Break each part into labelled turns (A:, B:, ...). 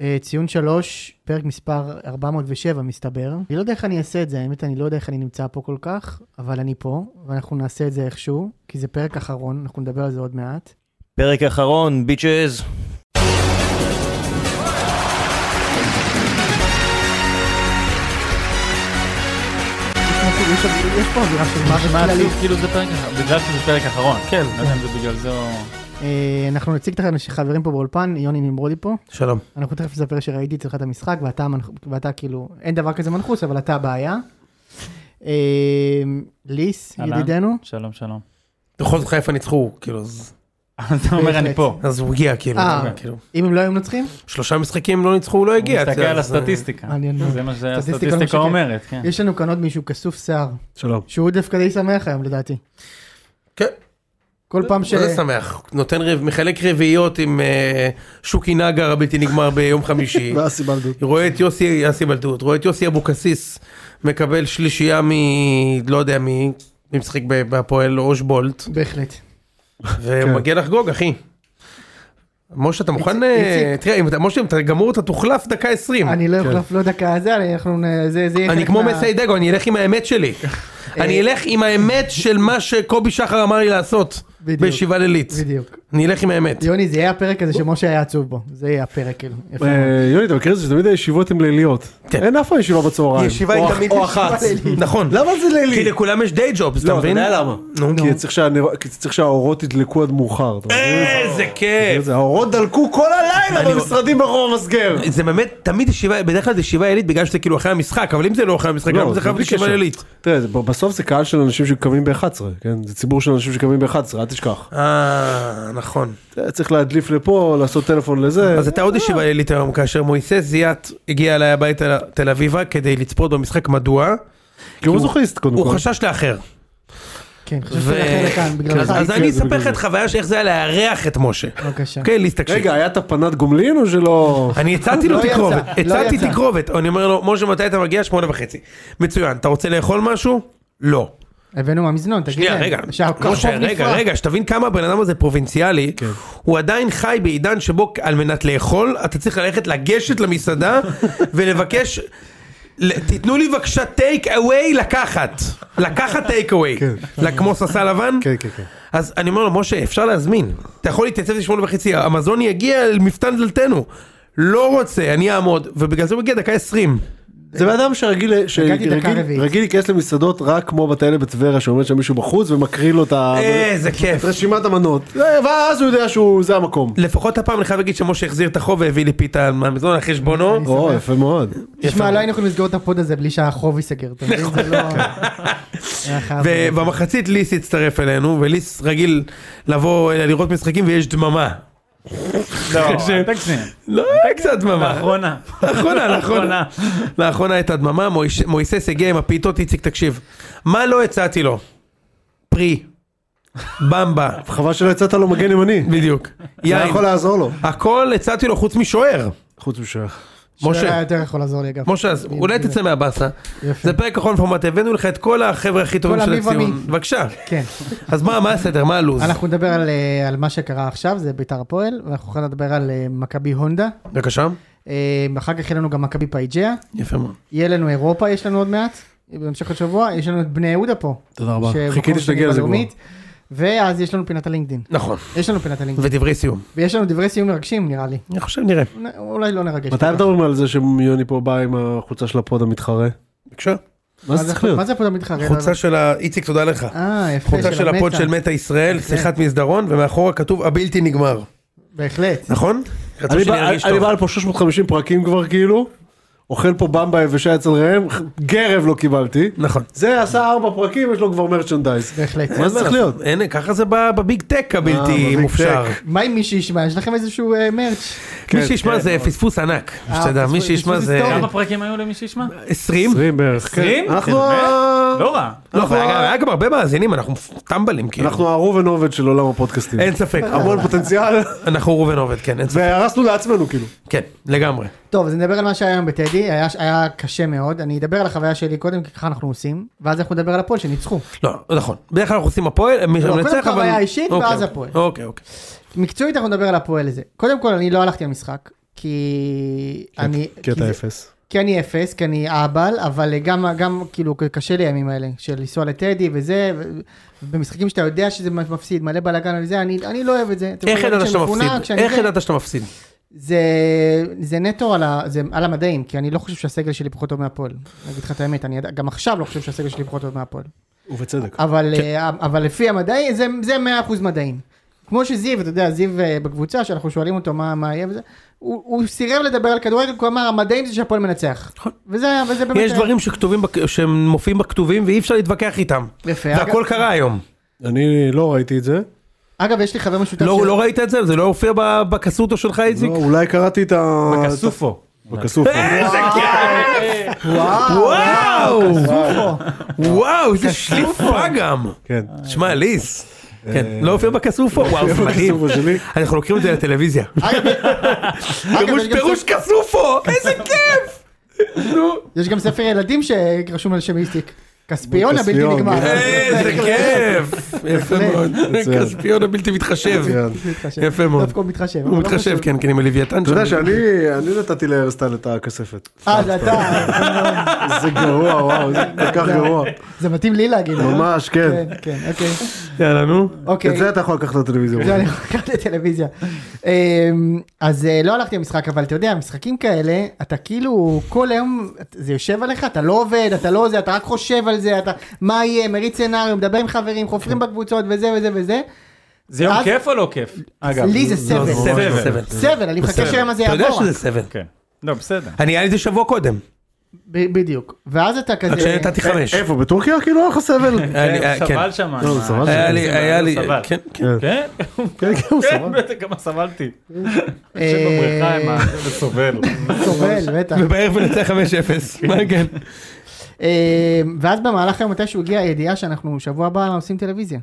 A: אה, ציון שלוש, פרק מספר 407 מסתבר. אני לא יודע איך אני אעשה את זה, האמת אני לא יודע איך אני נמצא פה כל כך, אבל אני פה, ואנחנו נעשה את זה איכשהו, כי זה פרק אחרון, אנחנו נדבר על זה עוד מעט.
B: פרק אחרון, ביצ'ז.
A: יש יש פה אווירה של מוות
C: מה
A: כללי.
C: עשו? כאילו זה פרק אחרון, בגלל שזה פרק אחרון. כן. לא יודע אם זה בגלל זה או...
A: אה, אנחנו נציג את החברים פה באולפן, יוני נמרודי פה.
D: שלום.
A: אנחנו תכף נספר שראיתי אצלך את המשחק, ואתה, המנח- ואתה כאילו, אין דבר כזה מנחוס, אבל אתה הבעיה. אה, ליס,
C: אהלן.
A: ידידנו,
C: שלום, שלום.
D: בכל זאת חיפה ניצחו, כאילו, אז-
C: אז אתה אומר, אני פה.
D: אז הוא הגיע, כאילו,
A: אה.
D: אתה אומר, כאילו.
A: אם הם לא היו מנצחים,
C: כן.
D: שלושה משחקים לא ניצחו, הוא לא הגיע.
C: הוא מסתכל
D: אתה יודע,
C: על
D: אז-
C: הסטטיסטיקה.
A: מעניין מאוד.
C: זה מה
A: הסטטיסטיקה לא
C: שהסטטיסטיקה
A: משקרת.
C: אומרת, כן.
A: יש לנו כאן עוד מישהו כסוף שיער,
E: שלום.
A: שהוא דווקא די שמח היום לדעתי.
D: כן,
A: כל פעם ש...
D: ש... זה שמח. נותן, רב- מחלק רביעיות עם אה, שוקי נגר הבלתי נגמר ביום חמישי.
E: ואסי בלדות.
D: רואה את יוסי, יוסי בלדות, רואה את יוסי אבוקסיס מקבל שלישייה מ... לא יודע מי, מי משחק ב- בהפועל אושבולט,
A: בהחלט.
D: ומגיע לחגוג, אחי. משה, אתה מוכן...
A: כן. איציק,
D: אה,
A: איציק.
D: תראה, אם אתה, משה, אם אתה גמור, אתה תוחלף דקה 20.
A: אני לא אחלוף לא דקה זה, אני- אנחנו... נ- זה זה יהיה
D: כן. אני
A: חלק
D: כמו
A: מה- אה,
D: מסיידגו, אני אלך עם האמת שלי. אני אלך עם האמת של מה שקובי שחר אמר לי לעשות
A: בדיוק.
D: בישיבה לילית.
A: בדיוק.
D: אני אלך עם האמת.
A: יוני, זה יהיה הפרק הזה שמשה היה עצוב בו. זה יהיה הפרק, כאילו. יפה מאוד.
E: אה, יוני, אתה מכיר את זה שתמיד הישיבות הן ליליות.
D: כן.
E: אין אף פעם ישיבה בצהריים.
F: ישיבה היא
D: או-
F: תמיד
D: או
F: ישיבה
D: אחת.
F: לילית.
D: נכון.
E: למה זה
D: כי
E: לילי?
D: לכולם יש דיי ג'ובס, אתה
E: לא, אתה
D: מבין?
E: יודע למה.
D: נו.
E: כי צריך שהנר- כי צריך שהאורות ידלקו עד מאוחר. אתה מבין?
D: אה, איזה כיף.
E: זה, האורות דלקו כל
D: אני-
E: הלילה במשרדים ברחוב המסגר.
D: זה באמת, תמיד ישיבה, בדרך כלל זה ישיבה לילית בגלל שזה כאילו אחרי המשחק, אבל אם זה לא אחרי המשחק,
E: לא,
D: למה זה
E: זה
D: חייב
E: בלי
D: ישיבה
E: קשר.
D: לילית?
E: תראה, זה- בסוף זה קהל של אנשים שקמים ב-11, כן? זה ציבור של אנשים שקמים ב-11, אל תשכח.
D: אה, נכון.
E: אתה צריך להדליף לפה, לעשות טלפון לזה.
D: אז הייתה עוד ישיבה לילית היום, כאשר מויסס זיאת הגיע אליי הביתה לתל אביבה כדי לצפות במשחק, מדוע?
E: כי הוא מזוכיסט קודם
D: הוא
E: כל.
D: חשש לאחר.
A: כן, חשבתי
D: ו- כן,
A: לכם לכאן בגלל
D: אז-
A: כן. זה.
D: אז
E: זה
D: אני
E: בגלל
D: אספר לך
E: זה.
D: את חוויה של איך זה היה לארח את משה.
A: בבקשה.
D: אוקיי, ליס תקשיב.
E: רגע, היה את הפנת גומלין או שלא?
D: אני הצעתי לו
A: לא יצא,
D: תקרובת,
A: לא
D: הצעתי
A: יצא.
D: תקרובת, אני אומר לו, משה מתי אתה מגיע? שמונה וחצי. מצוין, אתה רוצה לאכול משהו? לא.
A: הבאנו מהמזנון, תגיד
D: שנייה,
A: להם.
D: רגע,
A: שהרחוב
D: משה, רגע,
A: נפרע.
D: רגע, שתבין כמה הבן אדם הזה פרובינציאלי, הוא עדיין חי בעידן שבו על מנת לאכול, אתה צריך ללכת לגשת למסעדה ולבקש, ל- תיתנו לי בבקשה טייק אווי לקחת, לקחת טייק אווי, כמו ססה לבן,
E: כן, כן, כן.
D: אז אני אומר לו, משה, אפשר להזמין. אתה יכול להתייצב לשמונה וחצי, המזון יגיע אל מפתן דלתנו. לא רוצה, אני אעמוד, ובגלל זה הוא מגיע דקה עשרים.
E: זה בן אדם שרגיל
A: הגעתי דקה
E: שרגיל-
A: רביעית.
E: רגיל להיכנס למסעדות רק כמו בתאלה בטבריה שעומד שם מישהו בחוץ ומקריא לו את ה-
D: איזה כיף.
E: את רשימת המנות אה, ואז הוא יודע שהוא זה המקום.
D: לפחות הפעם אני חייב להגיד שמשה החזיר את החוב והביא לי פיתה מהמזון על חשבונו.
E: או יפה מאוד.
A: תשמע, לא היינו יכולים לסגור את הפוד הזה בלי שהחוב ייסגר. אתה מבין? זה לא...
D: כן.
A: היה חייב להיות.
D: ובמחצית ליס הצטרף אלינו, וליס רגיל לבוא אה, לראות משחקים ויש דממה.
C: לא, תקשיב.
D: לא, היה קצת דממה.
C: לאחרונה.
D: לאחרונה, לאחרונה. לאחרונה הייתה דממה, מויש- מויסס הגיע עם הפיתות, איציק תקשיב. מה לא הצעתי לו? פרי. במבה.
E: חבל שלא יצאת לו מגן ימני.
D: בדיוק.
E: זה היה
D: יין.
E: יכול לעזור לו.
D: הכל הצעתי לו חוץ משוער.
E: חוץ משייך.
A: שהיה
D: משה,
A: יותר יכול לעזור לי אגב.
D: משה, אז אולי תצא מהבאסה.
A: יפה.
D: זה פרק אחרון פורמט, הבאנו לך את כל החבר'ה הכי טובים
A: כל
D: של
A: המי ומי.
D: הציון. בבקשה.
A: כן.
D: אז מה, מה הסדר, מה הלו"ז?
A: אנחנו נדבר על, אה, על מה שקרה עכשיו, זה ביתר הפועל, ואנחנו יכולים לדבר על אה, מכבי הונדה.
D: בבקשה.
A: אה, אחר כך יהיה לנו גם מכבי פייג'יה.
D: יפה מאוד.
A: יהיה לנו אירופה, יש לנו עוד מעט, בהמשך השבוע. יש לנו את בני יהודה פה.
E: תודה רבה.
A: שמקום
E: חיכיתי
A: שני
E: שתגיע לזה כבר.
A: בלאומית. ואז יש לנו פינת הלינקדאין.
D: נכון.
A: יש לנו פינת הלינקדאין.
D: ודברי סיום.
A: ויש לנו דברי סיום מרגשים נראה לי.
D: אני חושב נראה.
A: נ- אולי לא נרגש.
E: מתי מדברים על זה שיוני פה בא עם החולצה של הפוד המתחרה?
D: בבקשה.
E: מה זה צריך
A: מה
E: להיות?
A: זה פה מתחרה?
D: חולצה של ה... איציק, תודה לך.
A: אה, יפה.
D: חולצה של הפוד
A: המצח.
D: של מטא ישראל,
E: כן.
D: שיחת מסדרון, ומאחורה כתוב הבלתי נגמר.
A: בהחלט.
D: נכון? רצו
E: אני
D: שאני
E: בא-
D: ארגיש
E: אני
D: טוב.
E: בא לפה 350 פרקים כבר כאילו. אוכל פה במבה יבשה אצל ראם, גרב לא קיבלתי.
D: נכון.
E: זה עשה ארבע פרקים, יש לו כבר מרצ'נדייז.
A: בהחלט.
E: מה זה צריך להיות? אה,
D: אין, ככה זה ב- בביג טק הבלתי
E: בביג
D: מופשר.
E: טק. כן,
A: מה עם מי שישמע? יש לכם איזשהו אה, מרץ'?
D: מי שישמע זה
E: נכון.
D: פספוס ענק.
E: אה,
D: שתדע, מי
A: פספוס-
D: שישמע
A: פספוס
D: זה...
A: היסטורי.
C: כמה פרקים היו למי שישמע?
D: 20?
E: 20 בערך. כן.
C: עשרים?
E: אנחנו
C: כן,
E: ה-
C: לא רע.
D: לא, אבל היה גם- היה גם הרבה מאזינים, אנחנו טמבלים כאילו.
E: אנחנו הרובן עובד של עולם הפודקאסטים.
D: אין ספק.
E: המון פוטנציאל,
D: אנחנו ראובן עובד, כן, אין ספק.
E: והרסנו לעצמנו כאילו.
D: כן, לגמרי.
A: טוב, אז נדבר על מה שהיה היום בטדי, היה, היה קשה מאוד. אני אדבר על החוויה שלי קודם, כי ככה אנחנו עושים, ואז אנחנו נדבר על הפועל שניצחו.
D: לא, נכון. בדרך כלל אנחנו עושים הפועל, מי
A: קודם
D: שמנצח,
A: כל
D: אבל...
A: חוויה אישית,
D: אוקיי,
A: ואז
D: אוקיי.
A: הפועל.
D: אוקיי, אוקיי.
A: מקצועית אנחנו נדבר על הפועל הזה. קודם כל, אני לא הלכתי למשחק, כי אני...
E: כי
A: כי זה-
E: אתה אפס.
A: כי אני אפס, כי אני אהבל, אבל גם, גם כאילו קשה לי הימים האלה, של לנסוע לטדי וזה, ו- במשחקים שאתה יודע שזה מפסיד, מלא בלאגן וזה, אני, אני לא אוהב את זה. אתם
D: איך
A: יודעים,
D: ידעת שאתה
A: כשאני מפונק,
D: מפסיד?
A: כשאני
D: איך
A: זה-
D: ידעת שאתה מפסיד?
A: זה, זה נטו על, ה, זה, על המדעים, כי אני לא חושב שהסגל שלי פחות טוב מהפועל. אני אגיד לך את האמת, אני עד- גם עכשיו לא חושב שהסגל שלי פחות טוב מהפועל.
E: ובצדק.
A: אבל,
D: כן.
A: אה, אבל לפי המדעי, זה, זה 100% מדעים. כמו שזיו, אתה יודע, זיו אה, בקבוצה, שאנחנו שואלים אותו מה, מה יהיה וזה, הוא, הוא סירב לדבר על כדורגל, כי הוא אמר, המדעים זה שהפועל מנצח.
D: נכון.
A: וזה, וזה באמת...
D: יש דברים שכתובים, בק- שהם מופיעים בכתובים ואי אפשר להתווכח איתם.
A: יפה.
D: והכל
A: אגב,
D: קרה היום.
E: אני לא ראיתי את זה.
A: אגב, יש לי חבר משותף...
D: לא
A: ש-
D: לא ראית את זה? זה לא הופיע ב- בקסוטו שלך, איציק?
E: לא, אולי קראתי את ה...
C: בכסופו.
E: בכסופו.
D: איזה כיף!
A: וואו!
D: וואו!
A: וואו.
D: וואו, איזה שליפה גם!
E: כן.
D: שמע, ליס. כן, לא הופיע בכסופו? וואו, זה מדהים.
E: בכסופו שלי.
D: אנחנו לוקחים את זה לטלוויזיה.
A: אגב,
D: פירוש
A: יש גם
D: פירוש כסופו! איזה כיף! נו.
A: יש גם ספר ילדים שרשום על שם איציק. כספיון הבלתי
E: כספיון,
A: נגמר.
E: כן.
D: אה, איזה כיף! יפה מאוד.
E: מצוין.
D: כספיון הבלתי מתחשב.
E: מצוין.
A: מתחשב.
D: יפה מאוד.
A: דווקא הוא מתחשב. אבל
D: הוא
A: לא
D: מתחשב,
A: חשוב.
D: כן, כן, עם הלוויתן
E: אתה
D: שם.
E: יודע שאני אני נתתי לארסטל את הכספת.
A: אה, זה אתה.
E: זה גרוע, וואו, זה כל כך גרוע.
A: זה מתאים לי להגיד. לא?
E: ממש, כן.
A: כן, כן, אוקיי.
D: יאללה, נו.
A: אוקיי.
E: את זה אתה יכול לקחת לטלוויזיה.
A: זה אני לקחת לטלוויזיה. אמ, אז אה, לא הלכתי למשחק, אבל אתה יודע, משחקים כאלה, אתה כאילו כל היום, זה יושב עליך, אתה לא עובד, אתה לא זה, אתה רק חושב על זה, אתה מה יהיה, מריץ סצנריו, מדבר עם חברים, חופרים בקבוצות וזה וזה וזה.
C: זה יום
A: אז-
C: כיף או לא כיף? אגב.
A: לי זה
D: לא,
A: סבל.
D: זה סבל, זה סבל.
A: סבל, אני מחכה שהיום הזה
D: אתה יודע
A: יעבור.
D: שזה סבל.
C: כן. לא, בסדר.
D: אני היה לי את זה שבוע קודם,
A: ב- בדיוק. ואז אתה
D: רק
A: כזה...
D: שנתתי חמש.
E: אה, איפה, בטורקיה? כאילו היה לך סבל?
D: היה לי-
C: הוא
D: אה, כן.
C: סבל שם.
E: לא, הוא סבל
D: היה
E: שם.
D: לי,
C: זה
D: היה
C: מאוד
D: לי,
C: סבל.
D: כן, כן.
C: כן?
E: כן, כן, הוא
C: כן,
E: סבל.
C: בטח כמה סבלתי.
A: אה,
C: יושב בבריכה עם ה... וסובל.
A: סובל, בטח.
D: ובערב ונצא 5-0. מה כן?
A: אה, ואז במהלך היום מתישהו הגיעה הידיעה שאנחנו שבוע הבא עושים טלוויזיה.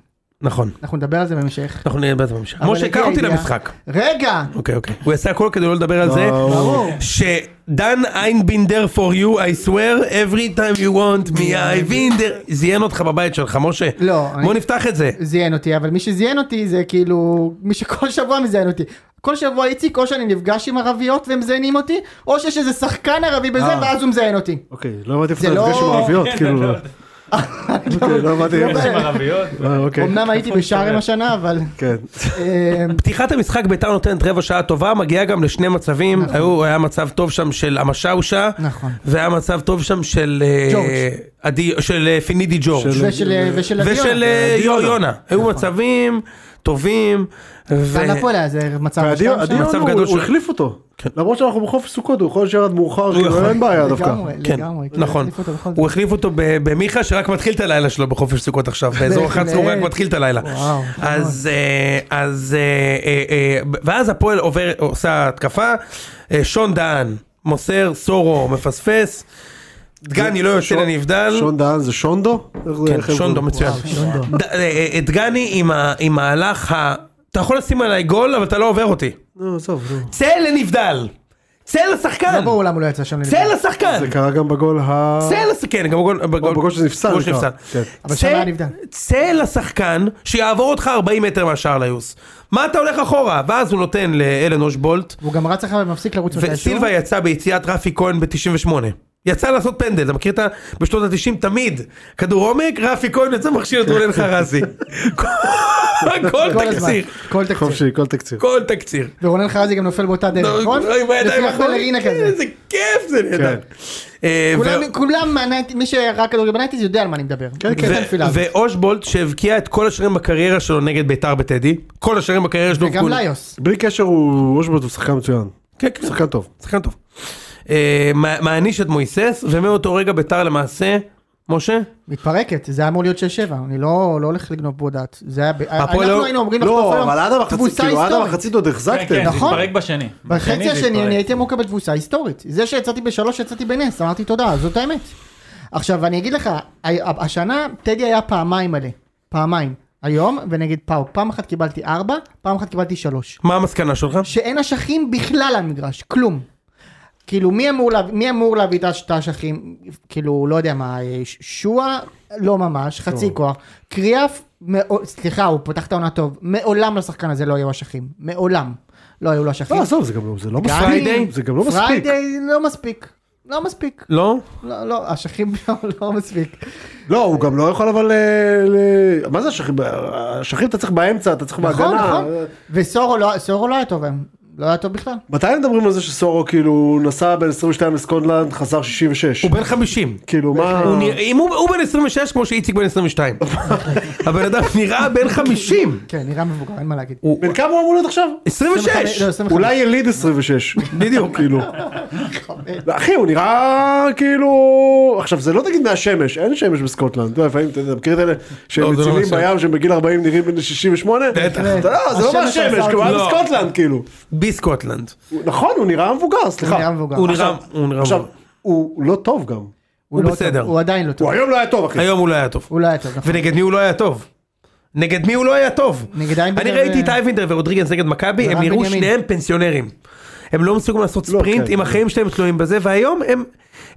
D: נכון,
A: אנחנו נדבר על זה בהמשך.
D: אנחנו נראה בזה בהמשך.
A: אבל
D: משה, קח
A: הגיע
D: אותי
A: הידיעה.
D: למשחק.
A: רגע!
D: אוקיי, אוקיי. הוא יעשה הכל כדי לא לדבר על זה.
A: ברור.
D: שדן איינבינדר for you, I swear, every time you want me, I binder. זיין אותך בבית שלך, משה.
A: לא, אני-
D: בוא נפתח את זה.
A: זיין אותי, אבל מי שזיין אותי זה כאילו מי שכל שבוע מזיין אותי. כל שבוע איציק, או שאני נפגש עם ערביות והם מזיינים אותי, או שיש איזה שחקן ערבי בזה
E: אה.
A: ואז הוא מזיין אותי.
E: אוקיי, לא הבנתי איפה
A: זה
E: אתה
A: לא-
E: נפגש עם ערביות, כאילו. לא. אוקיי, לא הבנתי.
C: עם ערביות.
E: אה, אוקיי,
A: אמנם הייתי בשארם השנה, אבל...
E: כן.
A: אה,
D: פתיחת המשחק ביתר נותנת רבע שעה טובה, מגיעה גם לשני מצבים. היו, היה מצב טוב שם של המשאושה.
A: נכון.
D: והיה מצב טוב שם של... אה,
A: ג'ורג'.
D: עדי- של אה, פינידי ג'ורג'.
A: ושל- ושל הדיון.
D: ושל אה, יו- יונה. היו
A: נכון.
D: מצבים טובים. ו-
A: גם להפועל היה זה מצב משתיים
E: והדיון,
A: שם.
E: הדיון,
D: מצב
E: הוא-
D: גדול
E: הוא
D: של-
E: החליף אותו.
D: כן.
E: למרות שאנחנו בחוף סוכות, הוא יכול להישאר עד מאוחר,
D: יכול.
E: כאילו אין בעיה דווקא.
A: לגמרי,
D: כן,
A: לגמרי. כאילו,
D: נכון.
A: החליפו אותו בכל זאת.
D: הוא החליף אותו ב- במיכה שרק מתחיל את הלילה שלו בחופש סוכות עכשיו, באזור
A: בהחלט.
D: 11 הוא רק מתחיל את הלילה.
A: וואו, נכון.
D: אז, אה, אז, אה, אה, אה, ואז הפועל עובר, עושה התקפה, אה, שון דהן מוסר, סורו מפספס, דגני לא יוצא
E: שון-
D: לנבדל,
E: שון דהן זה שונדו? איך זה-
D: כן,
E: איך הם
D: שונדו
E: קוראים?
D: מצוין. ד- אה, אה, אה, דגני עם ה- עם מהלך ה... אתה יכול לשים עליי גול, אבל אתה לא עובר אותי.
E: נו, עזוב, לא. נו.
D: צא לנבדל! צא לשחקן!
A: לא ברור למה הוא לא יצא שם
D: צא
A: לנבדל.
D: לשחקן!
E: זה קרה גם בגול ה...
D: צא לשחקן, כן, גם בגול,
E: בגול שנפסל,
D: בגול
E: נקרא.
D: שנפסל.
E: כן.
A: אבל
D: צא-
A: שם היה נבדל.
D: צא לשחקן שיעבור אותך 40 מטר מהשער ליוס. מה אתה הולך אחורה? ואז הוא נותן לאלן אושבולט,
A: והוא גם רץ אחריו ומפסיק לרוץ מתישהו.
D: וסילבה יצא ביציאת רפי כהן ב-98. יצא לעשות פנדל, אתה מכיר את ה... בשנות ה-90 תמיד, כדור עומק, רפי כהן יצא מכשיר את רונן חרזי. כל-
A: כל
D: כל
A: הזמן.
D: תקציר,
A: כל תקציב.
E: חופשי, כל תקציר.
D: כל תקציר.
A: ורונן חרזי גם נופל באותה דרך, נכון?
D: לא, עם הידיים
A: לפי הבלרינה
D: אחורה,
A: כזה.
D: איזה כיף זה נהדר.
E: כן.
D: אה, ו-
A: כולם- כולם, מהנייט- מי שראה כדורגל בנייטיז יודע על מה אני מדבר.
E: כן,
A: בקטע
E: כן.
A: הנפילה הזאת.
D: ואושבולט שהבקיע את כל השערים בקריירה שלו נגד ביתר בטדי, כל השערים בקריירה שלו.
A: וגם
D: הובקעו-
A: ליוס.
E: בלי קשר הוא אושבולט הוא שחקן מצוין.
D: כן, כן,
E: שחקן טוב.
D: שחקן טוב. אה, מע- מעניש את מויסס, ומאותו רגע ביתר למעשה, משה,
A: מתפרקת, זה היה אמור להיות 6-7, אני לא לא הולך לגנוב פה דעת. זה היה... ב-
D: הפועל
A: אנחנו
D: לא-
A: היינו אומרים לך כל
E: לא,
A: היום,
E: אבל עד המחצית,
A: תבוסה
E: כאילו עד
A: היסטורית.
E: המחצית עוד החזקתם.
C: כן, כן, זה
A: נכון.
C: התפרק בשני.
A: בחצי
C: זה
A: השני
C: התפרק.
A: אני הייתי אמור לקבל תבוסה היסטורית. זה שיצאתי בשלוש יצאתי בנס, אמרתי תודה, זאת האמת. עכשיו אני אגיד לך, ה- השנה טדי היה פעמיים מלא, פעמיים, היום ונגד פאוק, פעם אחת קיבלתי ארבע, פעם אחת קיבלתי שלוש.
D: מה המסקנה שלך?
A: שאין אשכים בכלל על המגרש, כלום. כאילו מי אמור, לה, מי אמור להביא את הש- את האשכים, כאילו לא יודע מה, אה, ש- שועה לא ממש, חצי כוח, קריאף, מאו- סליחה הוא פתח את העונה טוב, לא מעולם לשחקן הזה לא היו אשכים, מעולם. לא היו לו אשכים.
E: לא, עזוב, זה גם לא- זה לא
A: גם-
E: מספיק. זה גם לא מספיק.
A: פריידי לא מספיק. לא מספיק.
D: לא?
A: לא, לא, אשכים לא, לא מספיק.
E: לא, הוא גם לא יכול אבל... אה, ל- מה זה אשכים? אשכים אתה צריך באמצע, אתה צריך
A: נכון,
E: בהגנה.
A: נכון. וסורו לא, סורו לא היה טוב היום. לא היה טוב בכלל.
E: מתי מדברים על זה שסורו כאילו נסע בין 22 לסקוטלנד, חזר 66?
D: הוא בן 50.
E: כאילו
A: אה.
E: מה...
D: הוא נראה- אם הוא הוא בן 26 כמו שאיציק בן 22. הבן אדם נראה בן 50.
A: כן, נראה מבוגר, אין מה להגיד.
E: בן כמה הוא אמור להיות עכשיו?
D: 26!
A: לא, 25.
E: אולי יליד 26. בדיוק. כאילו. אחי, הוא נראה כאילו... עכשיו, זה לא תגיד מהשמש, אין שמש בסקוטלנד. אתה יודע, לפעמים, אתה יודע, אתה מכיר את אלה שהם
D: לא, זה לא
E: מצילים
D: מהשמש.
E: בים, שהם בגיל 40 נראים בני 68?
D: בטח.
E: אתה לא, זה לא
A: השמש עשה
E: מהשמש,
A: אותי.
E: כי הוא היה
D: לא.
E: בסקוטלנד, כאילו.
D: בסקוטלנד.
E: הוא- נכון, הוא נראה מבוגר,
A: הוא נראה
E: סליחה.
A: מבוגר.
D: הוא נראה... הוא נראה...
E: עכשיו, הוא לא טוב גם.
D: הוא
A: לא
D: בסדר.
A: טוב, הוא עדיין לא טוב.
E: הוא היום לא היה טוב, אחי.
D: היום הוא לא היה טוב.
A: הוא לא היה טוב, נכון.
D: ונגד מי הוא לא היה טוב? נגד מי הוא לא היה טוב?
A: נגד אייבינדר
D: אני ראיתי
A: ו-
D: את אייבינדר ורודריגנס נגד מכבי, הם
A: ורן
D: נראו
A: בנימין.
D: שניהם פנסיונרים. הם לא מסוגלים לעשות
E: לא,
D: ספרינט,
E: כן.
D: עם החיים שלהם תלויים בזה, והיום הם...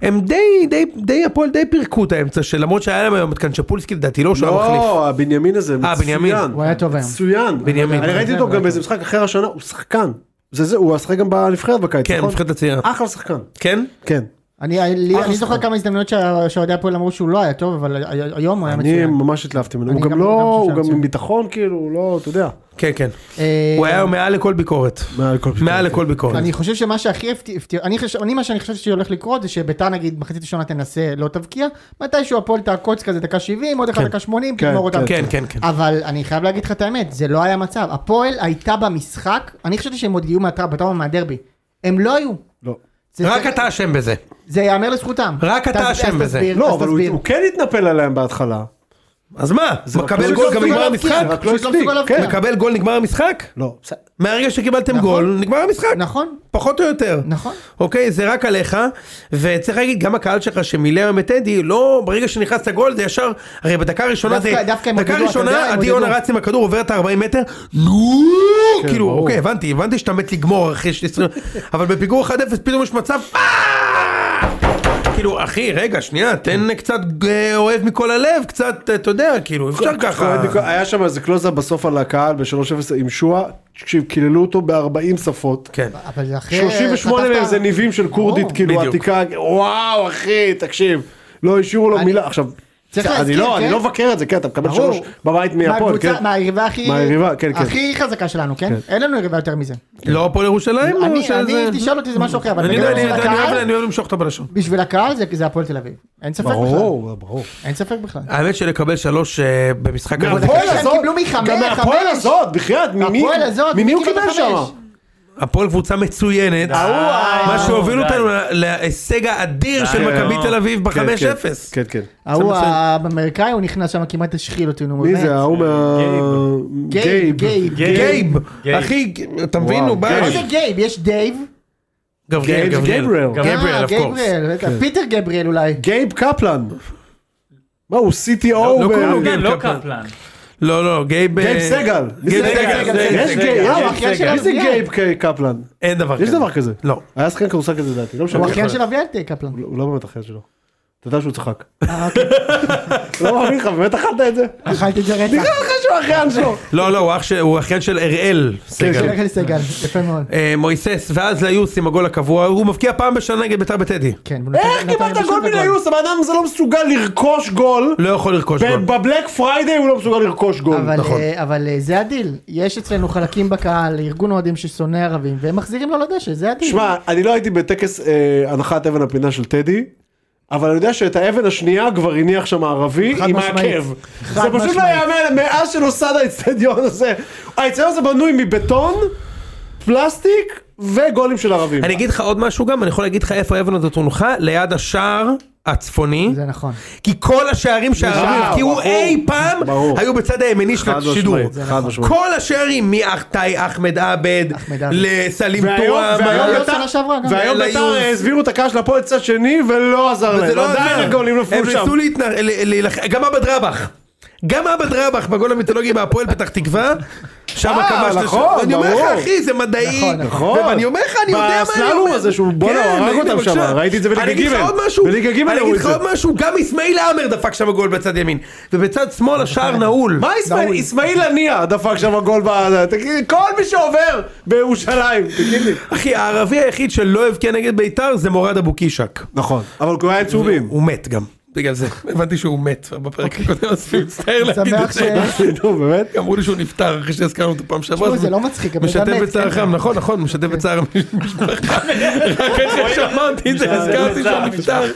D: הם די, די, די, הפועל די פירקו את האמצע של למרות שהיה להם היום את קנצ'פולסקי לדעתי לא שהוא המחליף.
E: לא, הבנימין הזה, מצוין.
D: אה, בנימין.
A: הוא היה טוב היום.
E: מצוין.
D: בנימין.
E: אני ראיתי אותו גם באיזה משחק אחר השנה, הוא שחקן. זה זה, הוא השחק גם בנבחרת בקיץ,
D: כן,
E: נכון?
D: נבחרת הצעירה.
A: אה.
E: אחלה שחקן.
D: כן?
E: כן.
A: אני,
D: אה,
A: לי- אני
E: אחלה
A: זוכר כמה הזדמנויות שה- שאוהדי הפועל אמרו שהוא לא היה טוב, אבל ה- היום הוא היה
E: אני
A: מצוין.
E: ממש התלהבתי ממנו. הוא
A: אני
E: גם
A: גם-
E: לא,
A: גם
E: הוא
A: חושב
E: גם עם
A: מצוין.
E: ביטחון, כאילו, הוא לא, אתה יודע.
D: כן, כן.
A: אה,
D: הוא היה מעל לכל ביקורת.
E: מעל כל לא ביקורת. כן.
D: מעל לכל ביקורת.
A: אני חושב שמה שהכי הפתיע, הפתיע- אני חושב, אני מה שאני חושב שהולך לקרות זה שביתר נגיד מחצית ראשונה תנסה לא תבקיע, מתישהו הפועל תעקוץ כזה דקה 70, עוד אחד דקה 80,
E: כן,
A: תגמור אותם.
D: כן, כן, כן.
A: אבל אני חייב להגיד לך את האמת, זה לא היה מצב. הפועל הייתה במשחק, אני חשבתי שהם עוד יהיו מהטר- בטראומה מהדרבי. הם לא היו.
E: לא.
A: זה-
D: רק
A: זה-
D: אתה אשם בזה.
A: זה ייאמר לזכותם.
D: רק אתה
A: אז- אז
D: אשם בזה.
A: תסביר, אז
E: לא, אבל הוא-
A: תסביר.
E: הוא כן התנפל עליהם בהתחלה.
D: אז מה? מקבל
E: רק-
D: גול
E: רק
D: גם
E: לא
D: נגמר
A: מסוגל
D: המשחק?
A: להבקיע,
E: רק לא
A: פשוט לא
E: הספיק,
A: מסוגל
E: כן.
A: להבקיע.
D: מקבל גול נגמר המשחק?
E: לא, בסדר.
D: מהרגע שקיבלתם
A: נכון.
D: גול נגמר המשחק.
A: נכון,
D: פחות או יותר.
A: נכון.
D: אוקיי, זה רק עליך, וצריך להגיד, גם הקהל שלך שמילא היום את טדי, לא, ברגע שנכנס לגול זה ישר, הרי בדקה הראשונה זה,
A: דווקא- דווקא הם
D: דקה
A: עודדו, אתה יודע,
D: ראשונה
A: הם
D: עדי
A: עודדו.
D: יונה רץ עם הכדור, עובר את ה-40 מטר, נו,
A: כן,
D: כאילו,
E: ברור.
D: אוקיי, הבנתי, הבנתי שאתה מת לגמור אחרי ש... אבל בפיגור 1-0 פתאום יש מצב, "אה!" כאילו, אחי, רגע, שנייה,
A: כן.
D: תן קצת אה, אוהב מכל הלב, קצת, אה, אתה יודע, כאילו, אפשר ככה.
E: היה שם איזה קלוזאפ בסוף על הקהל ב-3-0 עם שועה, תקשיב, קיללו אותו ב-40 שפות.
D: כן.
A: אבל זה אחרי...
E: 38
A: חטפת-
E: מהם זה ניבים של כורדית,
A: ברור.
E: כאילו
D: בדיוק.
E: עתיקה, וואו אחי, תקשיב, לא השאירו לו
A: אני-
E: מילה, עכשיו,
A: צריך
E: אני
A: להזכיר,
E: לא,
A: כן?
E: אני לא מבקר את זה, כן, אתה מקבל
A: ברור.
E: שלוש בבית מהפועל,
A: מהקבוצה-
E: כן,
A: מהיריבה הכי...
E: מהיריבה, כן, כן.
A: הכי חזקה שלנו, כן? אין לנו יריבה יותר מזה.
D: לא הפועל ירושלים? או
A: אני,
D: שזה-
A: אני, תשאל אותי זה משהו אחר, אבל
D: אני יודע,
A: בגדול
D: אני
A: בשביל
D: יודע, אני אוהב-
A: הקהל,
D: אני אוהב למשוך אותה בלשון.
A: בשביל הקהל זה- זה הפועל תל אביב. אין ספק בכלל.
E: ברור, ברור.
A: אין ספק בכלל.
D: האמת שלקבל שלוש אה, במשחק
A: מהפועל
D: הזה
A: שהם
D: קשה.
E: הזאת,
A: קיבלו מחמש,
E: גם מהפועל
A: חמש.
E: הזאת, בחייאת, ממי
A: הפועל הזאת,
E: ממי הוא
A: מי קיבל
E: קיבל
A: חמש?
E: שם?
D: הפועל קבוצה מצוינת,
E: אה,
C: אה,
D: מה שהוביל אותנו להישג האדיר של
C: די,
D: מכבי
C: נו.
D: תל אביב
E: אה, כן,
D: ב-5-0.
E: כן, כן.
A: ההוא האמריקאי הוא נכנס שם כמעט השחיל אותי, נו.
E: מי
A: באמת.
E: זה ההוא מה...
A: גייב. גייב.
D: גייב,
C: גייב.
D: אחי, אתה מבין, הוא בא...
A: מה זה גייב? יש דייב?
D: גבריאל,
E: גייב זה
D: גבריאל.
A: אה,
E: גבריאל.
D: גבריאל, of course.
A: גבריאל, בטח.
E: כן.
A: פיטר גבריאל אולי.
E: גייב קפלן. מה הוא
D: לא
E: CTO? ב-
D: קוראים לו
C: כן,
D: גייב
C: לא
D: קפלן.
C: קפלן.
D: לא, לא, גייב... אה,
E: גייב סגל. מי
D: גייב
E: זה
D: סגל,
E: גייב
D: סגל,
E: יש
D: סגל.
E: גייב,
A: אה, הוא
E: יאללה,
A: אחיין של
E: מי זה
A: אביאל.
E: גייב ק- קפלן?
D: אין דבר כזה.
A: אוקיי.
E: יש דבר כזה.
D: לא.
E: היה שחקן כדורסל כזה לדעתי, לא משנה.
A: הוא אחיין של אביאל תהיה קפלן.
E: הוא לא- הוא לא באמת אחיין שלו. אתה יודע שהוא צחק. אוקיי. לא מאמין לך, באמת אכלת את זה?
A: אכלתי את זה
E: נראה
A: רצח.
E: לך שהוא אחיין שלו.
D: לא, לא, הוא אח של- הוא אחיין של אראל
E: כן,
D: סגל.
A: אוכל סגל, יפה מאוד.
D: אה, מויסס, ואז ליוס עם הגול הקבוע, הוא מבקיע פעם בשנה נגד ביתר בטדי.
A: כן, הוא נתן-
E: איך
A: נתן
E: קיבלת
A: בשום
E: גול
A: גדול.
E: מן היוס? הבן אדם הזה לא מסוגל לרכוש גול.
D: לא יכול לרכוש גול.
E: ב- בבלק פריידיי הוא לא מסוגל לרכוש גול.
D: נכון.
A: אבל, אה, אבל אה, זה הדיל, יש אצלנו חלקים בקהל, ארגון אוהדים ששונא ערבים, והם מחזירים לו לדשא, זה הדיל.
E: שמע, אני לא הייתי בטקס אה, הנחת אבן הפינה של טדי, אבל אני יודע שאת האבן השנייה כבר הניח שם הערבי
A: חד
E: עם
A: משמעית.
E: העקב.
A: חד
E: זה פשוט לא
A: משמעית.
E: יאמן, מאז שנוסד האצטדיון הזה. האצטדיון הזה בנוי מבטון, פלסטיק וגולים של ערבים.
D: אני אגיד לך עוד משהו גם, אני יכול להגיד לך איפה האבן הזאת הונחה, ליד השער הצפוני,
A: זה נכון.
D: כי כל השערים שהערבים
E: ברור,
D: הבקיעו
E: ברור.
D: אי פעם,
E: ברור.
D: היו בצד הימני של
E: חד
D: השידור.
E: משמעית, חד משמעית.
D: כל השערים, מאחטאי אחמד עבד,
A: אחמד עבד.
D: לסלים
E: והיום
D: טועם,
E: והיום
A: לא,
E: בית"ר-
A: שנה שעברה גם.
E: והיום
D: ליוז.
E: בית"ר הסבירו את הקהל של הפועל צד שני ולא עזר
D: וזה
E: להם.
D: לא
E: עדיין
D: עזר.
E: הגולים
D: הם
E: נפלו שם.
D: ניסו להתנ- ל- להילחם, גם עבד רבח. גם עבד רבח בגול המיתולוגי בהפועל פתח תקווה, שם
E: אה,
D: כבש... את
E: נכון,
D: השער. אני אומר לך,
E: ברור.
D: אחי, זה מדעי.
A: נכון,
E: נכון.
D: ואני אומר לך, אני יודע מה אני
E: בסללום
D: אומר.
E: הזה שהוא- בואנה, הוא הרג
D: הנה,
E: אותם
D: בבקשה.
E: שם, ראיתי את זה בליגה
D: אני אגיד לך
E: ג'.
D: עוד משהו.
E: בליגה ג'
D: אני
E: הראו
D: אגיד
E: את
D: לך
E: זה.
D: עוד משהו, גם אסמאעיל עאמר דפק שם גול בצד ימין. ובצד שמאל השער נעול.
E: נכון. מה אסמאעיל?
A: דאוי.
E: אסמאעיל הנייה דפק שם גול ב... תגיד, כל מי שעובר בירושלים, תגיד לי.
D: אחי, הערבי היחיד שלא הבקיע נגד ביתר זה מורד אבו קישק.
E: נכון. אבל הוא היה עם צהובים.
D: הוא מת גם. בגלל זה. הבנתי שהוא מת
E: אוקיי.
D: בפרק הקודם, אז אני מצטער להגיד את
A: שמח ש...
D: זה.
E: נו, באמת?
D: אמרו לי שהוא נפטר אחרי שהזכרנו אותו פעם שעברה.
A: תשמעו,
D: אז
A: זה לא מצחיק, הבן אדם
D: משתתף
A: מת,
D: בצערכם, נכון, נכון, משתתף בצער המשפחה. רק אחרי שאמרתי את זה, הזכרתי שהוא נפטר.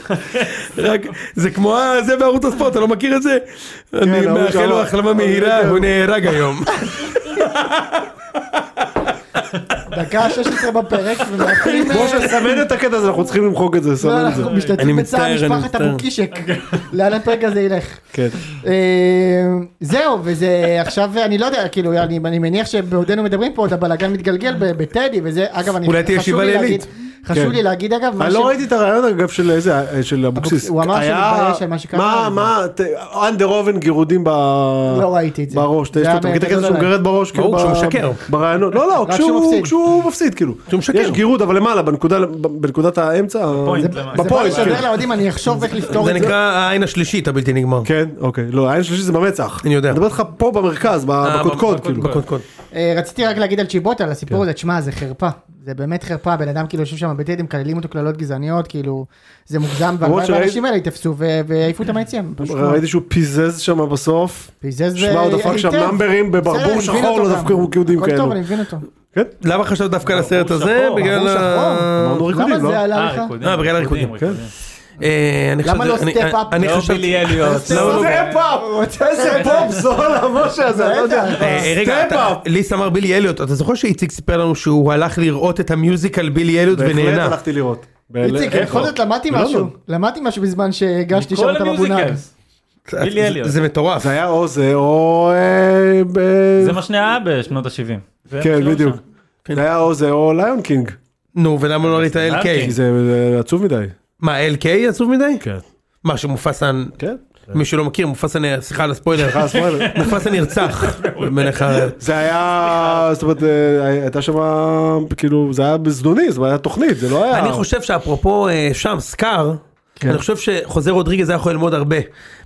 D: רק, זה כמו ה- זה בערוץ הספורט, אתה לא מכיר את זה?
A: כן,
D: אני
E: ההוא
D: מאחל לו
E: שאמר.
D: החלמה מהירה, הוא נהרג היום.
A: דקה 16 בפרק, ומאחלים...
E: בוא נסמן את הקטע הזה, אנחנו צריכים למחוק את זה,
A: לא,
E: סמן את זה.
A: אנחנו משתתפים
D: אני
A: בצער
D: מצטער, אני
A: משפחת
D: מצטער. אוקיי.
A: אבו קישק. לאן הפרק הזה ילך?
E: כן.
A: אה, זהו, וזה עכשיו, אני לא יודע, כאילו, אני אני מניח שבעודנו מדברים פה, עוד הבלאגן מתגלגל ב- בטדי, וזה, אגב, אני...
D: אולי תהיה
A: חשוב
D: ישיבה
A: לי
D: לילית.
A: להגיד- חשוב
E: כן.
A: לי להגיד, אגב, מה
E: אני
A: ש-
E: לא ראיתי את הרעיון אגב של איזה, של אבוקסיס.
A: הוא אמר שהוא
E: היה-
A: מתבייש על מה שקרה.
E: מה, מה, אנדר אובן גירודים ב...
A: לא ראיתי את זה.
E: בראש,
A: זה
E: יש
A: היה
E: לו, אתה מכיר את
A: גדול
E: הקטע שהוא
A: עליי.
E: גרד בראש, כאילו,
D: ברור,
E: ב-
D: כשהוא משקר.
E: ברעיונות, לא, לא,
A: רק
E: כשהוא-
A: כשהוא מפסיד.
E: כשהוא מפסיד, כאילו.
D: משקר.
E: יש גירוד, אבל למעלה, בנקודה, בנקודת האמצע.
C: בפוינט,
E: זה-
C: למעלה.
A: זה בא
E: בפוינט,
A: לסדר
E: כן.
A: לאוהדים, אני אחשוב איך לפתור
D: זה
A: את זה.
D: נקרא העין השלישית הבלתי נגמר.
E: כן, אוקיי. לא, העין שלישי זה במצח.
D: אני יודע. אה,
E: אני מדבר איתך פה במרכז, ב- בקודקוד, כאילו.
D: בקודקוד.
A: אה, רציתי רק להגיד על צ'יבוטה, על הסיפור הזה, תשמע, זה חרפה. זה באמת חרפה, בן אדם כאילו יושב שם בטדי, מקללים אותו קללות גזעניות, כאילו, זה מוגזם, והלוואי
E: שראיתי-
A: והאנשים האלה ייתפסו ו- ויעיפו אותם מהיציעים. פשוט מאוד.
E: ראיתי שהוא פיזז שם בסוף.
A: פיזז
E: שמע, הוא דפק שם
A: היטב.
E: נאמברים בברבור
A: בסדר, אני מבין
E: שחור,
A: אותו
E: לא
A: גם.
E: דווקא ריקודים
A: הכל
E: כאלו.
A: טוב, אני מבין אותו.
E: כן?
D: למה חשבת דווקא על הסרט
C: ברור,
D: הזה?
C: שחור,
D: בגלל
A: ברור,
D: ה...
A: שחור.
E: אמרנו
A: למה
E: ריקודים, לא?
A: זה עלה
C: אה,
A: לך?
C: ריקודים.
D: אה, בגלל הריקודים.
C: ריקודים.
D: אה, אני
A: למה
D: חשבתי-
A: לא
D: אני-
A: step up?
D: אני
C: לא
D: חשבתי...
C: בילי אליוט.
D: לא, לא, לא.
E: איזה פאפ! איזה פופ זול המשה הזה, אני לא יודע.
A: בטח.
D: אה, רגע,
E: סטפ
D: אתה-
E: אפ.
D: ליס אמר בילי אליוט, אתה זוכר שאיציק סיפר לנו שהוא הלך לראות את המיוזיקל בילי אליוט
E: בהחלט
D: ונהנה.
E: הלכתי לראות.
A: איציק,
E: איפה?
A: בכל זאת למדתי משהו.
E: בלונדון.
A: למדתי משהו בזמן שהגשתי שם
C: כל
A: את הבבונאי.
C: המיוזיקלס. בילי אליוט.
D: זה מטורף.
E: זה היה או זה או... אה, ב-
C: זה מה שנהיה בשנות ה-70.
E: כן, בדיוק. זה היה או זה או ליון קינג.
D: נו, ולמה לא ראית LK?
C: אוקיי.
E: כי זה זה עצוב מדי.
D: מה, LK עצוב מדי?
E: כן.
D: מה, שמופסן...
E: כן.
D: מי שלא מכיר, מופסן... אה, סליחה על הספוילר.
E: אה, ספוילר.
D: מופסן נרצח. במלך ה-
E: זה היה, זאת אומרת, אה, הייתה שם, כאילו, זה היה בזדוני, זה היה תוכנית, זה לא היה...
D: אני חושב שאפרופו אה, שם, סקאר, אני חושב שחוזר רודריגז היה יכול ללמוד הרבה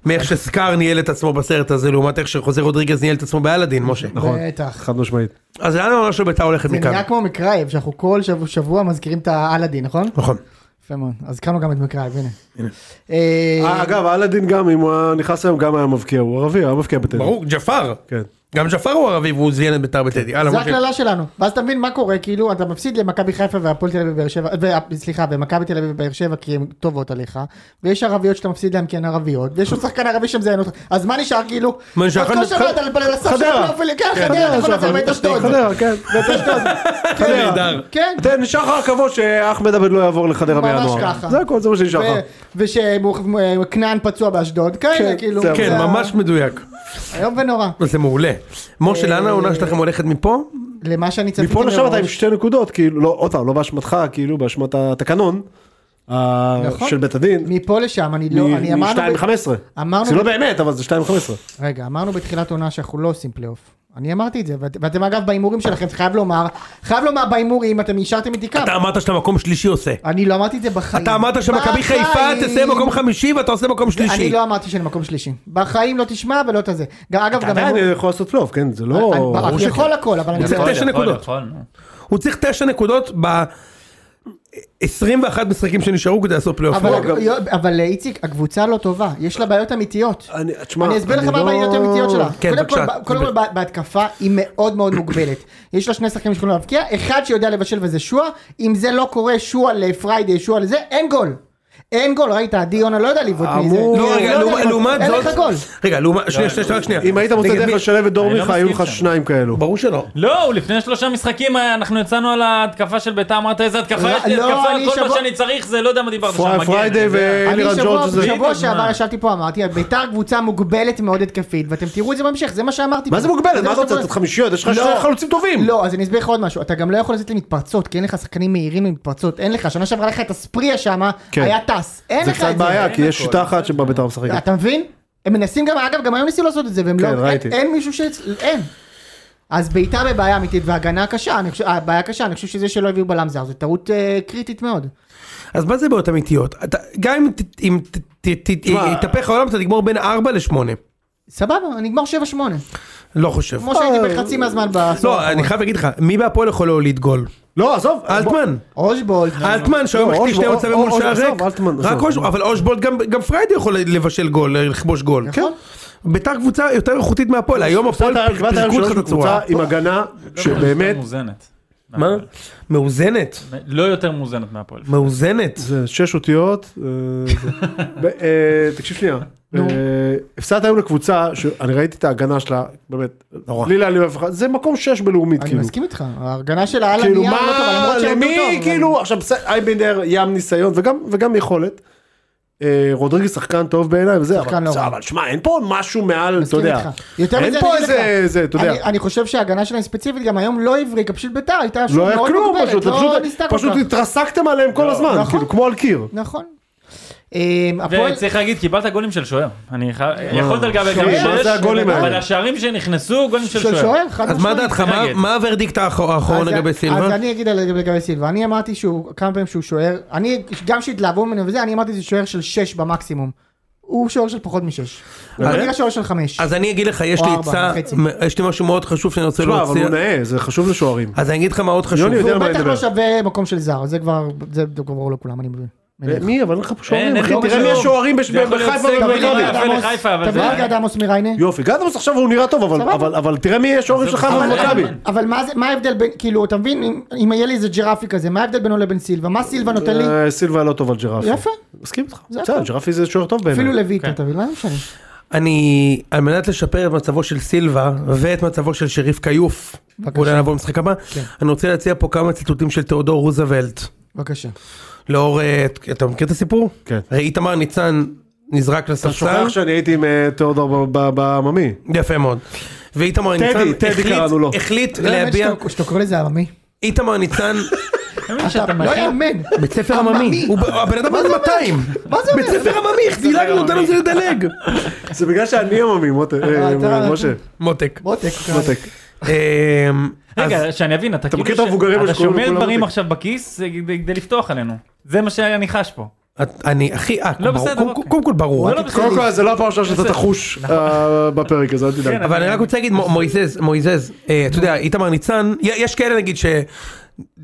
D: מאיך שסקאר ניהל את עצמו בסרט הזה, לעומת איך שחוזר רודריגז ניהל את עצמו באלאדין, משה.
A: בטח.
E: חד משמעית.
D: אז לאן העונה של בית"ר הולכת
A: נכון. זה
D: מכאן?
A: נהיה כמו מקרייב, שאנחנו כל שבוע- שבוע מזכירים את האלאדין, נכון?
D: נכון.
A: יפה מאוד. אז קראנו גם את מקרייב, הנה. אה,
E: אה, אגב, אלאדין גם, אם הוא היה נכנס היום, גם היה מבקיע, הוא ערבי, היה מבקיע בטדי.
D: ברור, ג'פר.
E: כן.
D: גם ג'פר הוא ערבי והוא זיין את בית"ר בטדי. הלאה,
A: זה
D: משה.
A: הקללה שלנו, ואז אתה מבין מה קורה, כאילו אתה מפסיד למכבי חיפה והפועל תל אביב ובאר שבע, ו- אה, סליחה, ומכבי תל אביב ובאר שבע כי הן טובות עליך, ויש ערביות שאתה מפסיד להן כי הן ערביות, ויש עוד שחקן ערבי שמזיין אותך, אז מה נשאר כאילו?
D: מה נשאר?
A: אז כל שבוע אתה על הסף של
E: חדרה.
A: הפלייאוף, כן, חדרה, אתה יכול לצאת ואת אשדוד.
E: חדרה, כן. ואת אשדוד. חדרה.
D: נהדר.
A: כן,
E: תן, נשאר לך הכבוד שאחמד עבד לא יעבור לחדרה
A: ממש
E: בינואר.
A: ככה.
E: זה הכל, זה מה שנשאר
A: ו-
E: לך.
A: ושכנען פצוע באשדוד, כאלה
E: כן,
A: כאילו,
E: זהו.
D: כן,
A: זה
D: ממש מדויק.
A: איום ונורא,
D: זה מעולה. משה, לאן
A: אה,
D: העונה שלכם הולכת מפה?
A: למה שאני צפיתי
E: מפה לשם אתה עם
A: מראש.
E: שתי נקודות, כאילו, לא, עוד פעם, לא באשמתך, כאילו, באשמת התקנון. אה,
A: נכון.
E: של בית הדין.
A: מפה לשם, אני לא, אני אמרנו, ב-
E: מ-2.15.
A: אמרנו
E: זה לא
A: ב-
E: באמת, אבל זה 2.15.
A: רגע, אמרנו בתחילת עונה שאנחנו לא עושים פלייאוף. אני אמרתי את זה, ואת- ואתם אגב בהימורים שלכם, חייב לומר, חייב לומר בהימורים, אתם אישרתם איתי קו.
D: אתה אמרת שאתה מקום שלישי עושה.
A: אני לא אמרתי את זה בחיים.
D: אתה אמרת שמכבי
A: בחיים.
D: חיפה תסיים מקום חמישי ואתה עושה מקום
A: אני
D: שלישי.
A: לא אמרתי שאני מקום שלישי. בחיים לא תשמע ולא את הזה. גם- אגב, גם...
E: עדיין
A: אני-
E: אני יכול לעשות פלייאוף, כן? זה לא...
A: אני- אני יכול הכל, אבל אני...
D: זה
A: לא-
D: תשע נקודות. הוא צריך תשע נקודות ב... 21 משחקים שנשארו כדי לעשות פלייאוף.
A: אבל-
D: לא,
A: אבל איציק, הקבוצה לא טובה, יש לה בעיות אמיתיות.
E: אני- תשמע,
A: אני אסביר לך
E: אני
A: מה
E: לא-
A: הבעיות האמיתיות שלה.
D: כן,
A: קודם כל,
D: בבקשה.
A: ב- קודם כל בה- בהתקפה היא מאוד מאוד מוגבלת. יש לה שני שחקנים שיכולים להבקיע, אחד שיודע לבשל וזה שועה, אם זה לא קורה שועה לפריידי, שועה לזה, אין גול. אין גול, ראית, עדי יונה לא יודע לבעוט מזה.
E: אמור-
A: לא
D: לא, רגע,
A: יודע
D: לעומת-
A: לבעוט.
D: לעומת
A: אין
D: זאת...
A: לך גול.
D: רגע, לעומת... שנייה, שנייה, שנייה, שנייה.
E: אם היית מוצא
D: נגד
E: דרך
D: מי-
E: לשלב את דור
C: אני לא
E: מיכה, היו
C: מסכים
E: לך
C: שם.
E: שניים כאלו.
D: לא. ברור שלא.
C: לא, הוא לפני שלושה משחקים אה, אנחנו יצאנו על ההתקפה של ביתר, אמרת איזה התקפה יש לי
A: לא,
C: התקפה,
A: אני
C: כל מה
A: שבוע-
C: שאני צריך זה לא יודע מה דיברת
E: פרי-
C: שם, מגן,
E: פריידי
C: אתה יודע.
A: אני
E: ואלירן
A: שבוע-
E: אה, ג'ורג' זה...
A: שבוע
C: בדיוק,
A: שעבר
C: מה?
A: ישבתי פה אמרתי ביתר קבוצה מוגבלת מאוד התקפית ואתם תראו את זה בהמשך זה מה שאמרתי.
E: מה
A: פה.
E: זה מוגבלת? מה אתה
A: שאתה
E: רוצה?
A: קורא.
E: לתת חמישיות? יש לך שני חלוצים טובים.
A: לא, אז אני אסביר לך עוד משהו, אתה גם לא יכול לצאת למתפרצות, כי אין לך שחקנים מהירים למתפרצות, אין לך, שנה שעברה לך את הספריה שמה,
E: כן.
A: היה טס, אין
E: זה
A: לך
E: קצת
A: את זה.
E: בעיה, כי יש שיטה אחת שבה בית"ר משחקת.
A: אתה מבין? הם מנסים גם, אגב, גם היום ניסו לעשות את זה, והם
E: כן,
A: לא,
E: ראיתי.
A: אין, אין מישהו ש... אין. אז בעיטה בבעיה אמיתית והגנה קשה, אני חושב, אה, בעיה קשה, אני חושב שזה שלא הביאו בלם זר, זו טעות אה, קריטית מאוד.
D: אז מה זה בעיות אמיתיות? אתה- גם אם ת- אם ת- ת- ת-
E: תשמע-
D: יתהפך העולם אתה תגמור בין 4 ל-8.
A: סבבה, נגמור 7-8,
D: לא חושב.
E: אה,
A: כמו שהייתי בחצי מהזמן בעשור
D: לא, אני חייב להגיד לך, מי בהפועל יכול להוליד גול?
E: לא, עזוב.
D: אלטמן.
A: אושבולט,
D: אלטמן שהיום
E: לא,
D: החטיא שתי
E: אושבולט,
D: מצבים מול
E: אוש-
D: שער
E: עזוב,
D: ריק.
E: אלטמן,
D: רק
E: עזוב.
D: אושבולט, אבל אושבולט גם- גם פריידי יכול לבשל גול, לכבוש גול.
E: כן.
D: כן.
A: נכון.
D: ביתר קבוצה יותר איכותית מהפועל, היום הפועל
E: הפועל
D: פ-
E: קיבלת היום
D: פירקו לך
E: שלוש
D: את הצורה.
E: בקבוצה עם הגנה
C: לא,
E: שבאמת,
C: מאוזנת.
D: מה? מאוזנת,
C: לא יותר מאוזנת מהפועל.
D: מאוזנת.
E: זה שש אותיות. אה, זה- ב- אה, תקשיב שנייה. אה, הפסדת היום לקבוצה שאני ראיתי את ההגנה שלה, באמת,
D: נורא.
E: בלי להעליב אף אחד, זה מקום שש בלאומית,
A: אני
E: כאילו.
A: מסכים איתך, ההרגנה שלה על
E: כאילו
A: הנייר לא טובה,
E: מה,
A: למרות שהם לא טוב,
E: למי
A: אבל-
E: כאילו, עכשיו בסדר, אייבינדר ים ניסיון וגם- וגם יכולת. אה, רודריגז שחקן טוב בעיניי וזה,
A: שחקן
E: אבל
A: לא רע.
E: אבל שמע אין פה משהו מעל, אתה
A: מסכים
E: יודע,
A: איתך. יותר
E: אין
A: מזה,
E: פה
A: אני אגיד
E: איזה,
A: לך,
E: זה, אתה
A: אני-
E: יודע,
A: אני חושב שההגנה שלהם ספציפית גם היום לא הבריקה, פשוט ביתר הייתה שוב
E: לא היה
A: מאוד
E: כלום
A: מוגבלת,
E: פשוט, זה
A: לא
E: פשוט-
A: ניסתה כל
E: פשוט
A: כך.
E: התרסקתם עליהם כל הזמן,
A: נכון.
E: כאילו כמו על קיר.
A: נכון. אמ, הפועל-
C: וצריך להגיד, קיבלת גולים של שוער. אני חי- יכולת לגבי
A: שוער,
C: גם
A: מה
C: שש,
E: זה הגולים
C: אבל
E: האלה?
C: השערים שנכנסו, גולים של
A: של
C: שוער.
A: שוער, חד
D: אז מה
A: משמעית.
D: דעתך,
C: צריך
D: מה-
C: להגיד.
D: מה הוורדיקט האחר- האחרון
A: אז-
D: לגבי
A: אז
D: סילבן?
A: אני אגיד על- לגבי סילבה, אני אמרתי שהוא, כמה פעמים שהוא שוער, אני גם שהתלהבו ממנו וזה, אני אמרתי שזה שוער של 6 במקסימום. הוא שוער של פחות משש.
E: אה,
A: הוא
D: אוקיי.
A: נראה שוער של 5.
D: אז אני אגיד לך, יש
A: או
D: לי
A: ארבע
D: עצה,
A: וחצי.
D: מ- יש לי משהו מאוד חשוב שאני רוצה
E: תשמע, אבל הוא
D: להוציא.
E: נאה, זה חשוב לשוערים.
D: אז אני אגיד לך מה עוד חשוב.
E: יוני יודע
A: הוא
E: מה אני
A: בטח
E: מדבר.
A: לא שווה מקום של זר, זה כבר, זה ברור לכולם, אני מבין. מניח.
E: מי? אבל אין לך פה שוערים,
C: אין,
E: אחי,
C: אין
E: תראה
C: פה
E: מי
C: שוערים.
E: השוערים בש-
C: זה יכול להיות
E: בחיפה
C: סגל
E: ובמכבי.
C: יפה
A: עמוס-
C: לחיפה, אבל
A: תביא
C: זה-
A: לי את עמוס מריינה.
E: יופי, גדמוס עכשיו הוא נראה טוב, אבל-
A: סבבה. אה,
E: אבל- אבל תראה מי השוערים שלך
C: אבל-
E: במכבי.
C: אבל-
A: אבל מה זה- מה ההבדל בין, כאילו, אתה מבין, אם- אם היה לי איזה ג'רפי כזה, מה ההבדל בינו לבין סילבה? מה סילבה נותן לי?
E: אה, סילבה לא טוב על ג'רפי.
A: יפה.
E: מסכים איתך.
A: זה
E: בסדר,
A: הכל.
E: ג'רפי זה שוער טוב בעיניי.
A: אפילו לויטה, אתה מבין? לא משנה.
D: אני, על מנת לשפר את מצבו של סילבה ואת מצבו של שריף כיוף,
A: בבקשה.
D: אולי נעבור למשחק הבא,
C: כן.
D: אני רוצה להציע פה כמה ציטוטים של תיאודור רוזוולט.
A: בבקשה.
D: לאור, אה, אתה מכיר את הסיפור?
E: כן.
D: הרי איתמר ניצן נזרק
E: אתה
D: לספסל,
E: שוכח שאני הייתי עם אה, תיאודור ב- ב- בעממי.
D: יפה מאוד. ואיתמר
E: טדי,
D: ניצן
E: טדי
D: החליט-
E: קראנו לו.
D: החליט
A: לא יאמן
D: להביע,
A: שאתה- שאתה קורא לזה עממי.
D: איתמר ניצן,
A: אתה- לא יאמן.
D: בית ספר עממי, הוא ב- הבן אדם בן 200,
A: מה זה אומר?
D: בית ספר עממי, דילגנו, נתנו לזה לדלג.
E: זה בגלל שאני עממי, מוטה- אה,
A: אתה-
E: משה.
D: מותק.
A: מותק.
E: מותק.
D: אמ,
C: רגע, שאני אבין, אתה כאילו...
E: מכיר את
C: ש-
E: המבוגרים
C: אתה
E: שקוראים
C: שומר
E: לכולם
C: דברים
E: מותק?
C: עכשיו בכיס אה, כדי כדי לפתוח עלינו. זה מה שאני חש פה.
D: את- אני אחי, אה,
C: לא,
D: ברור,
C: בסדר,
D: קודם-
C: אוקיי.
D: קודם כל ברור,
C: לא,
D: אל
C: לא,
D: תתח-
E: קודם כל זה לא הפעם הראשונה שאתה תחוש אה, בפרק הזה, אל תדאג.
C: כן,
D: אבל אני רק רוצה להגיד מו- מויזז, מויזז, אה, אתה יודע, איתמר ניצן, י- יש כאלה נגיד ש...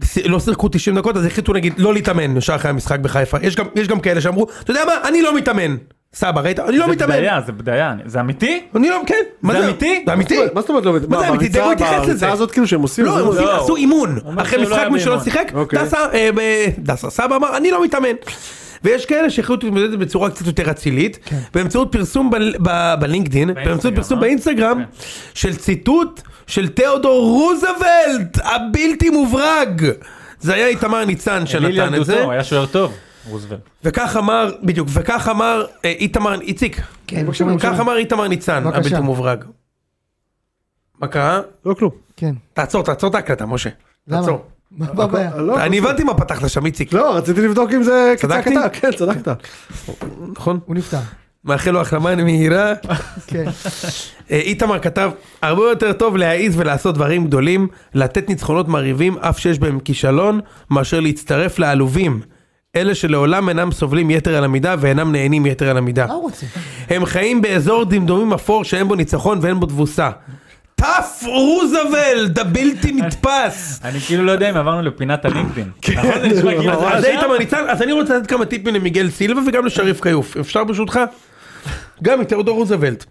D: ס- לא שיחקו 90 דקות אז החליטו נגיד לא להתאמן ישר אחרי המשחק בחיפה יש גם יש גם כאלה שאמרו אתה יודע מה אני לא מתאמן סבא ראית אני לא
C: זה
D: מתאמן
C: בדיה, זה בדיה. אני- זה אמיתי?
D: אני לא כן מה
C: זה אמיתי?
D: זה אמיתי
E: מה זאת אומרת לא מבין?
D: מה זה אמיתי?
E: בריצה-
D: דגו התייחס לזה.
E: בריצה הזאת כאילו שהם עושים?
D: לא
E: זה-
D: הם עושים-
C: לא.
D: עשו אימון
C: אומר
D: אחרי
C: שהוא לא
D: משחק
C: היה
D: מי שלא
C: באימון.
D: שיחק
E: אוקיי.
D: דסה, אה, ב- דסה סבא אמר אני לא מתאמן ויש כאלה שהחליטו להתמודד בצורה קצת יותר אצילית באמצעות פרסום ב- ב- בלינקדין באמצעות פרסום
C: כן. אה?
D: באינסטגרם של ציטוט של תיאודור רוזוולט הבלתי מוברג. זה היה איתמר ניצן
C: אליל
D: שנתן את זה
C: ילדותו, היה שוער טוב, רוזוולט.
D: וכך אמר בדיוק וכך אמר אה, איתמר איציק
A: כן, שומעים,
D: כך
A: שומעים.
D: אמר איתמר ניצן
A: בבקשה.
D: הבלתי מוברג. מה קרה?
E: לא כלום.
A: כן.
D: תעצור תעצור את ההקלטה משה.
A: למה?
D: תעצור.
A: מה מה הבעיה?
E: לא,
D: אני הבנתי מה פתחת שם איציק
E: לא, רציתי לבדוק אם זה
D: צדקתי?
E: קצר קטן, כן, צדקת.
D: נכון?
A: הוא נפטר.
D: מאחל לו החלמה מהירה.
A: כן.
D: אה, איתמר כתב, הרבה יותר טוב להעיז ולעשות דברים גדולים, לתת ניצחונות מרהיבים אף שיש בהם כישלון, מאשר להצטרף לעלובים. אלה שלעולם אינם סובלים יתר על המידה ואינם נהנים יתר על המידה.
A: מה הוא רוצה?
D: הם חיים באזור דמדומים אפור שאין בו ניצחון ואין בו תבוסה. טף רוזוולד הבלתי נתפס.
C: אני כאילו לא יודע אם עברנו לפינת הלינקדאין.
E: כן,
C: נכון, זה נשמע כאילו זה
D: אז
C: עכשיו?
D: איתמר ניצן, אז אני רוצה לתת כמה טיפים למיגל סילבה וגם לשריף כיוף. אפשר ברשותך? גם מתיאודור רוזוולט.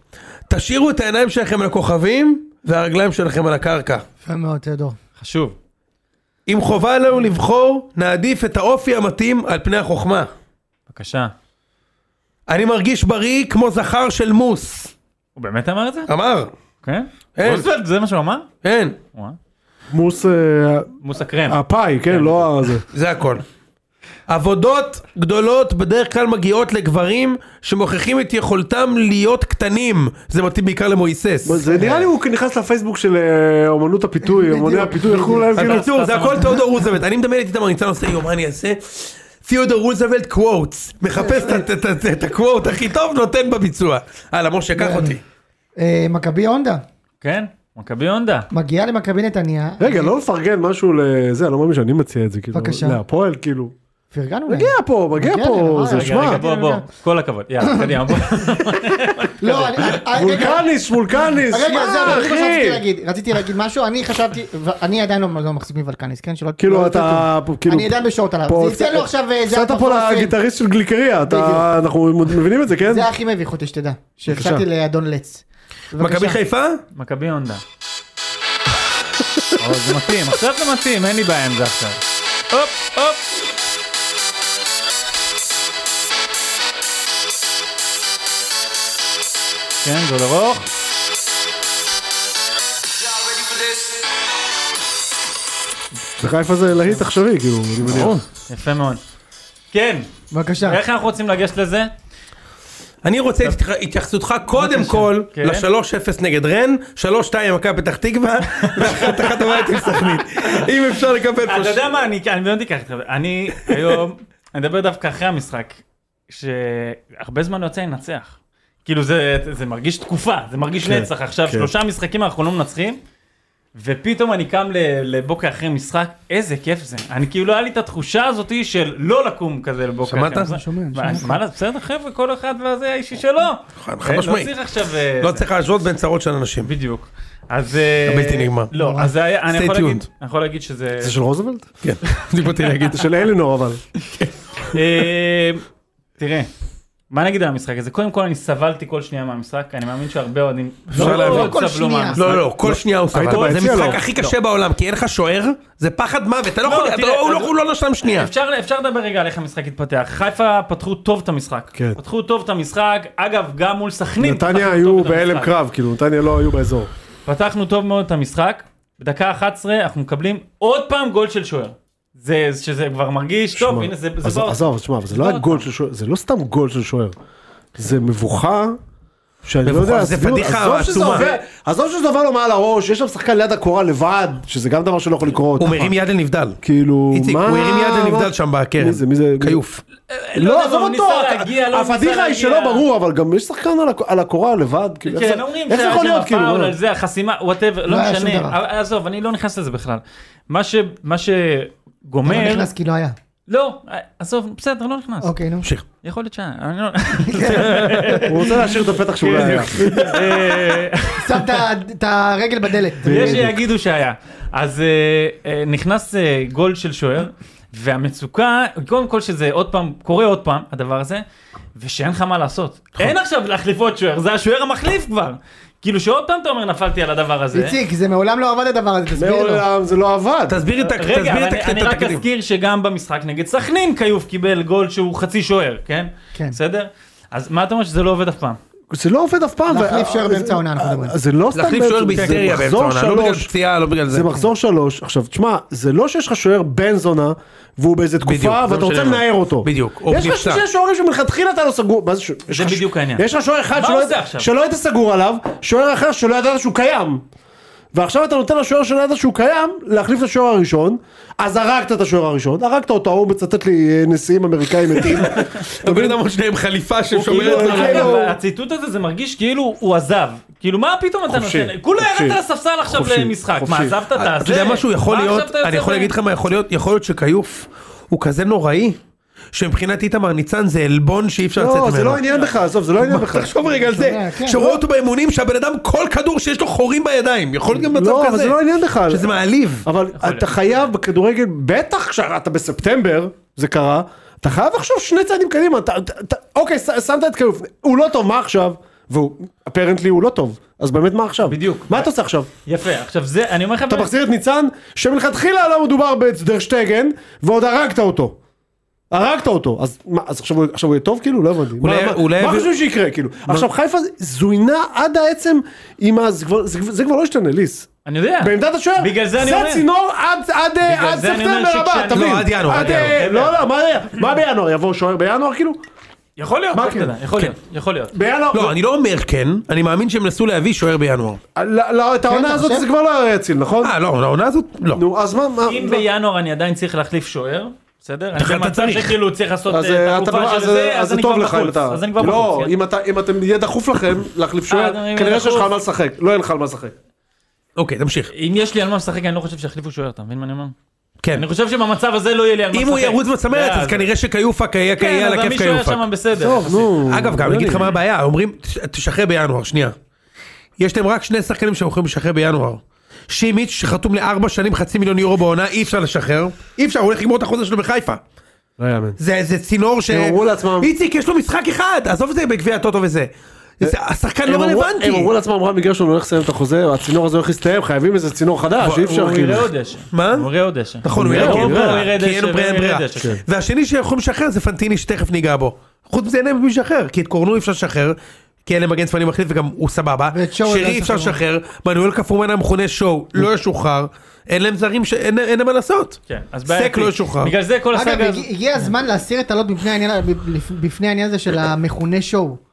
D: תשאירו את העיניים שלכם על הכוכבים והרגליים שלכם על הקרקע.
A: יפה מאוד, תיאודור.
C: חשוב.
D: אם חובה עלינו לבחור, נעדיף את האופי המתאים על פני החוכמה.
C: בבקשה.
D: אני מרגיש בריא כמו זכר של מוס.
C: הוא באמת אמר את זה?
E: אה.
D: אמר. כן,
C: כן?
D: אין.
C: רוזוולט זה מה שהוא אמר?
D: אין.
C: וואו.
E: מוס אה,
C: מוס הקרם.
E: הפאי, כן, לא ה- זה.
D: זה הכל. עבודות גדולות בדרך כלל מגיעות לגברים שמוכיחים את יכולתם להיות קטנים. זה מתאים בעיקר למויסס.
E: זה נראה לי הוא נכנס לפייסבוק של אה, אומנות הפיתוי, אומני הפיתוי, איך קוראים להם כאילו?
D: בקיצור זה הכל תיאודור רוזוולט אני מדמיין את איתמר ניצן עושה יום מה אני אעשה תיאודור רוזוולט קוואטס, מחפש את- את- את- את הקוואט הכי טוב, נותן בביצוע. הלאה, משה, קח אותי.
A: אה, מכבי הונדה,
C: כן, מכבי הונדה.
A: מגיעה למכבי נתניה.
E: רגע, לא לפרגן משהו לזה, אני לא מאמין שאני מציע את זה, כאילו.
A: בבקשה.
E: להפועל, כאילו.
A: פרגנו להם.
E: מגיע פה, מגיע אה,
A: מגיע
E: פה,
A: להם,
E: זה
A: רגע,
C: רגע, רגע,
E: שמע. כן,
C: בוא, בוא, כל הכבוד. יאללה, קדימה, בוא.
A: לא, אני- אני- רגע,
E: וולקניס, וולקניס,
A: רגע, זהו,
E: שמע,
A: זה מה שרציתי
E: אחי.
A: להגיד. רציתי להגיד משהו, אני חשבתי, ואני עדיין לא לא מחזיק מוולקניס, כן? שלא...
E: כאילו
A: לא
E: אתה, כאילו,
A: אני עדיין בשורט עליו.
E: פה-
A: זה יצא לו עכשיו, אה, זה
E: הפסדת פה
A: הפרצוף, אה,
E: לגיטריסט של גליקריה, אתה-
A: בדיוק.
E: אנחנו מבינים את זה, כן?
A: זה הכי מביך אותי שתדע, שהפסדתי לאדון לץ.
D: מכבי
A: בבקשה.
D: חיפה?
C: מכבי הונדה. או, זה מתאים, עכשיו זה מתאים, אין לי בעיה עם זה עכשיו. הופ, הופ. כן, זה עוד ארוך.
E: בחיפה זה להיט עכשווי, כאילו, אני
D: נכון.
E: מניח.
C: יפה מאוד. כן,
A: בבקשה.
C: איך אנחנו רוצים לגשת לזה?
D: אני רוצה את התייחסותך קודם כל
C: כן.
D: ל-3-0 נגד רן, 3-2 מכבי פתח תקווה, ואחת אחת הבית עם סכנין. אם אפשר לקבל פה...
C: אתה
D: ש-
C: יודע מה, אני אני באמת אקח אתכם. אני היום, אני מדבר דווקא אחרי המשחק, שהרבה זמן לא יוצא לי לנצח. כאילו זה, זה מרגיש תקופה, זה מרגיש נצח עכשיו,
E: כן.
C: שלושה משחקים אנחנו לא מנצחים, ופתאום אני קם ל- לבוקר אחרי משחק, איזה כיף זה. אני כאילו, לא היה לי את התחושה הזאת של לא לקום כזה לבוקר
D: שמעת?
C: אחרי משחק.
A: שומע,
C: מה,
A: שומע.
C: מה, לעשות? בסדר חבר'ה, כל אחד והזה האישי שלו.
D: חד משמעית.
C: לא צריך עכשיו... אה,
D: לא
C: זה.
D: צריך להשוות בין צרות של אנשים.
C: בדיוק. אז... אה,
D: הבלתי נגמר.
C: לא, אז זה היה- אני
D: Stay
C: יכול להגיד-
D: tuned.
C: אני יכול להגיד שזה...
E: זה של רוזוולט?
D: כן, בדיוק באתי להגיד.
E: זה של אלינור אבל.
C: אה, תראה, מה נגיד על המשחק הזה? קודם כל אני סבלתי כל שנייה מהמשחק, אני מאמין שהרבה אוהדים
D: אפשר
C: מאוד
D: להבין.
A: כל
C: סבלו
A: שנייה.
C: מהמשחק.
D: לא, לא, כל שנייה הוא
E: היית
D: סבבה. זה
E: ביציע,
D: משחק
E: לא.
D: הכי קשה בעולם, כי אין לך שוער, זה פחד מוות, אתה לא
C: לא,
D: יכול, אתה
C: תראה,
D: לא- הוא
C: אז-
D: לא- הוא לא נשם שנייה.
C: אפשר, אפשר לדבר רגע על איך המשחק התפתח. חיפה פתחו טוב את המשחק.
E: כן.
C: פתחו טוב את המשחק, אגב, גם מול סכנין.
E: נתניה
C: פתחנו
E: היו
C: טוב את
E: בהלם
C: המשחק.
E: קרב, כאילו, נתניה לא היו באזור.
C: פתחנו טוב מאוד את המשחק, בדקה 11 אנחנו מקבלים עוד פעם גול של שוער. זה, שזה כבר מרגיש, טוב,
E: שמע,
C: הנה זה, זה
E: עזוב,
C: בא-
E: עזוב, שמע, אבל זה
C: זה
E: לא היה
C: בא-
E: גול של שוער, זה לא סתם גול של שוער. זה מבוכה. שאני לא
D: מבוכה,
E: יודע,
D: זה
E: להסביר.
D: פדיחה
E: עזוב שזה
D: עצומה.
E: עובר- עזוב שזה עובר לו מעל הראש, יש שם שחקן ליד הקורה לבד, שזה גם דבר שלא יכול לקרות.
D: הוא מרים יד לנבדל.
E: כאילו,
D: איציק,
E: נכון.
D: הוא
E: מה?
D: הרים יד לנבדל
E: מה?
D: שם בקרן.
E: מי זה, מי זה?
D: כיוף.
E: לא,
C: יודע,
E: עזוב
C: הוא
E: אותו,
C: ניסה
E: אתה-
C: להגיע, לא ניסה
E: הפדיחה היא
C: להגיע.
E: שלא ברור, אבל גם יש שחקן על הק- על הקורה לבד, כאילו, איך
C: כן,
E: זה-
C: אומרים
E: איך זה
C: שהיה
E: יכול
C: שם
E: להיות, כאילו,
C: הפאול
E: מה?
C: על זה, החסימה, וואטאבר,
A: לא
C: לא
A: היה שום
C: משנה.
A: דבר.
C: אבל עזוב, אני לא נכנס לזה בכלל. מה ש- מה
A: לא
C: שגומר,
A: נכנס כי לא היה.
C: לא, עזוב, בסדר, לא נכנס.
A: אוקיי, נו.
D: תמשיך.
C: יכול להיות שהיה, אני לא...
E: הוא רוצה להשאיר את הפתח
C: כן.
E: שאולי היה.
C: אה,
A: שם את ה- את הרגל בדלת.
C: יש שיגידו שהיה. אז אה, אה, נכנס אה, גול של שוער, והמצוקה, קודם כל שזה עוד פעם, קורה עוד פעם, הדבר הזה, ושאין לך מה לעשות.
A: נכון.
C: אין עכשיו להחליף עוד שוער, זה השוער המחליף כבר. כאילו שעוד פעם אתה אומר נפלתי על הדבר הזה.
A: איציק, זה מעולם לא עבד הדבר הזה, תסביר לו.
E: מעולם זה לא עבד.
D: תסביר את ה-
C: רגע,
D: תסביר
C: אבל
D: את
C: אני,
D: ה-
C: אני
D: את
C: רק
D: התקדים.
C: אזכיר שגם במשחק נגד סכנין כיוף קיבל גול שהוא חצי שוער, כן?
A: כן.
C: בסדר? אז מה אתה אומר שזה לא עובד אף פעם?
E: זה לא עובד אף פעם.
A: להחליף
E: ו-
A: שוער
E: זה-
A: באמצע העונה, אנחנו מדברים.
E: זה לא סתם
D: להחליף שוער
E: באמצע- זה
D: בהיסטריה באמצע
E: מחזור
D: העונה, לא בגלל
E: שלוש.
D: פציעה, לא בגלל זה.
E: זה מחזור שלוש, עכשיו תשמע, זה לא שיש לך שוער בן זונה, והוא באיזה
D: בדיוק,
E: תקופה,
D: זה
E: ואתה
D: מה
E: רוצה
D: שאני אומר.
E: לנער אותו.
D: בדיוק, או
E: יש לך
D: נפצע.
E: שני שוערים שמלכתחילה אתה לא סגור, מה זה ש- יש לך ש-
C: בדיוק העניין.
E: יש לך שוער אחד
C: מה
E: שלא
C: הוא
E: היית-
C: עושה עכשיו?
E: שלא היית סגור עליו, שוער אחר שלא ידעת שהוא קיים. ועכשיו אתה נותן לשוער שלא ידעת שהוא קיים, להחליף את השוער הראשון, אז הרגת את השוער הראשון, הרגת אותו, הוא מצטט לי אה, נשיאים אמריקאים מתים.
D: אתה מבין למה שניהם חליפה ששומרת
E: כאילו,
D: על
E: כן,
D: ה-
E: הוא-
C: אבל הציטוט הזה זה מרגיש כאילו הוא עזב. כאילו מה פתאום אתה
E: חופשי,
C: נותן? כולה
E: חופשי.
C: ירדת לספסל עכשיו
E: חופשי,
C: למשחק.
E: חופשי.
C: מה עזבת את הזה?
D: אתה יודע משהו יכול
C: מה
D: להיות,
C: עכשיו אתה
D: אני
C: יוצא
D: יכול
C: ב-
D: להגיד לך מה יכול להיות, יכול להיות שכיוף הוא כזה נוראי, שמבחינת איתמר ניצן זה עלבון שאי אפשר לצאת ממנו.
E: לא, זה לא עניין לך, עזוב, זה לא עניין לך.
D: תחשוב רגע על זה,
A: שומע, כן.
D: שרואה אותו באימונים שהבן אדם כל כדור שיש לו חורים בידיים, יכול להיות גם מצב
E: לא, אבל
D: כזה,
E: זה לא עניין בכלל.
D: שזה מעליב.
E: אבל
C: להיות.
E: אתה חייב בכדורגל, בטח כשאתה בספטמבר, זה קרה, אתה חייב לחשוב שני צעדים קדימה, אתה, אתה, אתה, אוקיי, ש- שמת את כיוף, הוא לא טוב, מה עכשיו? והוא, אפרנטלי הוא לא טוב, אז באמת מה עכשיו?
C: בדיוק.
E: מה אתה עושה עכשיו?
C: יפה, עכשיו זה, אני אומר לך...
E: אתה מחזיר את ניצן, שמלכתחילה לא מדובר בדרשטגן, ועוד הרגת אותו. הרגת אותו, אז מה, אז עכשיו הוא, עכשיו הוא יהיה טוב כאילו? לא הבנתי.
D: אולי-
E: מה,
D: אולי-
E: מה, מה חושבים שיקרה כאילו? עכשיו חיפה זוינה עד העצם עם ה... זה כבר, זה, כבר- זה כבר לא ישתנה, ליס.
C: אני יודע.
E: בעמדת השוער,
C: בגלל זה אני
E: זה
C: אומר.
E: צינור עד- עד אה, עד
C: זה אני אומר
E: ספטמבר הבא,
C: שכשאני-
E: תבין.
D: לא, עד ינואר, עד
E: אה,
C: ינואר.
E: לא, לא, מה- מה בינואר, יבוא שוער בינואר כאילו?
C: יכול להיות,
E: מה
C: לך
E: כן?
C: תדע, יכול להיות, יכול להיות.
E: בינואר,
D: לא, אני לא אומר כן, אני מאמין שהם נסו להביא שוער בינואר.
E: לא, לא, את העונה
A: אתה
E: הזאת
A: חושב?
E: זה כבר לא יציל, נכון?
D: אה, לא, אה, העונה הזאת, לא.
E: נו, אז מה, מה,
C: אם
E: מה-
C: בינואר אני עדיין צריך להחליף שוער, בסדר?
D: אתה-
C: אני
D: אתה
C: במצב
D: צריך.
C: שכאילו צריך לעשות
E: אז
C: אה,
E: אה,
C: את
E: אתה-
C: התקופה
E: אז-
C: של זה,
E: אז
C: אז
E: זה
C: אני
E: טוב
C: כבר
E: לך אם
C: בחוץ.
E: אתה...
C: אז אני כבר
E: לא,
C: בחוץ. כן.
E: אם אתה- אם אתם, יהיה דחוף לכם להחליף שוער,
C: גם אם יהיה
E: כנראה שיש לך
C: דחוף.
E: על מה לשחק, לא יהיה לך על מה לשחק.
D: אוקיי, תמשיך.
C: אם יש לי על מה לשחק, אני לא חושב שיחליפו שוער, אתה מבין מה אני אומר?
D: כן.
C: אני חושב שבמצב הזה לא יהיה לי על מה לשחק.
D: אם הוא ירוץ בצמרת,
C: זה-
D: אז כנראה שכיופק היה
C: כן,
D: כאי על
C: אבל
D: הכיף
C: מישהו היה
D: כיופק.
C: שם לא בסדר.
E: טוב, נו.
D: אגב, גם אני אגיד לך מה הבעיה, אומרים, "תש- תשחרר בינואר, שנייה. יש להם רק שני שחקנים שהם יכולים לשחרר בינואר. שימיץ' שחתום לארבע שנים חצי מיליון יורו בעונה, אי אפשר לשחרר. אי אפשר, הוא הולך לגמור את החוזה שלו בחיפה.
E: לא יאמן.
D: זה, זה צינור ש...
E: הם אמרו לעצמם-
D: איציק, יש לו משחק אחד! עזוב את זה בגביע הטוטו וזה. זה- השחקן
E: אה, הם
D: לא
E: אמרו-
D: רלוונטי.
E: הם אמרו לעצמם, רמי גרשון הולך לסיים את החוזה, הצינור הזה הולך להסתיים, חייבים איזה צינור חדש, אי אפשר
C: הוא
E: כאילו.
C: יראה עוד דשא.
D: מה?
C: הוא יראה עוד דשא.
D: נכון, הוא יראה,
C: עוד
D: כי אין
C: דשא,
E: ברירה.
C: הוא יראה
D: כי אין
C: דשא,
D: ברירה,
C: והוא יראה
D: ברירה.
C: דשא, כן.
D: והשני שיכולים לשחרר זה פנטיני שתכף ניגע בו. חוץ מזה אין להם מי לשחרר, כי את קורנו אי אפשר לשחרר, כי אין להם מגן שמאלי מחליף וגם הוא סבבה.
A: ואת שואו
D: שרי
A: עדיין
D: אי אפשר
A: שחררו.
D: לשחרר, מנואל קפומן המכונה שואו לא ישוחרר, אין להם זרים שאין אין להם מה לעשות.
C: כן, אז
D: סק
C: בעייתי.
D: לא ישוחרר. אה,
C: בגלל זה כל
A: אגב,
C: הסאגה הזאת...
A: הגיע- הגיע הזמן להסיר את הלוט בפני העניין- בפני העניין הזה של המכונה שואו.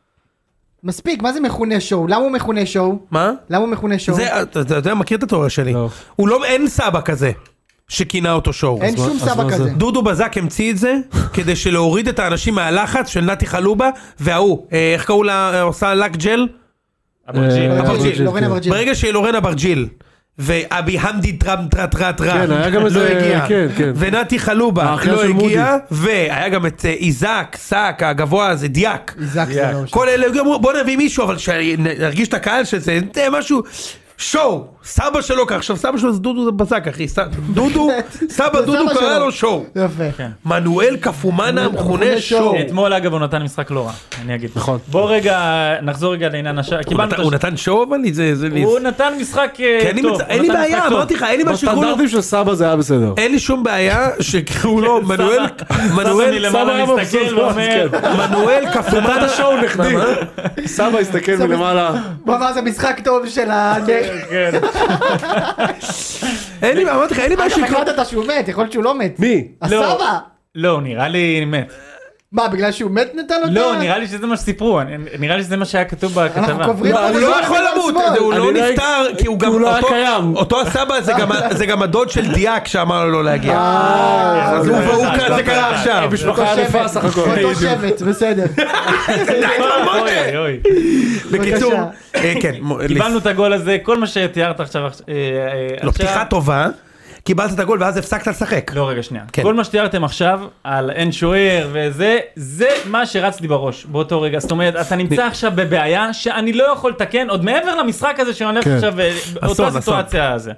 A: מספיק, מה זה מכונה שואו? למה הוא מכונה שואו?
D: מה?
A: למה הוא מכונה שואו?
D: זה, אתה אתה יודע, מכיר את התיאוריה שלי.
E: לא.
D: הוא לא, אין סבא כזה שכינה אותו שואו.
A: אין שום
E: אז מה
A: סבא
E: זה?
A: כזה.
D: דודו בזק המציא את זה כדי שלהוריד את האנשים מהלחץ של נתי חלובה וההוא, אה, איך קראו לה, אה, עושה לק ג'ל?
C: אברג'יל.
D: אברג'יל,
E: אה, אברג'יל,
A: לורן
E: כן.
A: אברג'יל.
D: ברגע שלורנה ברג'יל ואבי המדי טראם טראט טראט רע
E: כן, היה גם
D: לא
E: איזה-
D: הגיע,
E: כן, כן.
D: ונתי חלובה
E: האחיין
D: לא
E: של
D: הגיע, והיה גם את אה, איזק, סאק, הגבוה הזה, דיאק.
A: איזק זה לא...
D: כל אלה היו אמרו בוא נביא מישהו אבל שנרגיש את הקהל שזה זה משהו. שואו, סבא שלו ככה, עכשיו סבא שלו זה דודו בזק אחי, ס- דודו, סבא
A: זה
D: דודו
A: סבא
D: קרא
A: שלו.
D: לו שואו,
A: יפה.
D: כן. מנואל קפומאנה המכונה
A: המכונה
D: שואו,
A: שואו.
C: אתמול אגב הוא נתן משחק לא רע, אני אגיד.
E: נכון.
C: בוא רגע, נחזור רגע לעניין השער.
D: הוא נתן- הוא נתן שואו אבל זה, זה,
C: הוא נתן משחק אה,
D: כי אני
C: טוב.
D: מצ-
C: הוא
D: אין לי
C: נתן
D: בעיה,
C: משחק טוב.
D: אמרתי לך, אה, אין לי לא- מה שקוראים לו,
E: בסטנדרטים של סבא זה היה בסדר.
D: אין לי שום בעיה שקראו לו מנואל,
C: סבא
D: מנואל,
E: סבא היה
C: מלמעלה
E: מבסוט
C: מסתכל
E: מאוד,
C: ואומר,
D: מנואל קפומאנה,
E: השואו נכדי. סבא הסתכל
A: סבא-
E: מלמעלה.
A: הוא אמר זה משחק טוב של ה...
C: כן.
D: אין לי, אמרתי לך, אין לי בעיה
A: אגב,
D: שקראו,
A: החלטת שהוא מת, יכול להיות שהוא לא מת.
E: מי?
C: לא.
A: הסבא!
C: לא, הוא נראה לי מת.
A: מה, בגלל שהוא מת נתן לו?
C: לא, נראה לי שזה מה שסיפרו, אני- נראה לי שזה מה שהיה כתוב
A: אנחנו
C: בכתבה.
A: קוברים...
D: הוא
A: אותו
D: לא
A: בשמאל,
D: יכול
A: אבל
D: למות,
A: בשמאל.
D: הוא
E: אני
D: לא
E: לא-
D: נפטר, כי הוא גם,
E: הוא לא היה
D: אותו-
E: קיים.
D: אותו הסבא זה גם ה- זה גם הדוד של דיאק שאמר לו לא להגיע,
E: אה,
D: אז
E: זה
D: הוא
E: בסדר.
D: והוא
C: לא
D: כאן, זה קרה
C: קרה.
D: עכשיו,
C: הם
E: משפחה
A: אותו
E: ענפה
A: שבט,
E: סך הכל.
A: אותו שבט, בסדר.
E: אה,
C: אוי, אוי,
D: מוטה.
C: אוי.
D: בקיצור, אה, כן, מ-
C: קיבלנו את הגול הזה, כל מה שתיארת עכשיו. אה, אה,
D: לא,
C: עכשיו-
D: פתיחה טובה, קיבלת את הגול ואז הפסקת לשחק,
C: לא, רגע, שנייה.
D: כן.
C: כל מה שתיארתם עכשיו על אין שוער וזה, זה מה שרץ לי בראש באותו רגע. זאת אומרת, אתה נמצא עכשיו בבעיה שאני לא יכול לתקן, עוד מעבר למשחק הזה שאני הולך
E: כן.
C: עכשיו, אה,
D: אסון,
C: אותה
D: אסון.
C: סיטואציה הזה.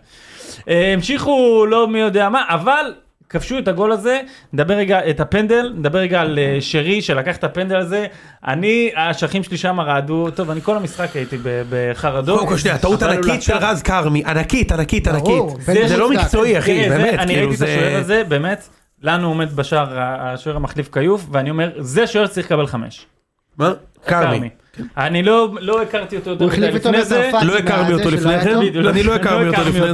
C: אה, המשיכו לא מי יודע מה, אבל... כבשו את הגול הזה, נדבר רגע את הפנדל, נדבר רגע על אה, שרי שלקח את הפנדל הזה, אני, האשכים שלי שם רעדו, טוב, אני כל המשחק הייתי ב- בחרדות.
D: קודם כל שנייה, טעות
C: לא, אבל הוא
D: ענקית של
C: לקח-
D: רז כרמי, ענקית, ענקית, ענקית,
A: ברור,
D: זה-
A: בטח.
D: זה לא
A: מוצדק.
D: מקצועי אחי,
C: תראה, כן, זה-
D: באמת,
C: אני
D: כאילו
C: ראיתי את השוער
D: זה,
C: הזה, באמת, לנו עומד בשער ה- השוער המחליף כיוף, ואני אומר, זה שוער שצריך לקבל חמש.
D: מה? כרמי.
C: כרמי. אני לא לא הכרתי אותו יותר
A: הוא החליף
C: מדי
A: אותו
C: לפני זה.
A: מצרפת.
D: לא הכרתי אותו
A: זה שלא
D: לפני
A: היה
D: כן.
A: טוב.
C: בדיוק,
D: אני לא הכרתי אותו לפני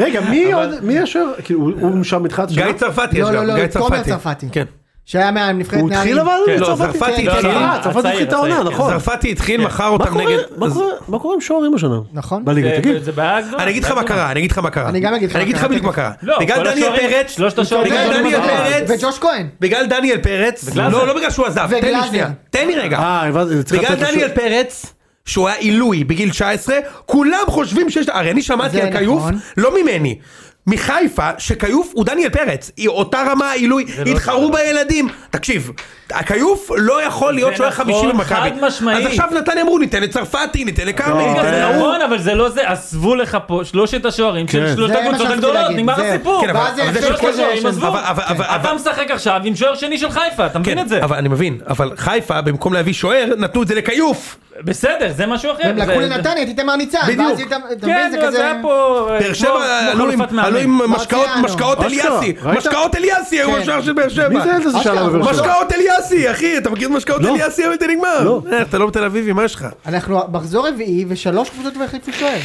E: רגע, מי עוד? מי השוער? כאילו, הוא- הוא שם איתך? את השנה?
D: גיא צרפתי יש
A: לא, לא,
D: כן, גם,
A: לא,
D: גיא
A: תומר
D: צרפתי.
A: צרפתי.
D: כן.
A: שהיה מהנבחרת
E: הוא התחיל אבל?
C: כן,
D: לא,
E: צרפתי?
D: צרפתי
E: כן,
D: התחיל. כן,
E: אה, צרפתי
C: הצעיר,
E: התחיל את העונה,
C: הצעיר.
E: נכון.
D: צרפתי התחיל, מכר
E: מה
D: אותם
E: קורה-
D: נגד... אה,
E: מה קורה- מה קורה עם שוערים השנה?
A: נכון.
E: בליגה,
C: זה-
E: תגיד.
C: אה, זה אה, בעיה גדולה.
D: אני אגיד לך מה קרה, אני אגיד לך מה קרה.
A: אני גם אגיד לך
D: אני
A: מה
D: אגיד לך
A: קרה,
D: בדיוק מה
A: תכף.
D: קרה.
C: לא,
D: בגלל
C: כל
D: דניאל
C: השוערים-
D: פרץ,
C: שלושת
A: כן,
C: השוערים.
D: בגלל
A: וג'וש
D: דניאל
A: כהן.
D: פרץ,
A: לא וג'וש כהן.
D: בגלל דניאל פרץ,
C: וגלאזר.
D: לא, לא בגלל שהוא עזב, תן לי
A: וגלאזר.
D: שנייה, תן לי רגע.
E: אה, הבנתי, צריך
D: בגלל
E: לתת לו
D: דניאל
E: שוער.
D: פרץ, שהוא היה עילוי בגיל 19, כולם חושבים שיש... הרי אני שמעתי
A: זה
D: על כיוף,
A: נכון.
D: לא ממני. מחיפה, שכיוף הוא דניאל פרץ, היא אותה רמה עילוי,
C: לא
D: התחרו בילדים. תקשיב, הכיוף לא יכול להיות שוער
C: נכון,
D: חמישי במכבי.
C: חד משמעית.
D: אז עכשיו נתן אמרו, ניתן לצרפתי, ניתן לכרמי,
E: לא,
D: ניתן
C: זה
D: להוא.
C: נכון, אבל זה לא זה, עזבו לך פה שלושת השוערים
E: כן.
C: של שלושת
A: זה מה
C: הקבוצות
A: שרציתי
C: הגדולות,
A: להגיד,
C: נגמר
A: זה-
C: הסיפור.
D: כן, אבל-
A: ואז
D: אבל זה
A: ההבדל
D: של
C: שלושת
A: כזה
C: השוערים,
A: של-
C: עזבו. כן,
D: אבל- אבל- אבל-
C: אתה משחק עכשיו עם שוער שני של חיפה, אתה מבין
D: כן,
C: את זה?
D: אבל אני מבין, אבל חיפה במקום להביא שוער נתנו את זה לכיוף.
C: בסדר, זה משהו אחר.
A: הם לקחו
C: זה-
A: לנתניה את איתמר ניצן.
D: בדיוק.
A: ואז איתם- אתה מבין,
C: כן,
A: זה
C: אבל
A: כזה-
C: זה היה פה... אה,
D: באר
C: כמו-
D: שבע
C: כמו
D: עלו עם-
C: חלופת מאמן.
D: עלו עם משקאות
A: מרציאנו.
D: משקאות
E: אשכרה,
D: אליאסי,
E: ראית?
D: משקאות אליאסי הוא
A: כן.
D: השוער של באר שבע.
E: מי זה הילד הזה
A: אשכרה,
E: שעלה בבאר
C: לא.
A: הוא
E: שבע?
D: משקאות אליאסי אחי אתה מכיר את משקאות
E: לא.
D: אליאסי אבל זה נגמר.
E: לא.
D: אה, אתה לא בתל אביבי מה יש לך?
A: אנחנו מחזור רביעי ושלוש קבוצות והחליפו שוער.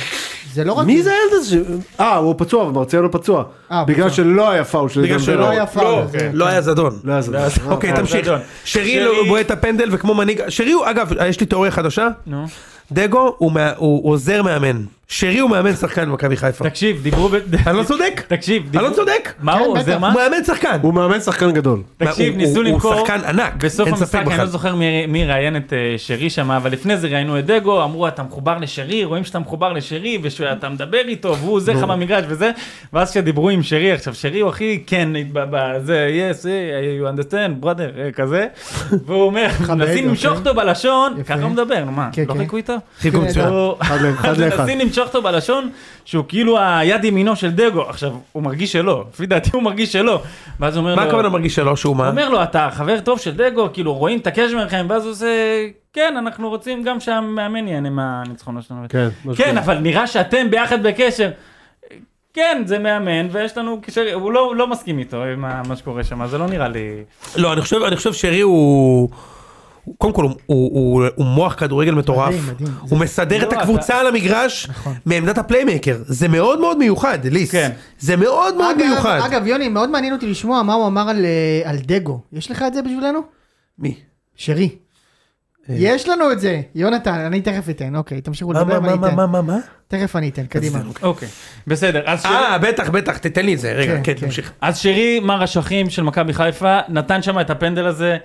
A: זה לא רק...
E: מי זה הילד הזה? ש- אה, הוא פצוע, ומרציאנו פצוע.
A: אה,
E: בגלל
A: פצוע.
E: שלא היה פאול של
D: בגלל
E: דן
D: שלא
E: ולא.
A: היה פאול,
D: לא,
A: זה-
D: לא היה זדון.
E: לא היה זה.
D: אוקיי
C: אה,
D: תמשיך.
C: זדון.
D: שרי
C: שרי-
D: לא בועט את הפנדל וכמו מנהיג שרי הוא אגב יש לי תיאוריה חדשה.
C: נו.
D: דגו הוא מה- הוא עוזר מאמן. שרי הוא מאמן שחקן במכבי חיפה.
C: תקשיב, דיברו... ב-
D: אני לא צודק?
C: תקשיב,
D: אני לא צודק?
C: מה הוא
A: כן,
C: עוזר?
A: בטח.
C: מה?
D: הוא מאמן שחקן.
E: הוא מאמן שחקן גדול.
C: תקשיב,
D: הוא-
C: ניסו
D: הוא- הוא
C: למכור...
D: שחקן ענק,
C: בסוף
D: אין ספק
C: המשחק, אני
D: בכלל.
C: לא זוכר מי- מי ראיין את אה, שרי שם, אבל לפני זה ראיינו את דגו, אמרו, אתה מחובר לשרי, רואים שאתה מחובר לשרי, ושאתה מדבר איתו, והוא זה לך במגרש וזה, ואז כשדיברו עם שרי, עכשיו, שרי הוא הכי כן, ב- ב- זה, yes, yeah, you understand, brother, אה, כזה, והוא אומר, מנסים
D: אוקיי.
C: למשוך אותו בלשון,
A: יפה.
C: ככה הוא מדבר, נו מה,
A: כן,
C: לא
A: כן.
C: חיכו איתו?
D: חיכו מצוין.
C: הוא-
E: אחד לאחד, אחד
C: אז
E: לאחד.
C: מנסים למשוך אותו בלשון שהוא כאילו היד ימינו של דגו עכשיו הוא מרגיש שלא לפי דעתי הוא מרגיש שלא ואז הוא אומר לו
D: מה הכוונה מרגיש שלו שהוא מה?
C: אומר לו אתה חבר טוב של דגו כאילו רואים את הקשר ביניכם ואז הוא עושה כן אנחנו רוצים גם שהמאמן ייהנה מהניצחון שלנו
E: כן, משהו
C: כן
E: כזה.
C: אבל נראה שאתם ביחד בקשר. כן זה מאמן ויש לנו קשר הוא לא, הוא לא מסכים איתו עם ה- מה שקורה שם זה לא נראה לי
D: לא, אני חושב, אני חושב שרי הוא... הוא- קודם כל הוא, הוא, הוא, הוא מוח כדורגל מטורף,
A: מדהים, מדהים.
D: הוא מסדר
C: לא,
D: את הקבוצה על המגרש
A: נכון.
D: מעמדת הפליימקר, זה מאוד מאוד מיוחד, ליס,
C: כן.
D: זה מאוד מאוד
A: אגב-
D: מיוחד.
A: אגב, יוני, מאוד מעניין אותי לשמוע מה הוא אמר על, אה, על דגו. יש לך את זה בשבילנו?
D: מי?
A: שרי. יש לנו את זה. יונתן, אני תכף אתן. אוקיי, תמשיכו
D: מה,
A: לדבר,
D: מה,
A: אני
D: מה, מה,
A: אתן.
D: מה, מה?
A: תכף אני אתן, קדימה.
C: אוקיי בסדר אז שרי-
D: אה, בטח, בטח, תתן לי את זה, רגע,
A: כן,
D: כן,
A: כן.
D: תמשיך.
C: אז שרי, מר אשכים של מכבי חיפה, נתן שם את הפנדל הזה,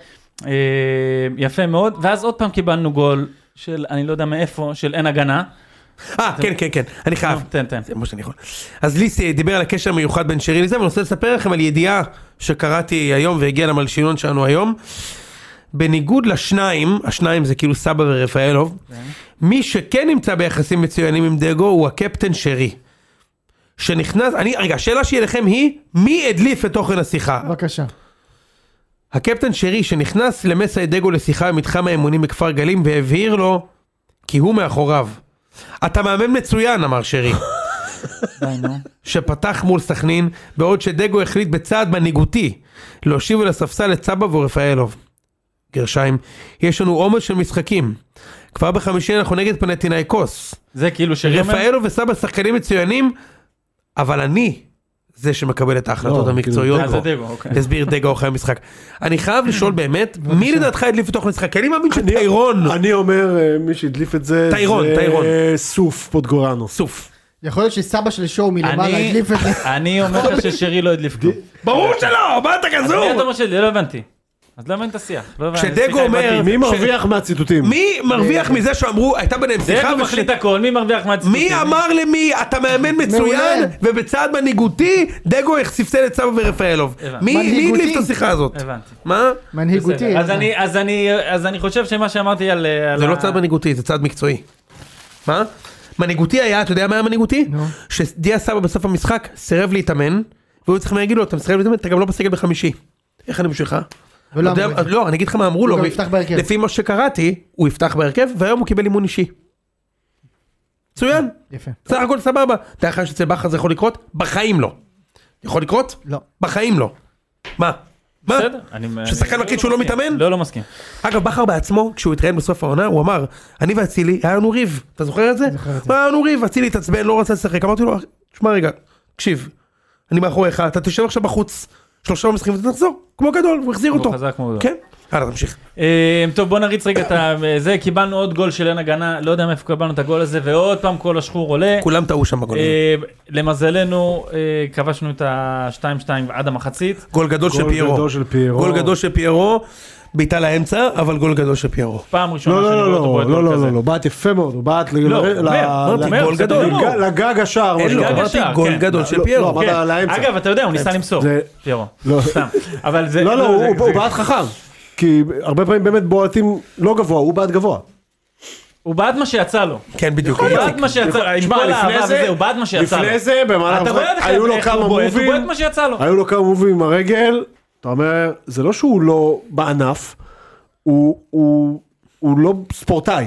C: אה, יפה מאוד, ואז עוד פעם קיבלנו גול של, אני לא יודע מאיפה, של אין הגנה.
D: אה, כן, כן, כן, אני חייב.
C: נו, תן, תן.
D: זה מה שאני יכול. אז ליס אה, דיבר על הקשר המיוחד בין שרי לזה, ואני רוצה לספר לכם על ידיעה שקראתי היום והגיעה למלשינון שלנו היום. בניגוד לשניים, השניים זה כאילו סבא ורפאלוב, מי שכן נמצא ביחסים מצוינים עם דגו הוא הקפטן שרי. שנכנס, אני, רגע, השאלה שלי אליכם היא, מי הדליף את תוכן השיחה?
A: בבקשה.
D: הקפטן שרי שנכנס למסי דגו לשיחה במתחם האמונים בכפר גלים והבהיר לו כי הוא מאחוריו. אתה מאמן מצוין, אמר שרי. שפתח מול סכנין, בעוד שדגו החליט בצעד מנהיגותי להושיב אל הספסל את סבא ורפאלוב. גרשיים, יש לנו עומס של משחקים. כבר בחמישי אנחנו נגד פנטינאיקוס.
C: זה כאילו שרי אומר,
D: רפאלוב וסבא שחקנים מצוינים, אבל אני זה שמקבל את
E: לא,
D: ההחלטות
E: כאילו,
D: המקצועיות
C: אה, זה
D: פה.
C: דגו, אוקיי.
D: הסביר דגו אחרי המשחק. אני חייב לשאול באמת, מי לדעתך הדליף לתוך המשחק? כי אני מאמין שטיירון
E: אני אומר, אה, מי שהדליף את זה,
D: לא. טיירון,
E: זה אה,
D: טיירון.
E: סוף פוטגורנו.
D: סוף.
A: יכול להיות שסבא של שואו מלמעלה
C: אני-
A: הדליף את זה.
C: אני אומר לך ששרי לא הדליף כלום.
D: ברור שלא, מה אתה
C: אז מי אתה
D: כזור?
C: אומר שלי? לא הבנתי. אז למה אין את השיח? לא הבנתי.
D: כשדגו
C: סליחה,
D: אומר-
C: הבנתי.
E: מי מרוויח מהציטוטים?
D: מי מרוויח מזה שאמרו, הייתה ביניהם שיחה?
C: דגו
D: וש-
C: מחליט הכל, מי מרוויח מהציטוטים?
D: מי אמר למי, אתה מאמן מצוין,
A: מעולה.
D: ובצעד מנהיגותי, דגו ספסל את סבא ורפאלוב.
C: הבנתי.
D: מי מי
A: מנהיגותי.
D: הדליף את השיחה הזאת?
C: הבנתי.
D: מה?
A: מנהיגותי.
C: בסדר. אז אני- אז אני- אז אני חושב שמה שאמרתי על... אה, על
D: זה לא
C: ה-
D: צעד מנהיגותי, זה צעד מקצועי. מה? מנהיגותי היה, אתה יודע מה היה מנהיגותי?
A: נו.
D: שדיה סבא בסוף המשחק סירב להתאמן, והיו צריכים להגיד לו, אתה מסרב להתאמן, אתה גם לא בסגל בחמישי. איך אני בשבילך?
A: ולא
D: אתה יודע-
A: אמרו את זה.
D: לא, אני אגיד לך מה אמרו לו,
A: גם
D: ו-
A: יפתח בהרכב.
D: לפי מה שקראתי, הוא יפתח בהרכב, והיום הוא קיבל אימון אישי. מצוין,
A: יפה.
D: סך הכל סבבה. אתה יודע לך שאצל בכר זה יכול לקרות? בחיים לא. יכול לקרות?
A: לא.
D: בחיים לא. מה? מה?
C: בסדר. אני-
D: ששחקן
C: אני-
D: מקליט שהוא לא מתאמן?
C: לא, לא מסכים.
D: אגב, בכר בעצמו, כשהוא התראיין בסוף העונה, הוא אמר, אני ואצילי, היה לנו ריב. אתה זוכר את זה?
A: זה.
D: היה לנו ריב, אצילי התעצבן, לא רצה לשחק. אמרתי לו, שמע רגע, תקשיב, אני מאחוריך, אתה תשב עכשיו בחוץ, שלושה משחקים ואתה תחזור, כמו גדול, הוא החזיר
C: הוא
D: אותו.
C: חזק מאוד.
D: כן? הלאה, תמשיך.
C: אה, טוב בוא נריץ רגע את ה... זה קיבלנו עוד גול של אין הגנה לא יודע מאיפה קיבלנו את הגול הזה ועוד פעם כל השחור עולה.
D: כולם טעו שם בגול. הזה.
C: אה, למזלנו אה, כבשנו את ה-2-2 עד המחצית.
D: גול גדול של
E: גול
D: פיירו.
E: גדול של פיירו.
D: גול גדול של פיירו, בעיטה לאמצע, אבל גול גדול של פיירו.
C: פעם ראשונה
E: לא,
C: שאני
E: לא,
C: רואה אותו
E: לא,
C: בועט
E: לא,
C: גול
E: לא,
C: כזה.
E: לא, לא, בעט יפה מאוד, הוא בעט ל-
C: לא,
E: ל-
C: אומר,
E: ל-
C: אמרתי,
E: ל-
C: גול
E: לג-
C: גדול.
E: לגג השער. מה
D: אין לו,
E: שנקרא.
C: גג
D: אמרתי
C: השער,
D: גול
C: כן.
D: גדול של
E: לא, לא,
D: פיירו.
E: אמרת
C: כן.
E: על האמצע.
C: אגב אתה יודע הוא ניסה למסור.
E: זה-
C: פיירו.
E: לא.
C: סתם. אבל זה...
E: לא, לא,
C: זה-
E: הוא-
C: זה-
E: הוא בעט חכם. כי הרבה פעמים באמת בועטים לא גבוה, הוא בעט גבוה.
C: הוא בעט מה שיצא
E: לא,
C: לו.
D: כן, בדיוק.
C: הוא
D: איציק.
C: בעט מה שיצא לו. עם
E: תשמע,
C: כל
E: לפני
C: האהבה
E: זה-
C: וזה הוא בעט מה שיצא לו.
E: לפני זה, במהלך
C: אתה רואה
E: המשחק,
C: איך-
E: היו לו
C: איך הוא
E: כמה
C: בועט, הוא
E: מובים.
C: בועט מה שיצא לו.
E: היו לו כמה מובים עם הרגל, אתה אומר, זה לא שהוא לא בענף, הוא- הוא הוא לא ספורטאי.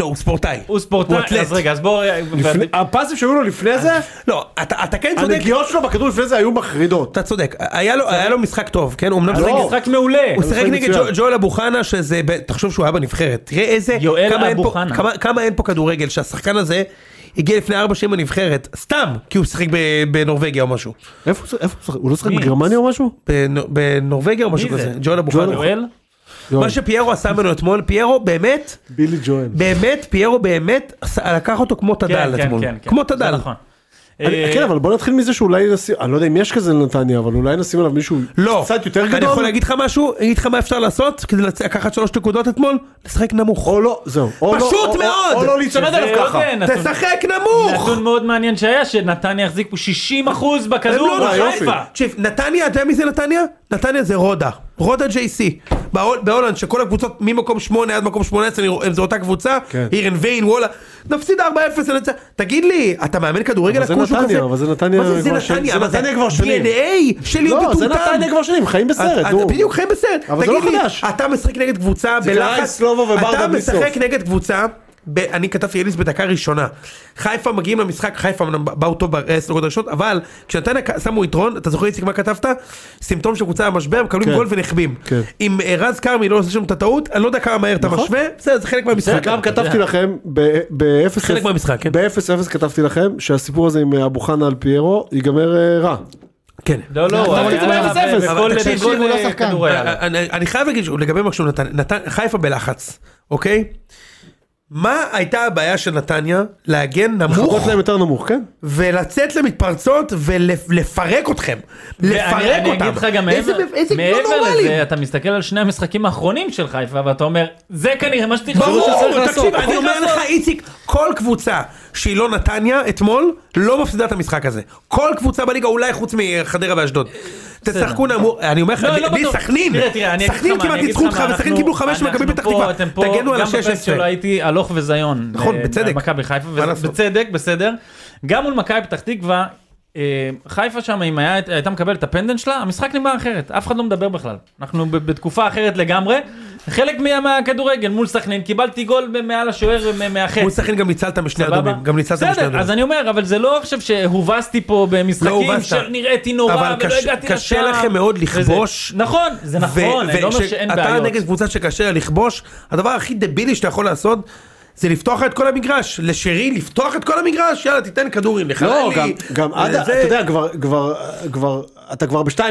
D: לא, הוא ספורטאי.
C: הוא
D: הוא
C: ספורטאי.
D: אתלט.
C: אז רגע אז בוא...
E: לפני- הפסים שהיו לו לפני זה,
D: לא, אתה אתה כן צודק.
E: הנגיעות שלו בכדור לפני זה היו מחרידות.
D: אתה צודק, היה לו, היה לו משחק טוב, כן? הוא אמנם
E: היה לו
D: שיחק-
C: לא, משחק מעולה.
D: הוא שיחק
E: משחק
D: נגד
E: מצוין.
D: ג'ו- ג'ואל אבו חנה, שזה, ב- תחשוב שהוא היה בנבחרת. תראה איזה,
C: יואל
D: כמה אין
C: אבו
D: פה-
C: חנה.
D: כמה- כמה אין פה כדורגל, שהשחקן הזה הגיע לפני ארבע שנים בנבחרת, סתם, כי הוא שיחק ב- בנורבגיה או משהו.
E: איפה הוא שיחק? הוא לא שיחק
C: מי?
E: בגרמניה או משהו?
D: בנ- בנורבגיה או משהו
C: מי זה?
D: כזה, ג'ואל אבו חנה.
C: יואל?
E: גול.
D: מה שפיירו עשה ממנו אתמול, פיירו באמת,
E: בילי ג'ואל.
D: באמת, פיירו באמת עשה- לקח אותו כמו
C: כן,
D: תדל
C: כן,
D: אתמול.
C: כן, כן.
D: כמו
C: זה
D: תדל.
C: נכון.
D: אה,
E: אני- כן, אבל בוא נתחיל מזה שאולי נשים, אני לא יודע אם יש כזה לנתניה, אבל אולי נשים עליו מישהו
D: לא.
E: קצת יותר גדול.
D: אני יכול להגיד לך משהו? אני אגיד לך מה אפשר לעשות כדי לצ- לקחת שלוש נקודות אתמול? לשחק נמוך.
E: או לא, זהו. או לא-
D: פשוט
E: או- או-
D: מאוד. כן.
E: או לא להיצמד
C: שזה
E: עליו
C: עוד
E: ככה.
C: אין. כן, נתון-
D: תשחק נמוך!
C: נתון מאוד מעניין שהיה, שנתניה החזיק פה 60%
D: הם
C: בכדור
D: לא
E: אה, יופי.
C: בחיפה.
D: תקשיב, נתניה, אתה יודע מי זה נתניה? נתניה זה רודה. רודה ג'יי סי. בהול- בהולנד, שכל הקבוצות ממקום 8 עד מקום 18, אני רואה- הם זו אותה קבוצה,
E: כן.
D: אירן ויין, וואלה. נפסיד 4-0 לנצח. תגיד לי, אתה מאמן כדורגל
E: אבל זה
D: הכוש הוא
E: נתניה,
D: כזה?
E: אבל זה נתניה
D: מה זה, זה
E: כבר שנים.
D: נתניה,
E: זה
D: אבל זה
E: נתניה כבר שנים.
D: DNA של להיות
E: לא,
D: מטומטם.
E: זה נתניה כבר שנים, חיים בסרט,
D: אתה-
E: נו.
D: בדיוק, חיים בסרט.
E: אבל זה
D: תגיד
E: לא
D: לי,
E: חדש.
D: אתה משחק נגד קבוצה
E: זה קרה
D: בלחץ,
E: אצלו ובברדה
D: אתה
E: בלי סוף.
D: משחק נגד קבוצה, ב- אני כתבתי אליס בדקה ראשונה. חיפה מגיעים למשחק, חיפה אמנם באו טוב בעשר דקות הראשונות, אבל כשנתניה ק- שמו יתרון, אתה זוכר איציק מה כתבת? סימפטום של קבוצה במשבר, מקבלים
E: כן.
D: גול ונחבים.
E: כן.
D: אם אה, רז כרמי לא עושה שם את הטעות, אני לא יודע כמה מהר אתה
E: נכון.
D: משווה, בסדר, זה חלק מהמשחק.
E: גם כתבתי לכם, ב-0-0,
D: חלק מהמשחק, כן.
E: ב-0-0 כתבתי לכם שהסיפור הזה עם אבו חנה על פיירו ייגמר אה, רע.
D: כן.
C: לא, לא, הוא
A: אבל
C: היה
A: זה באפס אפס.
C: בכל-
D: אבל תקשיב,
C: בכל אה,
A: הוא לא שחקן.
C: כדוריד.
D: אני, אה, אני חייב להגיד שהוא- לגבי מה שהוא נתן, נתן, חיפה בלחץ, אוקיי? מה הייתה הבעיה של נתניה? להגן
E: חובות
D: נמוך
E: להם יותר נמוך, כן?
D: ולצאת למתפרצות ולפרק אתכם.
C: ואני-
D: לפרק
C: אני
D: אותם.
C: אגיד לך גם
D: איזה-
C: מעבר,
D: איזה לא
C: מעבר
D: נורמלים.
C: לזה, אתה מסתכל על שני המשחקים האחרונים של חיפה ואתה אומר, זה כנראה מה שצריך לעשות.
D: ברור,
C: לעשות.
D: תקשיב, אני אומר לך איציק, כל קבוצה שהיא לא נתניה אתמול, לא מפסידה את המשחק הזה. כל קבוצה בליגה, אולי חוץ מחדרה ואשדוד. תשחקו נמוך, אני אומר לך,
C: לא, לא
D: בלי
C: בטוח.
D: סכנין,
C: תראה, תראה, אני אגיד לך
D: סכנין
C: מה,
D: כמעט
C: אני אגיד
D: ניצחו
C: לך
D: אותך,
C: מה,
D: וסכנין
C: אנחנו-
D: קיבלו חמש
C: אנחנו
D: מכבי פתח
C: פה,
D: תקווה,
C: אתם פה,
D: תגנו על
C: גם בפרק
D: ה-16.
C: שלו הייתי הלוך וזיון.
D: נכון,
C: אה,
D: בצדק.
C: מכבי חיפה,
D: מה לעשות?
C: בצדק, בסדר. גם מול מכבי פתח תקווה, אה, חיפה שם, אם היה- הייתה מקבלת את הפנדנט שלה, המשחק נגמר אחרת, אף אחד לא מדבר בכלל. אנחנו ב- בתקופה אחרת לגמרי. חלק מה- מהכדורגל מול סכנין, קיבלתי גול מעל השוער ומ- מהחץ.
D: מול סכנין גם ניצלת משני
C: סבבה?
D: אדומים, גם ניצלת משני
C: בסדר,
D: אדומים. לא
C: אז אני אומר, אבל זה לא עכשיו שהובסתי פה במשחקים
D: הובסת.
C: שנראיתי נורא
D: אבל
C: ולא
D: קש-
C: הגעתי לשער.
D: קשה לכם מאוד
C: וזה-
D: לכבוש.
C: נכון, זה נכון, אני לא אומר
D: וכש-
C: שאין
D: אתה
C: בעיות.
D: נגד קבוצה שקשה לה לכבוש, הדבר הכי דבילי שאתה יכול לעשות זה לפתוח את כל המגרש. לשרי לפתוח את כל המגרש, יאללה תיתן כדורים לחללי. אה,
E: לא, גם, גם עד,
D: זה-
E: אתה יודע, כבר, כבר, כבר, אתה כבר ב-2-2,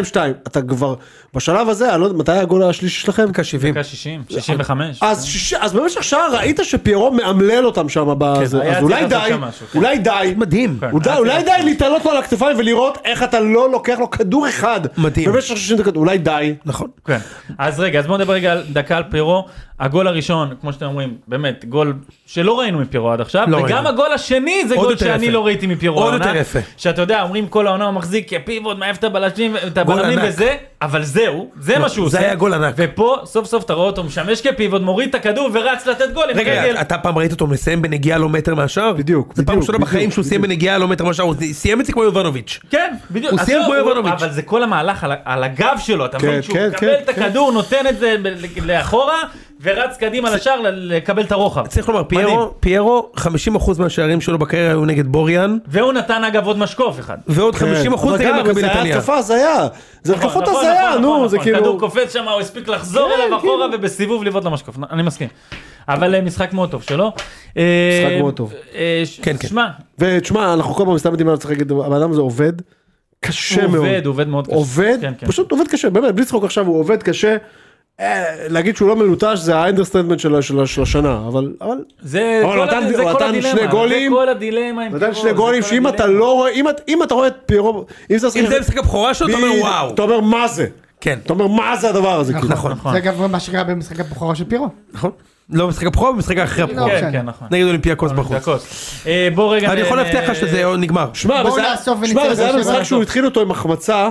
E: אתה כבר, בשלב הזה, אני לא יודע, מתי היה הגול השלישי שלכם?
D: דקה 70.
C: דקה 60, 65.
D: אה,
E: אז, שיש, אז במשך שעה ראית שפיירו מאמלל אותם שם, בזה.
C: כן, היה
E: אז
C: צריך
E: אולי
C: לעשות
E: די,
C: שם משהו, כן.
E: אולי די,
D: מדהים.
C: כן.
E: אולי, אולי די להתעלות לו על הכתפיים ולראות איך אתה לא לוקח לו כדור אחד.
D: מדהים.
E: במשך 60 דקות, אולי די.
D: נכון.
C: כן. אז רגע, אז בואו נדבר רגע על דקה על פירו. הגול הראשון, כמו שאתם אומרים, באמת, גול שלא ראינו מפירו עד עכשיו,
D: לא
C: וגם
D: ראינו.
C: הגול השני זה
D: עוד
C: גול
D: יותר
C: שאני
D: יפה.
C: לא ראיתי מפירו
D: עוד
C: העונה.
D: יותר יפה.
C: שאתה יודע, אומרים כל העונה הוא מחזיק כפיבוט, מעיף את הבלשים, את
D: גול
C: הבלמים
D: ענק.
C: וזה, אבל זהו, זה
D: לא,
C: מה שהוא
D: זה
C: עושה.
D: היה גול ענק.
C: ופה סוף סוף אתה רואה אותו משמש כפיבוט, מוריד את הכדור ורץ לתת גול עם רגל.
D: רגע, אה, אתה פעם ראית אותו מסיים בנגיעה לא מטר מהשאר?
E: בדיוק,
D: זה פעם
E: בדיוק,
D: ראשונה
E: בדיוק,
D: בחיים שהוא סיים בנגיעה לא מטר מהשאר, הוא סיים את זה כמו יובנוביץ'.
C: כן, בדיוק.
D: הוא
C: אז
D: סיים
C: לא,
D: כמו יובנוביץ'.
C: אבל זה כל המהלך על, ה- על הגב שלו, אתה מבין
E: כן,
C: שהוא
E: כן,
C: מקבל
E: כן,
C: את הכדור, נותן את זה ב- ל- לאחורה, ורץ קדימה לשער ל- לקבל את הרוחב.
D: צריך לומר,
C: מדהים.
D: פיירו, פיירו, 50% מהשערים שלו בקריירה היו נגד בוריאן,
C: והוא נתן אגב עוד משקוף אחד.
D: ועוד 50%
E: כן. אבל
D: זה
E: גם,
D: נגד מכבי
E: זה היה
D: נתניה.
E: התקפה הזיה. זה
C: נכון,
E: התקפות
C: נכון,
E: הזיה,
C: נכון,
E: נו,
C: נכון,
E: זה
C: נכון. כדור
E: כאילו...
C: קופץ שם, הוא הספיק לחזור
E: כן,
C: אליו
E: כאילו.
C: אחורה ובסיבוב לבעוט למשקוף, אני מסכים. אבל אה, משחק מאוד טוב שלו. אה,
E: משחק מאוד טוב.
D: כן, כן.
C: שמע,
E: ותשמע, אנחנו כל פעם מסתם יודעים מה צריך להגיד, הבן אדם הזה עובד קשה
C: הוא
E: מאוד.
C: עובד, הוא עובד מאוד קשה.
E: עובד,
C: כן, כן.
E: פשוט עובד קשה, באמת, בלי צחוק עכשיו, הוא עובד קשה. אה, להגיד שהוא לא מלוטש זה האנדרסטנדמנט של, ה- של, ה- של השנה, אבל... אבל...
C: זה
E: אבל
C: כל
E: אה, הוא נתן-
C: הד- זה
E: הוא
C: כל
E: נתן
C: הדילמה,
E: שני גולים.
C: זה כל הדילמה עם
E: נתן
C: פירו,
E: שני
C: לא- זה
E: גולים
C: כל
E: שאם אתה
C: הדילמה.
E: לא רואה, אם, אתה- אם אתה רואה את פיירו, אם זה...
D: אם זה משחק הבכורה שלו, אתה אומר
E: בדיוק,
D: וואו.
E: אתה אומר מה זה?
D: כן.
E: אתה אומר מה זה הדבר הזה? כאילו?"
D: נכון.
A: זה גם מה שקרה במשחק הבכורה של פירו.
D: נכון. לא במשחק הבכורה, במשחק אחרי הבכורה.
A: לא
C: כן,
A: משנה.
C: כן, נכון.
D: נגד אולימפיאקוס בחוץ.
C: דקות. אה, בוא רגע.
D: אני
C: נ-
D: יכול להבטיח
C: אה,
D: לך שזה עוד נגמר.
E: שמע,
A: בואו
E: וזה היה-
A: נאסוף ונצא
E: שמע, וזה היה
A: לשבע.
E: משחק שהוא התחיל אותו עם החמצה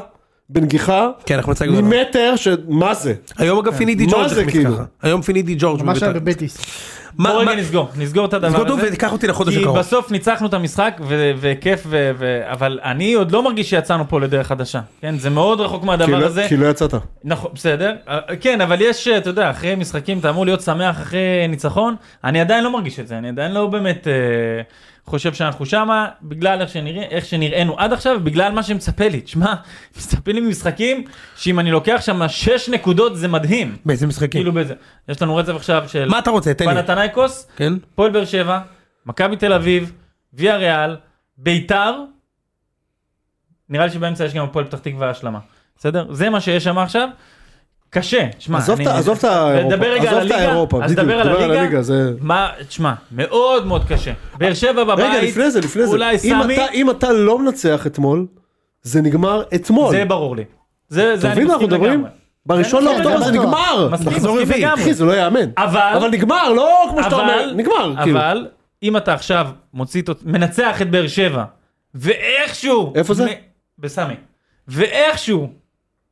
E: בנגיחה,
D: כן, החמצה גדולה.
E: ממטר, שמה זה?
D: היום אגב פינידי
E: מה
D: ג'ורג'
E: זה
D: החמיץ
E: כאילו?
D: ככה. היום פינידי ג'ורג'
A: ממש
D: מבית"ר.
A: היה בבטיס.
D: מה-
C: בוא
D: מה-
C: רגע נסגור, נסגור את הדבר
D: נסגור
C: הזה.
D: אותו ותיקח אותי לחודש
C: כי
D: הקרוב.
C: בסוף ניצחנו את המשחק ו- וכיף, ו- ו- אבל אני עוד לא מרגיש שיצאנו פה לדרך חדשה. כן, זה מאוד רחוק
E: כי
C: מהדבר
E: לא-
C: הזה.
E: כי לא יצאת.
C: נכון, בסדר. אה, כן, אבל יש, אה, אתה יודע, אחרי משחקים אתה אמור להיות שמח אחרי ניצחון. אני עדיין לא מרגיש את זה, אני עדיין לא באמת אה, חושב שאנחנו שמה, בגלל איך, שנראה, איך שנראינו עד עכשיו, בגלל מה שמצפה לי. תשמע, מצפה לי ממשחקים שאם אני לוקח שם 6 נקודות זה מדהים.
D: באיזה משחקים?
C: כאילו בזה. יש לנו רצף עכשיו של
D: כן. מה אתה רוצה? תן לי.
C: פנתנייקוס,
D: כן?
C: הפועל באר שבע, מכבי תל אביב, ויה ריאל, ביתר, נראה לי שבאמצע יש גם הפועל פתח תקווה השלמה, בסדר? זה מה שיש שם עכשיו. קשה, שמע,
E: עזוב
C: אני-
E: את ה- עזוב את האירופה,
C: נדבר רגע על
E: עזוב את
C: הליגה,
E: האירופה,
C: אז
E: בדיוק,
C: נדבר
E: דבר
C: על
E: על
C: הליגה,
E: הליגה, זה-
C: מה, תשמע, מאוד מאוד קשה, באר שבע בבית,
E: רגע, לפני זה, לפני זה.
C: אולי
E: אם
C: סמי,
E: אתה- אם אתה לא מנצח אתמול, זה נגמר אתמול.
C: זה ברור לי, זה, זה
E: אתה
C: אני
E: מבין מה אנחנו
C: מסכים
E: מדברים?
C: לגמרי,
E: בראשון
A: כן,
E: לאוקטובר
A: זה
E: זה
A: בטוח.
E: נגמר.
C: מסכים,
E: מחזור
C: מסכים
E: רביעי.
C: לגמרי.
E: אחי, זה לא ייאמן.
C: אבל,
E: אבל נגמר, לא כמו שאתה אומר, נגמר, כאילו.
C: אבל אם אתה עכשיו מוציא, תוצ- מנצח את באר שבע, ואיכשהו,
E: איפה זה?
C: מ- בסמי, ואיכשהו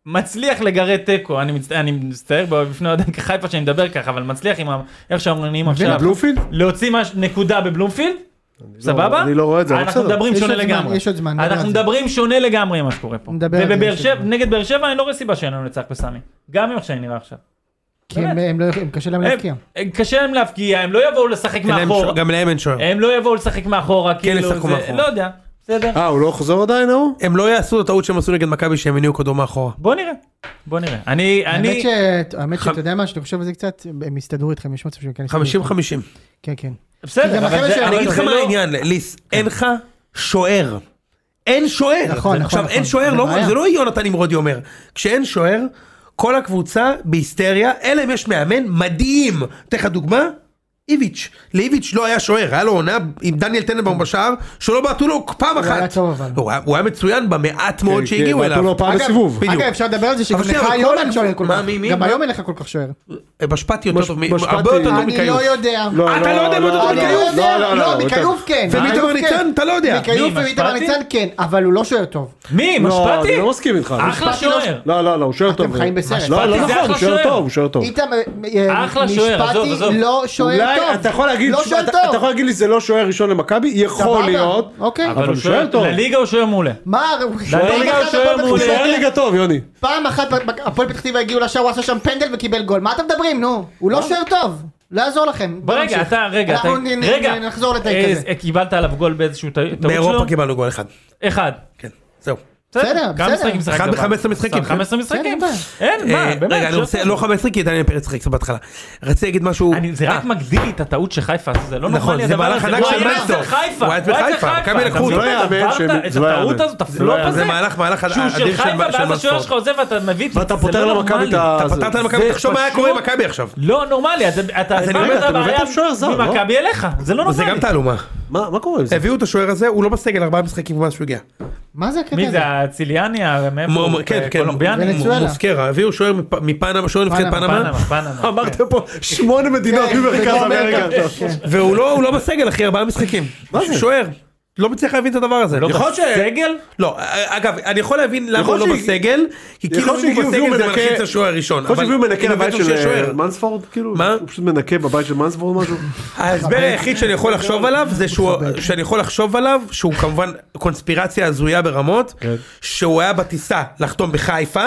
C: מצליח לגרד תיקו, אני מצט- אני מצטער בפני אוהדי חיפה שאני מדבר ככה, אבל מצליח עם ה- איך שאומרים עכשיו,
E: בלומפילד?
C: להוציא מש- נקודה בבלומפילד, סבבה?
E: אני לא רואה את זה, אבל
C: אנחנו
E: בסדר.
C: מדברים
A: יש
C: שונה
A: עוד זמן,
C: לגמרי.
A: יש עוד זמן, נדבר
C: אנחנו
A: על זה.
C: מדברים שונה לגמרי ממה שקורה פה.
A: נדבר על זה,
C: ובבאר
A: יש
C: שבע,
A: עוד זמן.
C: נגד באר שבע אני לא רואה סיבה שאין לנו לנצח בסמי. גם איך שאני נראה עכשיו.
A: כי הם- הם לא יכולים, קשה להם להבקיע.
C: הם- הם- קשה להם להבקיע, הם לא יבואו לשחק
D: אין להם
C: מאחורה.
D: שוער, גם להם אין שוער.
C: הם לא יבואו לשחק מאחורה, כאילו,
D: כן, ישחקו
C: זה-
D: מאחורה.
C: לא יודע, בסדר.
E: אה, הוא לא חוזר עדיין ההוא?
D: הם לא יעשו את הטעות שהם עשו נגד מכבי שהם הניעו כדור מאחורה.
C: בוא נראה, בוא נראה. אני,
A: האמת
C: אני,
A: ש... האמת שאתה יודע מה, שאתה חושב על זה קצת, הם יסתדרו איתכם, יש מצב שהם כן יסתדרו.
D: 50-50.
A: איתכם. כן, כן.
C: בסדר,
A: גם
C: אבל
A: החבר'ה
C: זה-
A: שלי-
C: אבל
D: אני אגיד
C: זה
D: לך מה
C: לא-
D: העניין, ליס, אין לך שוער. אין שוער.
A: נכון, נכון,
D: עכשיו, אין
A: נכון.
D: שוער,
A: זה
D: לא-
A: בעיה.
D: זה לא יונתן נמרודי אומר. כשאין שוער, כל הקבוצה בהיסטריה, אלא אם יש מאמן מדהים. אתן לך דוגמה, איביץ'. לאיביץ' לא היה שוער, היה לו עונה עם דניאל טננבאום בשער, שלא בעטו לו פעם אחת.
A: היה טוב, אבל.
D: הוא היה- הוא היה מצוין במעט מאוד
E: כן,
D: שהגיעו
E: בעטו
D: אליו.
E: לו פעם
A: אגב,
E: בסיבוב.
D: בדיוק.
A: אגב, אפשר לדבר על זה שגם
D: אבל שנייה,
A: לך
D: אבל
A: היום
D: כל
A: אין
D: הכ-
A: שוער כל
D: מה,
A: כך.
D: מי- מי-
A: גם
D: מה?
A: היום אין לך כל כך שוער.
D: בשפטי אה, יותר
E: מש-
D: טוב, מ-
E: משפטי-
D: הרבה יותר טוב
A: אני
D: מקיוף.
A: לא יודע.
D: אתה לא יודע מה זה
A: אני לא
D: מכיוף?
A: יודע, לא,
E: הוא
A: מכיוף
E: יותר-
A: כן.
D: ומיתמר
E: אוקיי.
A: מכיוף כן.
D: ניצן, אתה לא יודע.
A: מכיוף
C: מי,
A: ומיתמר
C: משפטי?
A: ניצן כן, אבל הוא לא שוער טוב.
C: מי,
E: לא,
C: משפטי?
E: אני לא מסכים איתך.
C: אחלה שוער.
E: לא, לא, לא, הוא שוער טוב.
A: חיים בסרט.
E: לא,
C: משפטי
E: לא
C: זה
E: נכון,
C: אחלה
E: הוא שוער
C: שוער.
E: טוב, הוא שוער טוב.
A: איתמר, אה,
C: אחלה שוער, עזוב, עזוב.
A: משפטי לא שוער
E: אולי
A: טוב.
E: אתה יכול להגיד,
A: לא
E: תשמע,
A: שוער
E: אתה אתה יכול
A: טוב.
E: להגיד לי זה לא שוער ראשון למכבי? יכול
A: סבבה,
E: להיות.
A: אוקיי.
E: אבל הוא שוער טוב.
C: לליגה הוא שוער מעולה.
A: מה, פעם
C: ליגה
A: אחת
C: הוא שוער
A: הפועל פתח
E: הוא
C: מעולה.
A: תקווה-
E: שוער ליגה טוב, יוני.
A: פעם אחת ב- הפועל פתח תקווה הגיעו לשער, הוא עשה שם פנדל וקיבל גול. מה אתם מדברים, נו? הוא לא שוער טוב. לא יעזור לכם. בוא
C: רגע,
A: נמשיך.
C: אתה, רגע, אתה,
A: אנחנו נ- נ-
C: רגע,
A: נחזור לתיק
C: אה,
A: הזה.
C: אה, קיבלת עליו גול באיזשהו טעות שלו?
D: באירופה קיבלנו גול אחד.
C: אחד.
D: כן, זהו.
A: בסדר,
C: כמה
A: בסדר.
C: משחקים שיחקת?
D: אחד
C: אבל?
D: ב-15 משחקים.
C: בסדר, 15 משחקים.
A: אין בעיה.
C: אין, מה,
D: אה,
C: באמת.
D: רגע, אני
C: שוער
D: רוצה,
C: טוב.
D: לא 15 כי דניאל פרץ שיחק קצת בהתחלה. רציתי להגיד משהו...
C: אני- זה רק
D: אה,
C: מגדיל לי את הטעות שחיפה עשו, זה לא
D: נכון,
C: נורמלי
D: זה
C: הדבר
D: מהלך
C: הזה.
D: ענק
C: הוא
D: של
C: היה אצל
D: מנסטור.
C: חיפה,
D: הוא היה אצל חיפה, מכבי
C: אתה
D: לקחו
C: מבין
E: אותו.
C: את
E: זה לא
C: הדבר
E: יאמן
C: הזה,
E: שהם-
C: את
E: זה לא
C: הטעות
E: יאמן.
C: הזאת, את
E: זה
C: הפלופ
E: לא יאמן.
C: הזה.
D: זה מהלך- מהלך
C: שהוא
D: אדיר
C: של
D: של-
C: חיפה
D: של
C: ואז השוער
D: מנספורד.
C: שלך עוזב ואתה מביא את זה.
E: ואתה
C: זה
E: פותר
C: לא
E: למכבי את
C: נורמלי.
E: ה...
D: אתה פתרת למכבי,
C: זה
D: תחשוב מה היה
C: פשוט-
D: קורה עם מכבי עכשיו.
C: לא נורמלי, אז אתה
D: אני
C: הבאת
D: אומר,
C: את
D: אתה
E: הבאת
C: הבעיה
E: שוער זר, לא?
C: ממכבי אליך, זה לא
D: זה
C: נורמלי.
D: גם תעלומה.
E: מה מה קורה עם זה?
D: הביאו את השוער הזה, הוא לא בסגל ארבעה משחקים מאז שהוא הגיע.
A: מה זה הקטע
C: מי
A: הזה?
C: זה, הציליאני, המאפו,
D: מו- מו- כן, כן,
C: קולומביאני?
A: ונצואלה. מצוין.
D: מוסקרה, הביאו שוער מפ- מפנמה, שוער נבחרת
A: פנמה,
D: פנמה, כן.
C: פנמה,
D: אה,
C: פנמה.
E: אמרתם פה שמונה מדינות
A: כן,
D: לא
E: ממרכז
A: בדרום
E: אמריקה.
D: והוא לא הוא לא בסגל אחי, ארבעה משחקים. שוער. לא מצליח להבין את הדבר הזה.
C: לא
D: יכול להיות ש-
C: בסגל?
D: לא, אגב, אני יכול להבין למה הוא
E: יכול
D: לא
E: שהגיע-
D: בסגל, כי כאילו אם
E: שהגיעו,
D: הוא
E: הביאו
D: בסגל זה
E: מנקה-
D: מלחיץ השוער הראשון.
E: יכול
D: אבל-
E: שהביאו מנקה
D: כאילו,
E: לבית
D: בטח שיהיה
E: של
D: שוער.
E: אה, מנספורד כאילו?
D: מה?
E: הוא פשוט מנקה בבית של מנספורד או משהו?
D: ההסבר היחיד שאני יכול לחשוב עליו זה שהוא, שאני יכול לחשוב עליו שהוא כמובן קונספירציה הזויה ברמות, שהוא היה בטיסה לחתום בחיפה,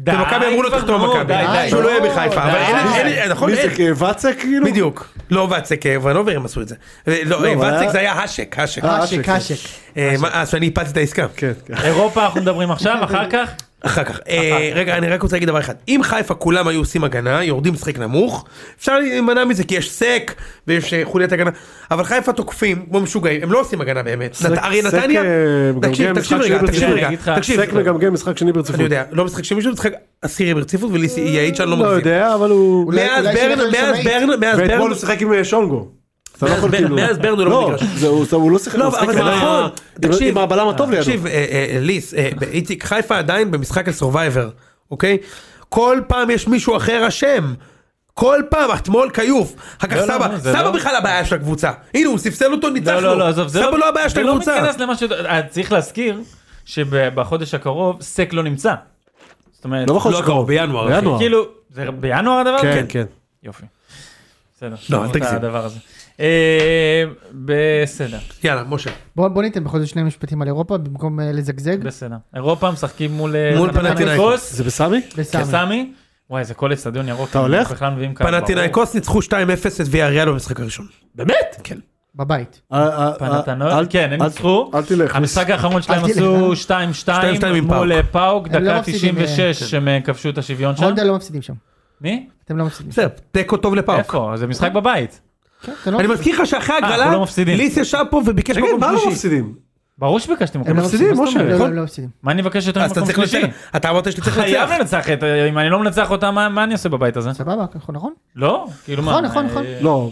C: די
D: ומכבי אמרו לו
C: כבר,
D: תחתום
C: נו,
D: במכבי,
C: די, די.
D: שהוא לא יהיה
A: די.
D: בחיפה, אבל אין-
C: די.
D: אין, נכון,
E: מי זה
D: אין,
E: אה, ואצה כאילו?
D: בדיוק, לא ואצק, אה, ונובר הם עשו את זה, אה, לא, אה,
E: אבל
D: ואצק
E: היה-
D: זה היה השק, השק,
E: אה,
A: קשק,
E: אה,
A: קשק.
D: אה, מה, אז שאני הפלתי את העסקה,
E: כן, כן.
C: אירופה אנחנו מדברים עכשיו, אחר כך?
D: אחר כך, אה, רגע אני רק רוצה להגיד דבר אחד, אם חיפה כולם היו עושים הגנה, יורדים לשחק נמוך, אפשר להימנע מזה כי יש סק ויש אה, חוליית הגנה, אבל חיפה תוקפים כמו משוגעים, הם לא עושים הגנה באמת, נת- הרי
E: סק,
D: נתניה,
E: אה, מגמגם
D: תקשיב, תקשיב
E: משחק
D: רגע,
E: שני
D: תקשיב
E: ברציפות.
D: רגע,
C: אני אגיד לך,
D: תקשיב,
E: סק מגמגם משחק שני ברציפות.
D: אני יודע, לא משחק שני ברציפות, משחק עשירי ברציפות וליסי יעיד שאני לא
E: לא
D: מבין,
E: יודע, אבל הוא...
A: אולי-
D: מאז
A: אולי
D: ברן,
A: שינוי
D: מאז
A: שומעית.
D: ברן, מאז
E: ואתמול
D: ברן,
E: הוא שיחק עם אה, שונגו. אז אתה לא
D: מאז
E: יכול
D: ברן-
E: כאילו-
D: מאז ברן הוא לא במגרש.
E: זה- הוא- הוא לא שיחק
D: לא,
E: הוא שיחק
D: אבל זה
E: עם ה-
D: נכון,
E: עם-
D: תקשיב,
E: עם הבלם הטוב לידו.
D: תקשיב, אה, אה, אה, ליס, אה, ב- איציק, חיפה עדיין במשחק על סורווייבר, אוקיי? כל פעם יש מישהו אחר אשם. כל פעם, אתמול כיוף, אחר כך
C: לא, לא,
D: סבא,
C: לא, זה
D: סבא
C: לא.
D: בכלל הבעיה של הקבוצה, הנה הוא ספסל אותו,
C: לא,
D: ניצחנו,
C: לא, לא, עזוב, זה
D: סבא לא הבעיה של
C: זה לא
D: הקבוצה,
C: מתכנס למה ש... אה, צריך להזכיר שבחודש הקרוב סק לא נמצא. זאת אומרת,
E: לא בחודש
D: לא
E: הקרוב,
D: קרוב, בינואר, אחי.
E: בינואר.
C: כאילו, זה בינואר הדבר? הזה?
E: כן, כן.
C: יופי. בסדר.
D: לא, אל
C: שמענו את
D: תגזים.
C: הדבר הזה. אה, בסדר,
D: יאלה, משה,
A: בוא בוא ניתן בכל זאת שני משפטים על אירופה במקום אה, לזגזג.
C: בסדר. אירופה משחקים מול... אה,
D: מול פנתינייקוס.
E: זה בסמי?
A: בסמי.
C: סמי. וואי, זה כל אצטדיון ירוק.
E: אתה הולך?
C: בכלל מביאים קהל,
D: פנטינאיקוס ניצחו 2-0 את ויאריאל במשחק הראשון,
E: באמת?
D: כן,
A: בבית.
E: אה, אה,
C: ברור. פנתנאו-
E: אל-
C: כן, הם
E: אל-
C: ניצחו.
E: אל תלך.
C: המשחק האחרון שלהם
A: אל תלך.
C: עשו
D: 2-2 עם
C: 2-2 מול אה, פאוק,
A: הם לא
C: דקה
A: מפסידים, אה,
C: 96 הם אה, כבשו את השוויון שם.
A: הונדה לא מפסידים שם.
C: מי?
A: אתם לא מפסידים.
D: בסדר, תיקו טוב לפאוק.
C: איפה? זה משחק בבית.
A: כן, אתם לא
D: אני
A: מפסידים.
D: מזכיר לך שאחרי
C: אנחנו
D: הגרלה,
C: לא מפסידים.
D: ליס ישב פה וביקש
E: תגיד,
D: מקום
E: מה לא
D: שלישי.
E: מפסידים?
C: ברור שביקשתם
E: הם
C: מכבי.
E: מפסידים,
A: לא,
E: משה,
A: לא,
E: נכון?
A: הם לא מפסידים.
C: מה אני מבקש יותר
D: אז אתה
C: ממקום
D: צריך
C: שלישי?
D: לנצח, אתה אמרת שאתה צריך
C: חייב
D: לנצח.
C: לנצח את... אם אני לא מנצח אותה, מה מה אני עושה בבית הזה?
A: סבבה, נכון, נכון?
C: לא? כאילו מה?
A: נכון, נכון, נכון.
C: אה,
E: לא.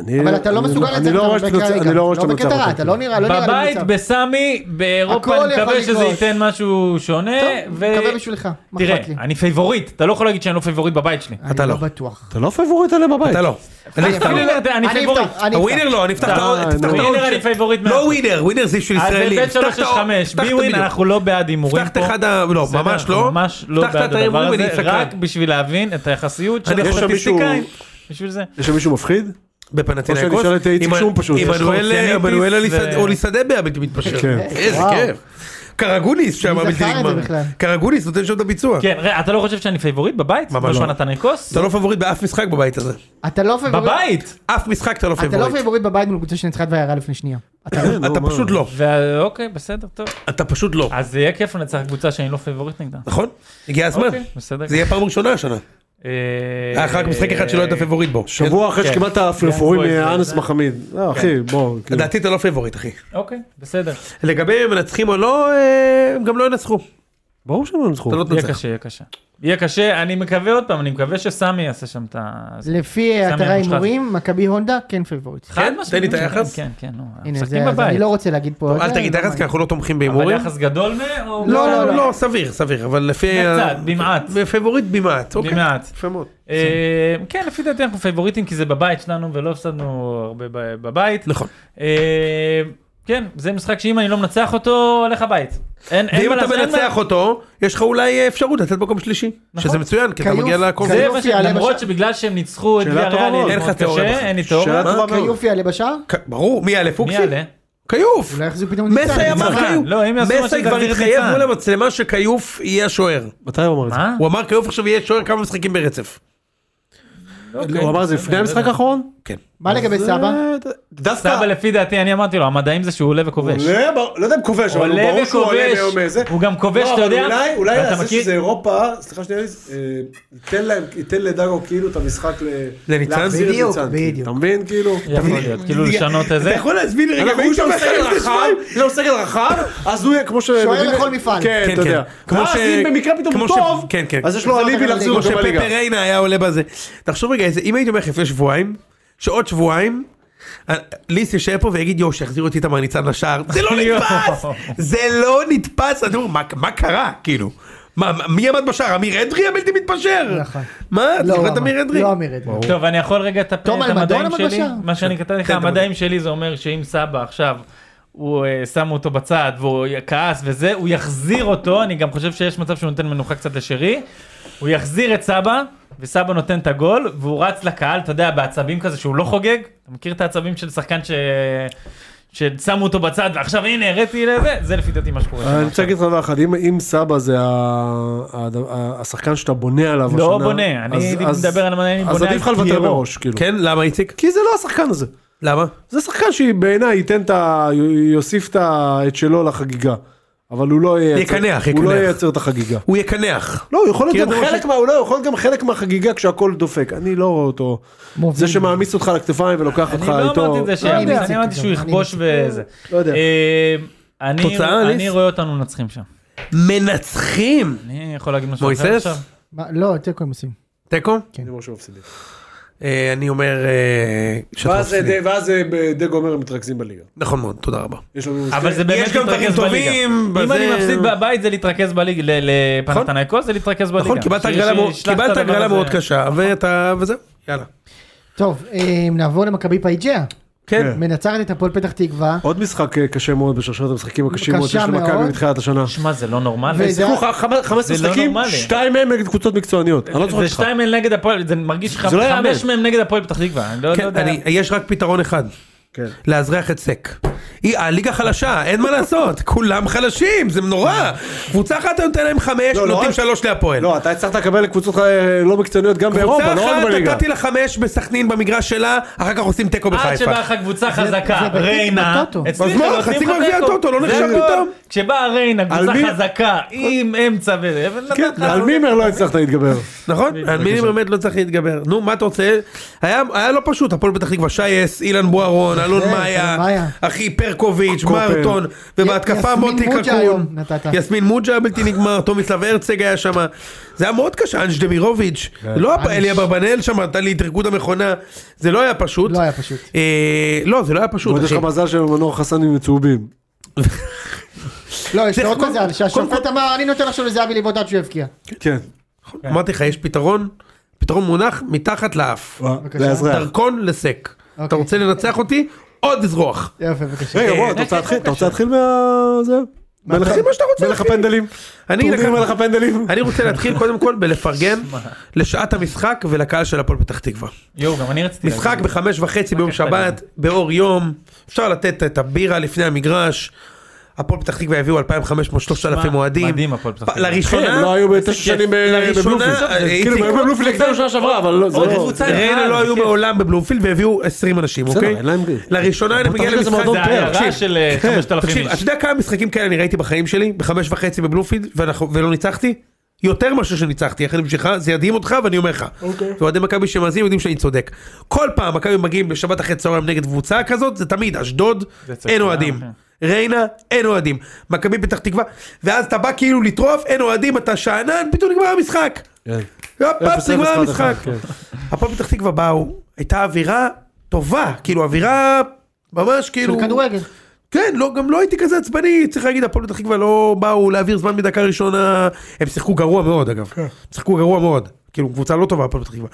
E: אני-
A: אבל אתה לא
E: אני
A: מסוגל
E: אני
A: לנצח
E: לא
A: אותם
E: רואה שאתה
A: בקריירה,
E: מנצח- אני לא רואה שאתה
A: לא
E: מנצח
A: בקטע רע,
E: אותם.
A: אתה לא נראה, לא נראה לי
C: בבית,
A: מנצח.
C: בסמי,
A: הכל
C: באירופה, אני
A: יכול
C: מקווה שזה
A: לקרות.
C: ייתן משהו שונה.
A: טוב,
C: ו-
A: מקווה בשבילך, מה
C: תראה,
A: אכפת לי?
C: אני פייבוריט, אתה לא יכול להגיד שאני לא פייבוריט בבית שלי.
A: אני
D: אתה
A: לא
D: לא.
A: בטוח.
E: אתה לא פייבוריט עליהם בבית.
D: אתה לא. אני אפתח.
C: אפילו- אני פייבוריט.
A: אפתח, אני אפתח.
D: הווינר לא, אני אפתח את
E: אה,
D: האור- תפתח את
E: נו.
D: האור.
C: ווינר אני אה, פייבוריט
D: לא
C: מאוד.
D: ווינר, ווינר זה בשביל
C: אז
D: ישראלים.
C: בבית
D: תפתח את האור,
C: 365,
D: תפתח את
C: בי ווין
D: הבדיוק.
C: אנחנו לא בעד הימורים
D: פתח את
C: פה.
D: אחד ה... לא,
C: בסדר,
D: ממש
C: אנחנו
D: לא.
C: ממש לא
D: פתח את
C: בעד
D: האתר
C: הדבר
D: הימורים
C: הזה,
D: ואני סקרן.
C: רק בשביל להבין את היחסיות של
D: אני
E: חושב מישהו-
C: הסטטיסטיקאים. בשביל זה.
E: יש שם מישהו מפחיד?
D: בפנתינה
E: או שאני אשאל את איציק שום פשוט. יש לך
C: אוסיאניטיס ו-
D: או ליסדבה הבלתי מתפשר.
E: כן.
D: איזה
A: וואו.
D: כיף. קרגוליס שם
A: מי
D: הבלתי
A: זכר את זה
D: נגמר.
A: בכלל?
D: קרגוליס נותן שם את הביצוע.
C: כן, ראה, אתה לא חושב שאני פייבוריט בבית?
D: ממש
C: לא.
D: לא.
C: נתניקוס?
D: אתה לא פבוריט באף משחק בבית הזה.
A: אתה לא פייבוריט.
C: בבית!
D: אף משחק אתה לא
A: אתה לא
D: פבוריט.
A: פייבוריט בבית מול קבוצה שניצחה את וירה לפני שנייה. אתה לא.
D: אתה
E: נו, מה?
D: פשוט לא.
C: ו- אוקיי, בסדר, טוב.
D: אתה פשוט לא.
C: אז זה יהיה כיף לנצח קבוצה שאני לא פייבוריט נגדה.
D: נכון? הגיע הזמן.
C: אוקיי, בסדר.
D: זה יהיה פעם ראשונה השנה.
C: אה,
D: היה לך רק משחק אחד שלא היית פבוריט בו.
E: שבוע אחרי
C: כן.
E: שקיבלת
C: כן,
E: הפרפורים
C: בואי,
E: מאנס
C: בואי.
E: מחמיד. לא, אחי, בוא.
D: כן.
E: כאילו.
D: לדעתי אתה לא פבוריט אחי.
C: אוקיי, בסדר.
D: לגבי אם מנצחים או לא, אה, הם גם לא ינצחו.
E: ברור שהם לא ניצחו.
D: אתה לא
C: יהיה
D: תנצח.
C: קשה, יהיה קשה. יהיה קשה, אני מקווה עוד פעם, אני מקווה שסמי יעשה שם את ה...
D: כן?
A: לפי אתרי
C: סמי אבו שחאדה.
A: ההימורים, מכבי הונדה כן פייבוריט.
C: חד
D: כן?
C: משמעית.
D: תן לי את היחס.
C: כן, כן, נו.
A: הנה,
C: משחקים
A: זה, אז
C: בבית.
A: אני לא רוצה להגיד פה...
D: אל
A: זה,
D: תגיד
A: לא
D: יחס כי
A: מעניין.
D: אנחנו לא תומכים
C: אבל
D: בהימורים.
C: יחס גדול מ... או-
A: לא, לא,
D: לא, סביר, סביר, אבל לפי... ה-
C: קצת, במעט.
D: פבוריט במעט, אוקיי.
C: במעט.
D: יפה מאוד.
C: אה, כן, לפי דעתי אנחנו פייבוריטים כי זה בבית שלנו ולא הפסדנו הרבה ב- בבית.
D: נכון.
C: אה, כן, זה משחק שאם אני לא מנצח אותו, הולך הבית. אין אין
D: ואם
C: מה
D: אתה
C: לעשות. אין מה-
D: מנצח אותו, יש לך אולי אפשרות לתת מקום שלישי.
C: נכון.
D: שזה מצוין, כי אתה
A: כיוף,
D: מגיע לקום.
A: כיוף.
C: זה מה ש...
A: יופי, עלה
C: למרות
A: בש-
C: שבגלל שהם ניצחו את
E: שאלה
C: ויה
E: טובה מאוד.
C: ריאלי,
D: אין לך תיאוריה בכלל.
C: קשה, אין לי תיאוריה.
E: שאלה
D: מה?
E: טובה מאוד.
A: כיופי יעלה בשער?
D: אה? כ- ברור, מי יעלה
C: מי
D: פוקסי?
C: יעלה?
D: כיוף.
A: אולי אה, יחזיק פתאום
D: מסי אמר
C: ניצן.
D: כיוף.
C: לא, אם יעשו מה
D: מסי
C: שזה
D: כבר
C: יחזיר את
D: התחייב
C: ניצן.
D: מול המצלמה שכיוף יהיה השוער.
E: מתי הוא אמר את זה?
C: מה?
D: הוא אמר כיוף עכשיו יהיה שוער כמה משחקים ברצף.
C: אוקיי.
E: לא, הוא אמר את זה לפני המשחק האחרון?
D: כן.
A: מה לגבי סבא?
E: זה- דווקא...
C: סבא לפי דעתי, אני אמרתי לו, המדעים זה שהוא עולה וכובש.
E: עולה, בר- לא יודע אם כובש, אבל הוא
C: עולה
E: ברור שהוא עולה
C: וכובש.
E: ביום איזה.
C: הוא גם כובש,
E: לא,
C: אתה
E: אבל
C: יודע?
E: אולי, אולי
C: ואתה
E: זה
C: מכיר-
E: שזה אירופה, סליחה שנייה, אה, ייתן להם, ייתן לדגו כאילו את המשחק ל...
D: לניצן?
E: להחזיר את
A: בדיוק,
E: ניצן, כאילו.
A: בדיוק.
E: אתה מבין כאילו?
C: יכול להיות, כאילו לשנות את
D: אתה
C: זה.
D: יכול להסביר לי רגע,
E: אנחנו
D: ואם
E: יש לנו
D: אתה מסתכל
E: סגל
D: על זה
E: רחב,
D: שניים?
E: יש לנו לא, סגל רחב, אז הוא יהיה כמו ש...
A: שוער
E: מבין-
A: לכל מפעל.
E: כן,
D: כן,
E: אתה
D: כן.
E: יודע.
D: כמו
E: ואז
D: ש-
E: אם במקרה פתאום
D: כמו ש-
E: טוב, אה,
D: כן, כן.
E: אז יש לו אליבי להחזיר
A: כמו
E: אותו
D: כמו
E: בליגה.
D: שפפר ריינה היה עולה בזה. תחשוב רגע, איזה- אם הייתי אומר לך לפני שבועיים, שעוד שבועיים, אה, ליס יישאר פה ויגיד יואו שיחזירו אותי איתמר ניצן לשער, זה לא נתפס, זה לא נתפס, אני אומר, "מה- מה קרה כאילו, מה מה- מי עמד בשער, אמיר אדרי הבלתי מתפשר,
A: נכון.
D: מה, אתה
A: לא,
D: זוכר את
A: אמר-
D: אמיר אדרי,
A: לא אמיר אדרי.
C: טוב, אני יכול רגע לטפל
A: תום
C: את
A: אלמדון
C: המדעים
A: עמד
C: שלי?
A: בשער?
C: מה שאני כתב לך,
D: כן, תומר.
C: המדעים שלי זה אומר שאם סבא עכשיו, הוא אה, שם אותו בצד והוא כעס וזה, הוא יחזיר אותו, אני גם חושב שיש מצב שהוא נותן מנוחה קצת לשרי, הוא יחזיר את סבא, וסבא נותן את הגול, והוא רץ לקהל, אתה יודע, בעצבים כזה שהוא לא חוגג, אתה מכיר את העצבים של שחקן ש... ששמו אותו בצד, ועכשיו הנה, הראתי לזה, זה לפי דעתי מה שקורה. שם
E: אני רוצה
C: עכשיו.
E: להגיד לך דבר אחד, אם- אם סבא זה ה- ה- ה- השחקן שאתה בונה עליו השנה,
C: לא בונה, אני
E: אז- אז-
C: מדבר על המדעי, אני בונה
E: אז
C: על
E: עדיף לך לוותר
C: פיירו.
E: מראש, כאילו.
D: כן למה איציק,
E: כי זה לא השחקן הזה.
D: למה,
E: זה שחקן שבעיניי ייתן את ה... יוסיף את ה- את שלו לחגיגה. אבל הוא לא ייצר...
D: יקנח,
E: הוא לא
D: יקנח.
E: ייצר את החגיגה.
D: הוא יקנח,
E: לא, הוא יכול
D: כי
E: להיות גם
D: זה מה
E: חלק
D: ש-
E: מה... הוא לא, הוא יכול להיות גם חלק מהחגיגה כשהכול דופק. אני לא רואה אותו.
A: מוביל.
E: זה שמעמיס אותך על הכתפיים ולוקח אותך
C: אני
E: איתו.
C: לא אמרתי את זה
E: לא
C: שאני
E: יודע.
C: אני אמרתי שהוא
A: אני
C: יכבוש וזה.
E: לא יודע.
C: אה, אני-
D: תוצאה,
C: אני
D: ליס?
C: רואה אותנו מנצחים שם.
D: מנצחים,
C: אני יכול להגיד משהו אחר
D: מויסס,
C: עכשיו?
A: מה- לא, תיקו הם עושים.
D: תיקו,
A: כן.
E: אני אומר שמפסידים.
D: אה, אני אומר, אה, שאתה
E: ואז
D: מפסיד.
E: ד- ואז אה, ב- דגו אומר הם מתרכזים בליגה.
D: נכון מאוד, תודה רבה,
E: יש לנו...
C: אבל זה באמת
D: יש גם דברים
C: להתרכז בליגה.
D: טובים,
C: אם
D: בזה-
C: אני מפסיד בבית זה להתרכז בליגה, ל- לפנתנייקוס זה להתרכז בליגה.
D: נכון קיבלת
C: ש-
D: הגרלה מאוד-
C: שישלח את
D: קיבלת
C: הדבר
D: הגרלה
C: הזה.
D: מאוד
C: נכון.
D: קשה, ואתה, וזהו, יאללה,
A: טוב, אה, נעבור למכבי פייג'יה.
D: כן,
A: מנצחת את הפועל פתח תקווה.
E: עוד משחק אה, קשה מאוד בשרשרת המשחקים הקשים
A: קשה
E: מאוד שיש למכבי
A: מאוד.
E: מתחילת השנה.
C: שמע זה לא נורמלי.
A: וזה-
E: שיחקו ח- חמ- 15
C: זה לא
E: משחקים,
C: נורמלי.
E: שתיים מהם נגד קבוצות מקצועניות. אני לא זוכר
C: זה
E: אותך.
C: שתיים מהם נגד הפועל, זה מרגיש לך
E: זה לא יאמן.
C: חמש מהם נגד הפועל פתח תקווה. אני לא לא
D: כן,
C: יודע.
D: אני- יש רק פתרון אחד,
E: כן.
D: לאזרח את סק. היא- הליגה חלשה, אין מה לעשות, כולם חלשים, זה נורא. קבוצה אחת אתה נותן להם חמש,
E: לא, לא
D: נותנים
E: רק-
D: שלוש להפועל.
E: לא, אתה הצלחת לקבל קבוצות אה, לא מקצועניות גם באירופה,
D: קבוצה
E: לא
D: אחת
E: רק בליגה.
D: נתתי לה חמש בסכנין במגרש שלה, אחר כך עושים תיקו
C: עד
D: בחיפה.
C: שבאה לך קבוצה חזקה,
A: בטיקט
C: ריינה,
A: בטוטו.
D: אז
C: אצלי
D: מה,
C: נותנים
D: חצי
C: לך
D: גמר גביע
C: תיקו.
D: הטוטו, לא
C: זה
D: נחשב
C: הכל.
D: פתאום.
C: כשבאה ריינה, קבוצה
E: מי-
C: חזקה, עם אמצע וזה, אבל
E: כן,
C: נתן לך-
E: על מימר לא הצלחת להתגבר.
D: נכון? על מיני באמת לא צריך להתגבר. נו, מה אתה רוצה? היה היה לא פשוט, הפועל פתח תקווה, שייס, אילן בוארון, אלון
A: כן,
D: מאיה,
A: אלון מאיה.
D: אחי ברקוביץ',
E: קופר.
D: מרטון, ובהתקפה
A: יסמין
D: מוטי
A: מוג'ה
D: קקון.
A: היום נתת.
D: יסמין מוג'ה היה בלתי נגמר, תומיסלב הרצג היה שם. זה היה מאוד קשה, אנש דמירוביץ'.
E: כן.
D: לא
A: אנש.
D: היה- אליה ברבנאל שם, נתן לי את ריקוד המכונה. זה לא היה פשוט.
A: לא היה פשוט.
D: אה, לא, זה לא היה פשוט,
E: ועוד יש
D: אחי.
E: לך מזל שבמנור חסנים צהובים.
A: לא, יש לו עוד
D: קודם-
A: מזל,
D: קודם
A: שהשופט אמר, אני נותן עכשיו לזהבי לבעוטת שהוא יבקיע.
E: כן.
D: אמרתי לך, יש פתרון, פתרון מונח מתחת לאף.
E: לאזרח.
D: דרכון לסק. אתה
A: אוקיי.
D: רוצה לנצח אותי? עוד אזרוח.
A: יפה, בבקשה.
E: רגע בוא,
D: אה,
E: אתה רוצה
D: אה,
E: להתחיל? אתה רוצה להתחיל מה... זה? מלך-
D: תתחיל מה שאתה רוצה,
E: מלך
D: אחי.
E: הפנדלים.
D: אני אגיד לך-
E: טורניר מלך הפנדלים. כן,
D: אני רוצה להתחיל קודם כל בלפרגן לשעת המשחק ולקהל של הפועל פתח תקווה.
C: יואו, גם אני רציתי
D: משחק
C: להגיד.
D: בחמש וחצי ביום
C: לקחת לי.
D: שבת, באור יום, אפשר לתת את הבירה לפני המגרש. הפועל פתח תקווה הביאו 2,500-3,000 אוהדים.
C: מדהים, הפועל פתח תקווה.
E: כן,
D: לראשונה,
E: לא היו בתשע שנים ב-
D: לראשונה,
E: בבלומפילד.
D: אה,
E: כאילו, הם היו
D: איציק,
E: בבלומפילד נגדנו שנה שעברה, אבל לא, זה
C: עוד
E: לא...
C: קבוצה
E: זה-
D: ראינו לא היו מעולם בבלומפילד והביאו 20 אנשים,
E: בסדר,
D: אוקיי?
E: אין להם-
D: לראשונה אני מגיע
E: פתח תקווה זה
D: למשחק,
E: מועדון
C: זה העיירה
D: תקשיב, כן,
C: של אה, 5,000
D: תקשיב, אתה
C: איש.
D: יודע כמה משחקים כאלה אני ראיתי בחיים שלי? בחמש וחצי בבלומפילד, ואנחנו- ולא ניצחתי? יותר מאשר שניצחתי, יחד עם שלך, זה ידהים אותך ואני אומר לך.
A: אוקיי.
D: ואוהדי מכבי שמאזינים יודעים שאני צודק. כל פעם מכבי מגיעים בשבת אחרי צהריים נגד קבוצה כזאת, זה תמיד אשדוד,
C: זה צפון,
D: אין אוהדים.
C: כן.
D: ריינה, אין אוהדים. מכבי פתח תקווה, ואז אתה בא כאילו לטרוף, אין אוהדים, אתה שאנן, פתאום נגמר המשחק. והפעם
E: כן. אפס, כן.
D: נגמר
E: אחד, אחד,
D: המשחק.
C: כן.
D: הפועל פתח תקווה באו, הייתה אווירה טובה, כאילו אווירה ממש כאילו...
A: של כדורגל.
D: כן, לא, גם לא הייתי כזה עצבני, צריך להגיד, הפועל פתח תקווה לא באו להעביר זמן מדקה ראשונה, הם שיחקו גרוע מאוד אגב, שיחקו גרוע מאוד, כאילו קבוצה לא טובה הפועל פתח תקווה.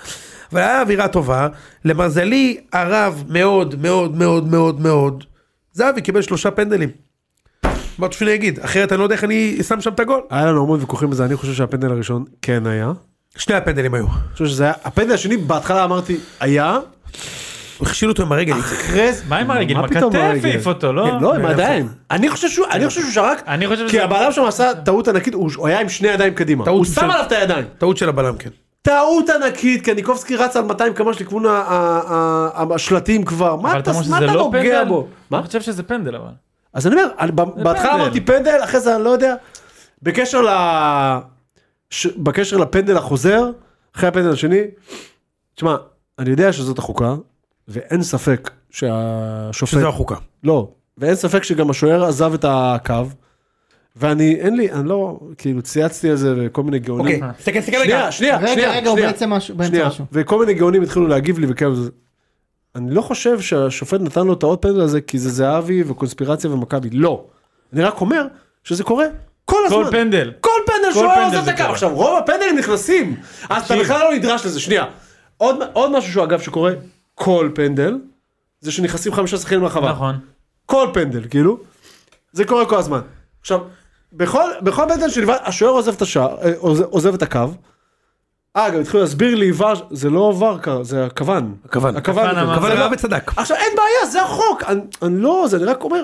D: אבל היה אווירה טובה, למזלי הרב מאוד מאוד מאוד מאוד מאוד, זהבי קיבל שלושה פנדלים. מה אתה שאני אגיד, אחרת אני לא יודע איך אני שם שם את הגול.
E: היה לנו המון ויכוחים בזה, אני חושב שהפנדל הראשון כן היה. אני
D: שני הפנדלים היו,
E: חושב שזה היה, הפנדל השני בהתחלה אמרתי היה,
D: הכשילו אותו עם הרגל, איציק.
E: אחרי זה-
C: מה עם הרגל? עם
E: פתאום
C: הכתף
E: הרגל?
C: העיף אותו, לא?
E: כן, לא, עם הידיים. אני חושב שהוא אני חושב שהוא שרק,
C: אני חושב
E: כי
C: שזה-
E: הבעלם שם עשה טעות ענקית, הוא הוא היה עם שני ידיים קדימה.
D: טעות
E: הוא
D: של-
E: שם עליו את הידיים.
D: טעות של הבלם כן.
E: טעות ענקית, כי ניקובסקי רץ על 200 קמ"ש לכיוון ה- ה- ה- השלטים כבר. מה
C: אבל אתה
E: אתה
C: אומר
E: מה
C: שזה
E: אתה
C: לא
E: נוגע
C: פנדל?
E: בו? מה?
C: אני חושב שזה פנדל אבל.
E: אז אני אומר, אני- בהתחלה
C: פנדל.
E: אמרתי פנדל, אחרי זה אני לא יודע. בקשר ל... ש... בקשר לפנדל החוזר, אחרי הפנדל השני, תשמע, אני יודע שזאת החוקה, ואין ספק שהשופט...
D: שזו החוקה.
E: לא, ואין ספק שגם השוער עזב את הקו, ואני, אין לי, אני לא, כאילו צייצתי על זה וכל מיני
D: אוקיי,
E: גאונים.
D: תסתכל, תסתכל רגע.
E: שנייה, שנייה,
A: רגע,
E: שנייה,
A: רגע, הוא
E: שנייה.
A: באמצע משהו- באמצע
E: שנייה,
A: משהו.
E: וכל מיני גאונים התחילו להגיב לי וכאלה, זה- אני לא חושב שהשופט נתן לו את העוד פנדל הזה כי זה זהבי וקונספירציה ומכבי, לא. אני רק אומר שזה קורה כל הזמן.
C: כל פנדל.
E: כל פנדל שהוא
C: פנדל
E: עוזב את
C: זה
E: הקו.
C: קורה.
E: עכשיו, רוב הפנדלים נכנסים, אז אתה בכלל לא נדרש לזה, שנייה. עוד עוד משהו שהוא אגב שקורה כל פנדל, זה שנכנסים חמישה שחקנים לרחבה.
C: נכון.
E: כל פנדל, כאילו. זה קורה כל הזמן. עכשיו, בכל, בכל פנדל שנבעט, השוער עוזב את השער, אה, עוזב, עוזב את הקו. אה, גם התחילו להסביר לי ור, זה לא ור, כ- זה הכוון.
D: הכוון.
E: הכוון.
C: הכוון אמר.
E: אבל-
D: אבל הרב צדק.
E: עכשיו, אין בעיה, זה החוק. אני, אני לא, זה, אני רק אומר,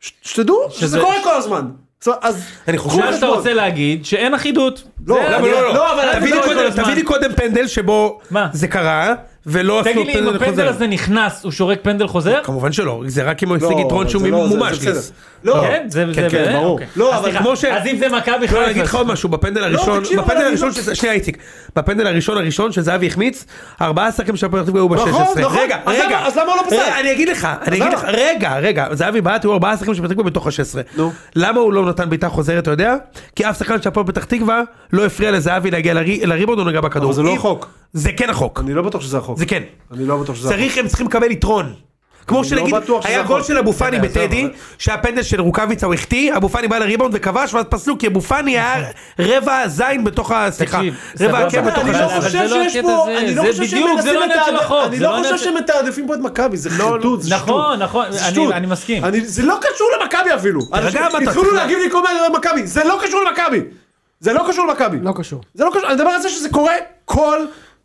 E: ש, שתדעו שזה,
C: שזה-
E: קורה כל הזמן. זאת אומרת, אז,
D: אני חושב
E: קחו
C: מה שאתה
E: בחשבון.
C: רוצה להגיד שאין אחידות.
E: לא,
C: זה-
D: למה
E: אני-
D: לא, לא,
E: לא, אבל
D: תביא לי
E: אני-
D: קודם-
C: כל הזמן.
D: תביא לי קודם פנדל שבו
C: מה?
D: זה קרה, ולא עשו
C: תגיד לי, אם
D: פנדל
C: הפנדל
D: חוזר.
C: הזה נכנס, הוא שורק פנדל חוזר?
D: כמובן שלא, זה רק אם הוא
E: לא,
D: השיג יתרון
E: אבל
D: שהוא
E: זה לא- זה- זה
D: מומש לי.
E: בסדר. לא,
C: כן, זה...
D: כן,
C: זה-
D: כן,
C: אה,
E: ברור.
C: אוקיי.
E: לא,
C: אז
E: אבל
C: סליחה,
D: כמו ש-
C: אז אם זה מכבי
D: לא,
C: חיפה...
D: אני אגיד לך עוד משהו, בפנדל הראשון,
E: תקשיב, לא, אבל
D: בפנדל
E: אני
D: הראשון,
E: לא-
D: ש- שנייה איציק, בפנדל הראשון הראשון שזהבי החמיץ, ארבעה שחקנים של הפועל פתח תקווה היו ב-16.
E: נכון, נכון.
D: רגע,
E: אז
D: רגע.
E: למה- אז למה הוא לא בסדר?
D: רגע, אני אגיד לך, אני אגיד לך,
E: למה?
D: רגע, רגע, זהבי בעט, היו ארבעה שחקנים של פתח תקווה בתוך ה-16.
E: נו.
D: למה הוא לא נתן בעיטה חוזרת, אתה יודע? כי אף שחקן של הפועל פתח תקווה לא הפריע לזהבי להגיע לרי- לריבון או נגע בכדור.
E: אבל זה לא
D: אם-
E: חוק.
D: זה כן החוק.
E: אני לא בטוח שזה החוק.
D: זה כן.
E: אני לא בטוח שזה החוק.
D: צריך, הם צריכים לקבל יתרון. כמו
E: אני לא
D: שנגיד,
E: בטוח שזה
D: היה
E: יכול. כן,
D: גול של אבו פאני
E: בסדר,
D: בטדי,
E: אבל-
D: שהיה פנדל של רוקאביצה, הוא החטיא, אבו פאני בא לריבאונד וכבש, ואז פסלו, כי אבו פאני היה
E: נכון.
D: רבע הזין בתוך ה... סליחה,
C: תקשיב,
D: רבע
C: סבבה,
D: הקן
C: אבל
D: בתוך
E: אני
C: זה
E: לא
C: אבל
D: ה...
E: חושב
C: זה לא
E: שיש
C: הקטע
E: פה,
C: הזה,
E: אני לא
C: זה
E: חושב שהם
C: בדיוק, זה
E: מנסים
C: לא עניין של
E: לתעדף-
C: החוק,
E: אני
C: זה
E: לא
C: לא
E: חושב
C: עניין של-
E: שהם מתעדפים פה את מכבי, זה חטוט, זה שטות.
C: נכון, נכון,
E: זה
C: אני-
E: שטות.
C: אני מסכים.
E: אני- זה לא קשור למכבי אפילו. אנשים
D: מה אתה
E: התחילו
D: צריך-
E: להגיב לי כל מיני מכבי, זה לא קשור למכבי. זה לא קשור למכבי.
A: לא קשור.
E: זה לא קשור, אני מדבר על זה שזה קורה כל...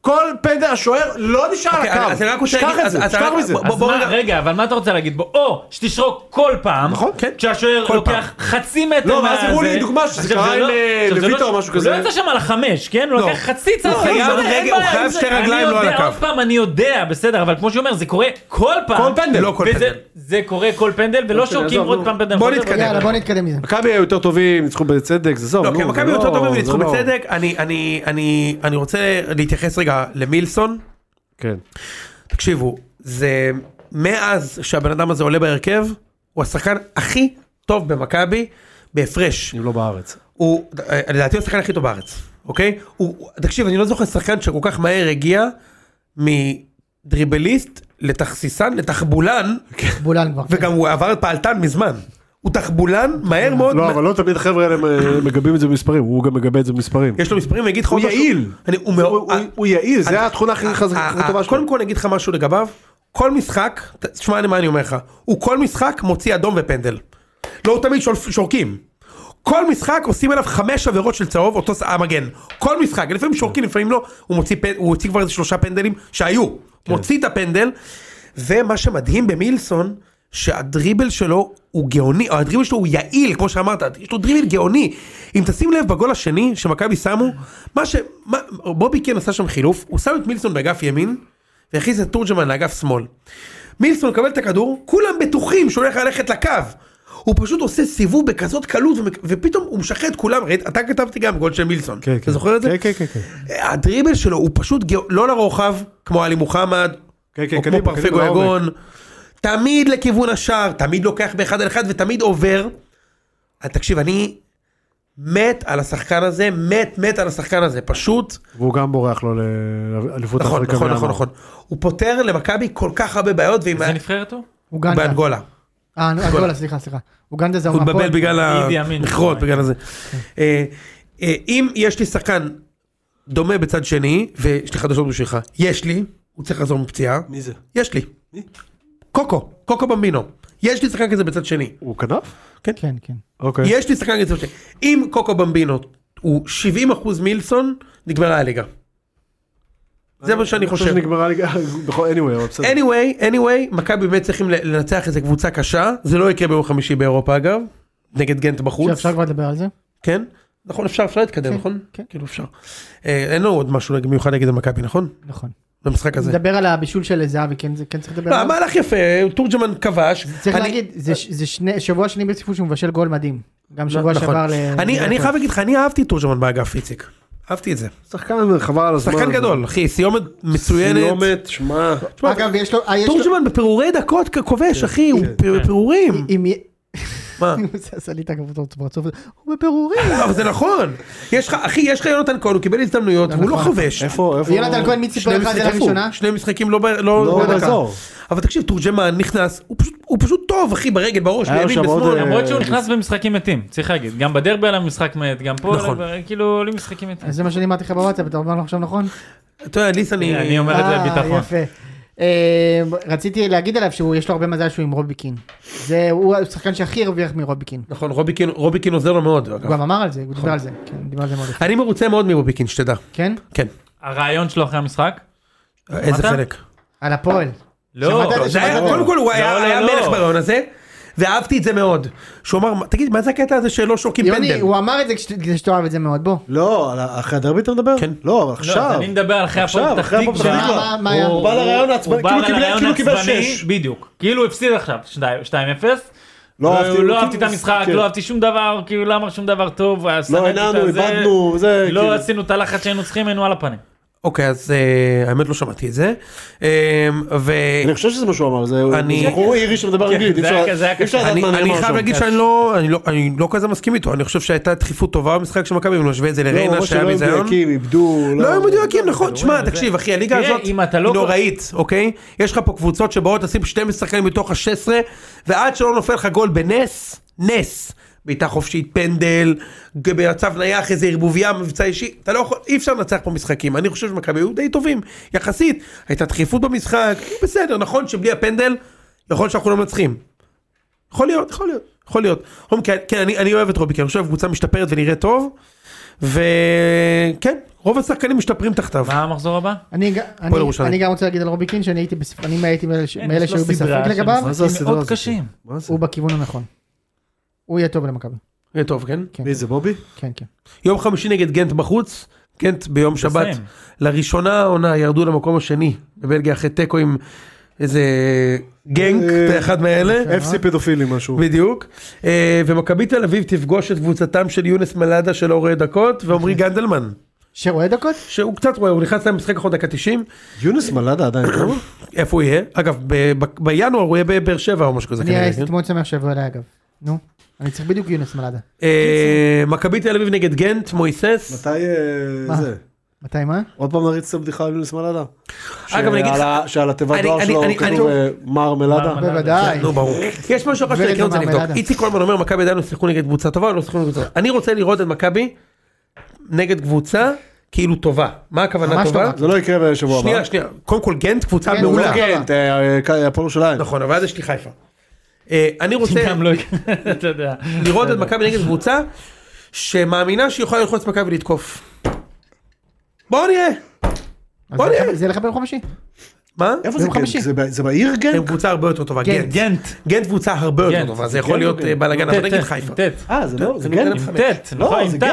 E: כל פנדל השוער לא נשאר על
D: אוקיי,
E: הקו,
D: אז אני רק רוצה
E: שכח
D: להגיד-
E: את זה,
D: אז- אז
E: שכח
D: רק-
E: מזה.
D: בוא-
C: אז
D: בוא
C: מה,
D: רגע.
C: רגע, אבל מה אתה רוצה להגיד בו? או שתשרוק כל פעם,
E: נכון,
D: כן.
C: כשהשוער
D: כל
C: לוקח חצי מטר
E: לא, ואז
C: מהזה.
E: הראו לי דוגמה שזה
C: עכשיו,
E: קרה
C: זה
E: עם,
C: לא-
E: אה,
C: עכשיו, זה
E: לויטו
C: לא-
E: או משהו כזה.
C: הוא לא יצא שם על החמש, כן? הוא
D: לא.
C: לקח חצי צעד.
D: הוא חייב
C: אין
D: רגע,
C: בעיה
D: הוא
C: עם
D: חייב
C: זה.
D: שתי
C: אני
D: רגליים, לא על
C: יודע,
D: הקו.
C: עוד פעם, אני יודע, בסדר, אבל כמו שאומר, זה קורה כל פעם.
E: כל פנדל.
D: לא כל
C: וזה-
D: פנדל.
C: זה קורה כל פנדל, ולא
E: אוקיי,
C: שורקים
E: עזוב,
C: עוד
E: נו.
C: פעם פנדל.
D: בוא
C: חוזר.
D: נתקדם.
A: יאללה, בוא נתקדם מזה.
E: מכבי היו יותר טובים, ניצחו בצדק, זה זהו.
D: לא,
E: נו,
D: כי
E: זה
D: מכבי יותר טובים
E: זה
D: וניצחו
E: לא-
D: בצדק. אני- אני- אני- אני רוצה להתייחס רגע למילסון.
E: כן.
D: תקשיבו, זה מאז שהבן אדם הזה עולה בהרכב, הוא השחקן הכי טוב במכבי בהפרש.
E: אם לא בארץ.
D: הוא, אה, לדעתי הוא השחקן הכי טוב בארץ, אוקיי? הוא, הוא- תקשיב, אני לא זוכר שחקן שכל כך מהר הגיע מדריבליסט לתכסיסן, לתחבולן,
E: כן.
A: בולן כבר.
D: וגם הוא עבר את פעלתן מזמן. הוא תחבולן מהר מאוד.
E: לא, אבל לא תמיד החבר'ה האלה אה, מגבים את זה במספרים, הוא גם מגבה את זה במספרים.
D: יש לו מספרים, אני אגיד לך
E: הוא
D: עוד משהו.
E: יעיל.
D: אני- הוא מאוד-
E: הוא- הוא- אה, הוא יעיל,
D: אני-
E: זה התכונה הכי חזקה-
D: ה-
E: הכי
D: ה-
E: טובה שלו.
D: קודם כל אני אגיד לך משהו לגביו, כל משחק, ת- תשמע לי מה אני אומר לך, הוא כל משחק מוציא אדום ופנדל. לא, הוא תמיד שול- שורקים. כל משחק עושים עליו חמש עבירות של צהוב, אותו ס- המגן. כל משחק, לפעמים שורקים, לפעמים לא. הוא מוציא, פנ- הוא הוציא כבר איזה שלושה פנדלים שהיו. מוציא את הפנדל, ומה שמדהים במילסון, שהדריבל שלו הוא גאוני, או הדריבל שלו הוא יעיל, כמו שאמרת, יש לו דריבל גאוני. אם תשים לב בגול השני שמכבי שמו, מה ש... מה, בובי קן עשה שם חילוף, הוא שם את מילסון באגף ימין, והכניס את תורג'מן לאגף שמאל. מילסון מקבל את הכדור, כולם בטוחים שהוא הולך ללכת לקו. הוא פשוט עושה סיבוב בכזאת קלות, ומק- ופתאום הוא משחרר את כולם, ראית? אתה כתבתי גם גול של מילסון,
E: כן,
D: אתה
E: כן.
D: זוכר את זה?
E: כן, כן, כן, כן.
D: הדריבל שלו הוא פשוט גא... לא לרוחב, כמו עלי מוחמד,
E: כן, כן,
D: או
E: קדימה,
D: כמו פרפגו
E: קדימה, לעומק.
D: יגון, תמיד לכיוון השער, תמיד לוקח באחד על אחד ותמיד עובר. אז תקשיב, אני מת על השחקן הזה, מת מת על השחקן הזה, פשוט.
E: והוא גם בורח לו לאליפות
D: נכון,
E: אפריקה.
D: נכון,
E: מינואר.
D: נכון, נכון. הוא פותר למכבי כל כך הרבה בעיות, ועם...
C: זה נבחרת הוא?
A: אוגנדה.
D: באנגולה.
A: אה, נו, אנגולה, סליחה, סליחה. אוגנדה זה
D: הוא התבלבל
A: המפות.
D: בגלל
C: אידי אמין.
D: המכרות, בגלל הזה.
A: כן.
D: אה, אה, אם יש לי שחקן דומה בצד שני, ויש לי חדשות בשבילך, יש לי, הוא צריך לחזור מפציעה,
E: מי זה?
D: יש לי.
E: מי?
D: קוקו, קוקו במבינו. יש לי שחקן כזה בצד שני.
E: הוא כנף?
A: כן, כן.
E: אוקיי.
D: יש לי שחקן כזה בצד שני. אם קוקו במבינו הוא 70% מילסון, נגמרה הליגה. זה מה שאני חושב.
E: שנגמרה ליגה, בכל anyway, אבל בסדר.
D: anyway, anyway, מכבי באמת צריכים לנצח איזה קבוצה קשה, זה לא יקרה ביום חמישי באירופה אגב, נגד גנט בחוץ.
A: אפשר כבר לדבר על זה?
D: כן? נכון, אפשר, אפשר להתקדם,
A: כן,
D: נכון?
A: כן.
D: כאילו אפשר. אה, אין לו עוד משהו מיוחד נגד המכבי, נכון?
A: נכון.
D: במשחק הזה.
A: נדבר על הבישול של זהבי, כן זה- כן צריך לדבר
D: לא,
A: עליו.
D: המהלך יפה, תורג'מן כבש.
A: צריך
D: אני-
A: להגיד, זה ש- זה שני- שבוע שני ברציפות שהוא מבשל גול מדהים. גם שבוע
D: נכון.
A: שעבר ל...
D: אני אני חייב להגיד לך, אני אהבתי את תורג'מן באגף, איציק. אהבתי את זה.
E: שחקן חבל על הזמן.
D: שחקן גדול, אחי, סיומת מצוינת.
E: סיומת, שמע.
D: תשמע,
A: אגב, יש לו... אה, יש לו-
D: תורג'מן בפירורי דקות כ- כובש, אחי, הוא פ- פירורים.
A: אם י-
D: מה?
A: הוא עשה לי את הכבודות ברצוף, הוא בפירורים.
D: אבל זה נכון. יש לך, אחי, יש לך יונתן כהן, הוא קיבל הזדמנויות, והוא לא
A: נכון.
D: כובש.
E: איפה, איפה?
A: יונתן כהן, מי ציפה
D: שני
A: לך את זה
D: משחקים,
A: לראשונה?
D: שני משחקים לא ב- לא
E: לא
D: בדקה.
E: באזור.
D: אבל תקשיב, תורג'מן נכנס, הוא פשוט- הוא פשוט טוב, אחי, ברגל, בראש,
E: היה לו
D: בימין,
E: שם עוד,
D: בשמאל.
E: אה,
D: למרות-
C: למרות שהוא נכנס במשחקים מתים, צריך להגיד. גם בדרבי עליו משחק מת, גם פה,
D: נכון.
C: עליו- כאילו, עולים משחקים מתים.
A: אז אה, זה מה שאני אמרתי לך בוואטסאפ, אתה אומר לו עכשיו נכון?
D: אתה יודע, ליס, אה, אני...
C: אני אומר את
A: אה,
C: זה בביטחון.
A: יפה. אה, רציתי להגיד עליו שיש לו הרבה מזל שהוא עם רובי קין. זה, הוא השחקן שהכי הרוויח מרובי קין.
D: נכון, רובי קין- רובי קין עוזר לו מאוד. אגב.
A: הוא גם אמר על זה, הוא
D: נכון.
A: דיבר על זה. כן, דיבר על זה מאוד. יפה.
D: אני מרוצה מאוד מרובי קין, שתדע.
A: כן?
D: כן.
C: הרעיון שלו אחרי המשחק?
D: איזה חלק. נכון.
A: על הפועל.
C: לא,
A: שמעת את
D: זה היה,
A: שמעת את
D: קודם כל הוא
C: לא,
D: היה
C: לא,
D: היה
C: לא.
D: מלך ברעיון הזה, ואהבתי את זה מאוד. שהוא אמר, תגיד, מה זה הקטע הזה שלא שורקים
A: יוני,
D: פנדל?
A: הוא אמר את זה כש- כדי שתאהב את זה מאוד, בוא.
E: לא, על ה- אחרי הדרבי אתה מדבר?
D: כן.
E: לא, אבל
C: לא, אז
E: עכשיו.
C: אני מדבר על אחרי
E: עכשיו,
C: הפועל פתח
E: אחרי הפועל פתח
C: תקווה.
A: תקווה. מה- מה- מה היה?
E: הוא בא לרעיון העצבני,
C: הוא בא
E: כאילו קיבל-
C: לרעיון
E: כאילו קיבל
C: עצבני,
E: שש.
C: בדיוק. כאילו הוא הפסיד עכשיו 2-0.
E: לא אהבתי-
C: לא
E: הוא
C: אהבתי את
E: כאילו-
C: המשחק,
E: כן.
C: לא אהבתי שום דבר, כאילו לא אמר שום דבר טוב, היה
E: לא,
C: שנאתי את
E: הנענו,
C: הזה.
E: איבדנו, זה... כאילו.
C: לא עשינו את הלחץ שהיינו צריכים, היינו על הפנים.
D: אוקיי, אז אה, האמת לא שמעתי את זה. אה, ו...
E: אני חושב שזה מה שהוא אמר, זה
D: אני- כן,
E: זה בחור אירי שמדבר אנגלית, אי
C: זה
E: אפשר
C: היה- זה היה
E: אי אפשר
C: קשה.
E: לדעת
D: אני
E: מה
D: אני
E: נאמר
D: חייב
E: שם.
D: להגיד שאני לא, אני לא, אני לא כזה מסכים איתו, אני חושב שהייתה דחיפות טובה במשחק של מכבי, אם נשווה את זה
E: לא,
D: לריינה
E: ממש
D: שהיה
E: שלא היו
D: ביזיון.
E: מדויקים, איבדו,
D: לא היו מדויקים, נכון, תשמע, תקשיב, אחי, הליגה
C: תראה,
D: הזאת היא
C: אם אתה לא-
D: נוראית, אוקיי? יש לך פה קבוצות שבאות לשים 12 שחקנים מתוך ה-16, ועד שלא נופל לך גול בנס, נס. בעיטה חופשית, פנדל, ג- במצב נייח, איזה ערבוביה, מבצע אישי, אתה לא יכול, אי אפשר לנצח פה משחקים. אני חושב שמכבי היו די טובים, יחסית. הייתה דחיפות במשחק, בסדר, נכון שבלי הפנדל, יכול להיות שאנחנו לא מנצחים. יכול להיות, יכול להיות, יכול להיות. רום, כן, כן, אני, אני אוהב את רובי, כי אני חושב שהקבוצה משתפרת ונראית טוב, וכן, רוב השחקנים משתפרים תחתיו.
C: מה המחזור הבא?
A: אני ג- אני-
D: ירושלים.
A: אני גם רוצה להגיד על רובי קין שאני הייתי בספ- אני הייתי מאלה ש- מאלה
C: כן, יש לו
A: שהיו בספק
C: לא סדרה של
A: לגביו,
E: מה זה
C: משחקים
E: הסדרה
C: מאוד
E: הזאת?
C: קשים.
E: מה זה?
A: הוא בכיוון הנכון. הוא יהיה טוב למכבי.
D: יהיה טוב, כן?
A: כן,
E: מי זה בובי?
A: כן, כן.
D: יום חמישי נגד גנט בחוץ, גנט ביום שבת.
C: בסיים.
D: לראשונה העונה ירדו למקום השני בבלגיה אחרי תיקו עם איזה גנק,
E: אה,
D: אתה אחד מאלה.
E: FC פדופילי משהו.
D: בדיוק, אה, ומכבי תל אביב תפגוש את קבוצתם של יונס מלאדה שלא רואה דקות ועמרי גנדלמן,
A: שרואה דקות?
D: שהוא קצת רואה, הוא נכנס למשחק אחרון דקה 90,
E: יונס מלאדה עדיין, לא?
D: איפה הוא יהיה? אגב, ב- ב- בינואר הוא יהיה בבאר שבע או משהו כזה
A: אני
D: כנראה.
A: הייתי
D: כן?
A: מאוד שמח שיבוא אליי אגב. נו, אני צריך בדיוק יונס מלאדה.
D: אה, מכבי תל אביב נגד גנט, מויסס.
E: מתי אה,
A: מה?
E: זה?
A: מתי מה?
E: עוד פעם נריץ את הבדיחה על יונס מלאדה?
D: אגב, אני אגיד לך-
E: שעל ה- שעל התיבת
D: אני-
E: דואר
D: אני-
E: שלו
D: אני-
E: הוא כתוב
D: אני-
E: אה, מר מלאדה?
C: מר-
A: בוודאי.
D: כן, נו ברור. יש משהו אחר שאני כן רוצה
A: ורד
D: לבדוק.
A: ומעמד.
D: איציק קולמן אומר מכבי עדיין לא שיחקו נגד קבוצה טובה או לא שיחקו נגד קבוצה. אני רוצה לראות את מכבי נגד קבוצה כאילו טובה. מה הכוונה
A: ממש
D: טובה?
A: טובה.
E: זה לא יקרה בשבוע הבא.
D: שנייה שנייה. קודם כל גנט קבוצה
A: גנט,
D: מעולה.
A: לא גנט.
E: כן, הפועל ירושלים.
D: נכון אבל אז יש לי חיפה. אה, אני רוצה
C: גם לא יקרה, אתה יודע.
D: לראות את מכבי נגד קבוצה שמאמינה שהיא יכולה ללחוץ מכבי ולתקוף. בואו נראה.
A: אז
D: בוא
A: זה
D: נראה.
A: לך- זה לך ביום חמישי.
D: מה?
E: איפה זה
A: ביום
E: גנט?
A: חמישי.
E: זה ב- זה בעיר
D: הם
E: גנט?
D: קבוצה הרבה יותר טובה. גנט.
C: גנט.
D: גנט קבוצה הרבה יותר
C: גנט.
D: טובה. זה יכול
E: גנט או
D: להיות אה,
E: גנט?
D: בלאגן אבל
C: טט,
D: נגיד
C: טט,
D: חיפה.
C: טט.
E: אה, זה לא,
D: זה
E: זה
D: גנט.
E: גנט.
C: עם טט,
E: לא,
C: נכון, עם
E: זה
C: טט.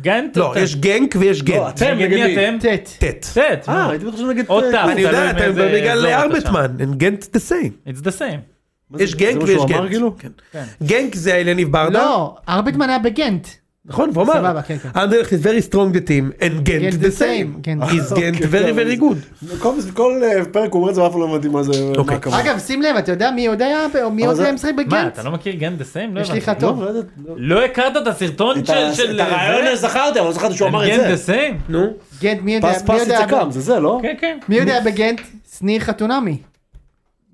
C: גנט או
D: לא
C: טט.
D: יש גנק ויש גנט.
E: אתם,
C: אתם, נגד
E: נגד
C: מי
E: מי?
C: אתם?
A: טט.
D: טט.
C: טט.
E: אה, הייתי בטוח שזה נגד...
C: עוד תא.
D: אני יודע,
C: תלוי
D: אתה
C: מאיזה
D: בגלל
C: אזור אתה
D: ארבטמן, and גנט the same.
C: It's the same.
E: לא, מה זה-
D: יש גנק
E: זה מה
D: ויש
E: שהוא אמר,
D: גנט.
E: כאילו?
D: כן. גנק זה אלניב ברדה,
A: לא, ארבטמן היה בגנט.
D: נכון, והוא אמר,
A: סבבה, כן, כן.
D: אנדרלכט is very strong the team, and גנט
A: Gent
D: the
A: the
D: same.
A: same, כן.
D: is גנט
E: אוקיי,
D: very
E: כן,
D: very good.
E: כל- כל אה, פרק הוא אומר את זה ואף פעם לא הבנתי מה זה, מה
D: אוקיי.
E: הכוונה.
A: אגב, שים לב, אתה יודע מי עוד היה, או מי
E: אבל
A: עוד
E: זה-
A: היה משחק
C: מה,
A: בגנט?
C: אתה לא מכיר גנט the same? לא
A: יש לי לך
C: הבנתי.
A: טוב.
E: לא, לא יודעת, לא.
C: לא הכרת את הסרטון
E: את
C: של...
E: ה-
C: של-
E: את הרעיון
C: זה?
E: הזה זכרתי, אבל לא זכרתי שהוא אמר את
C: גנט
E: זה.
C: the same?
D: נו,
A: גנט, מי יודע?
E: פס
A: מי
E: פס
A: יודע-
E: את זה קם, זה זה, לא?
C: כן, כן.
A: מי יודע בגנט? שניר חתונמי.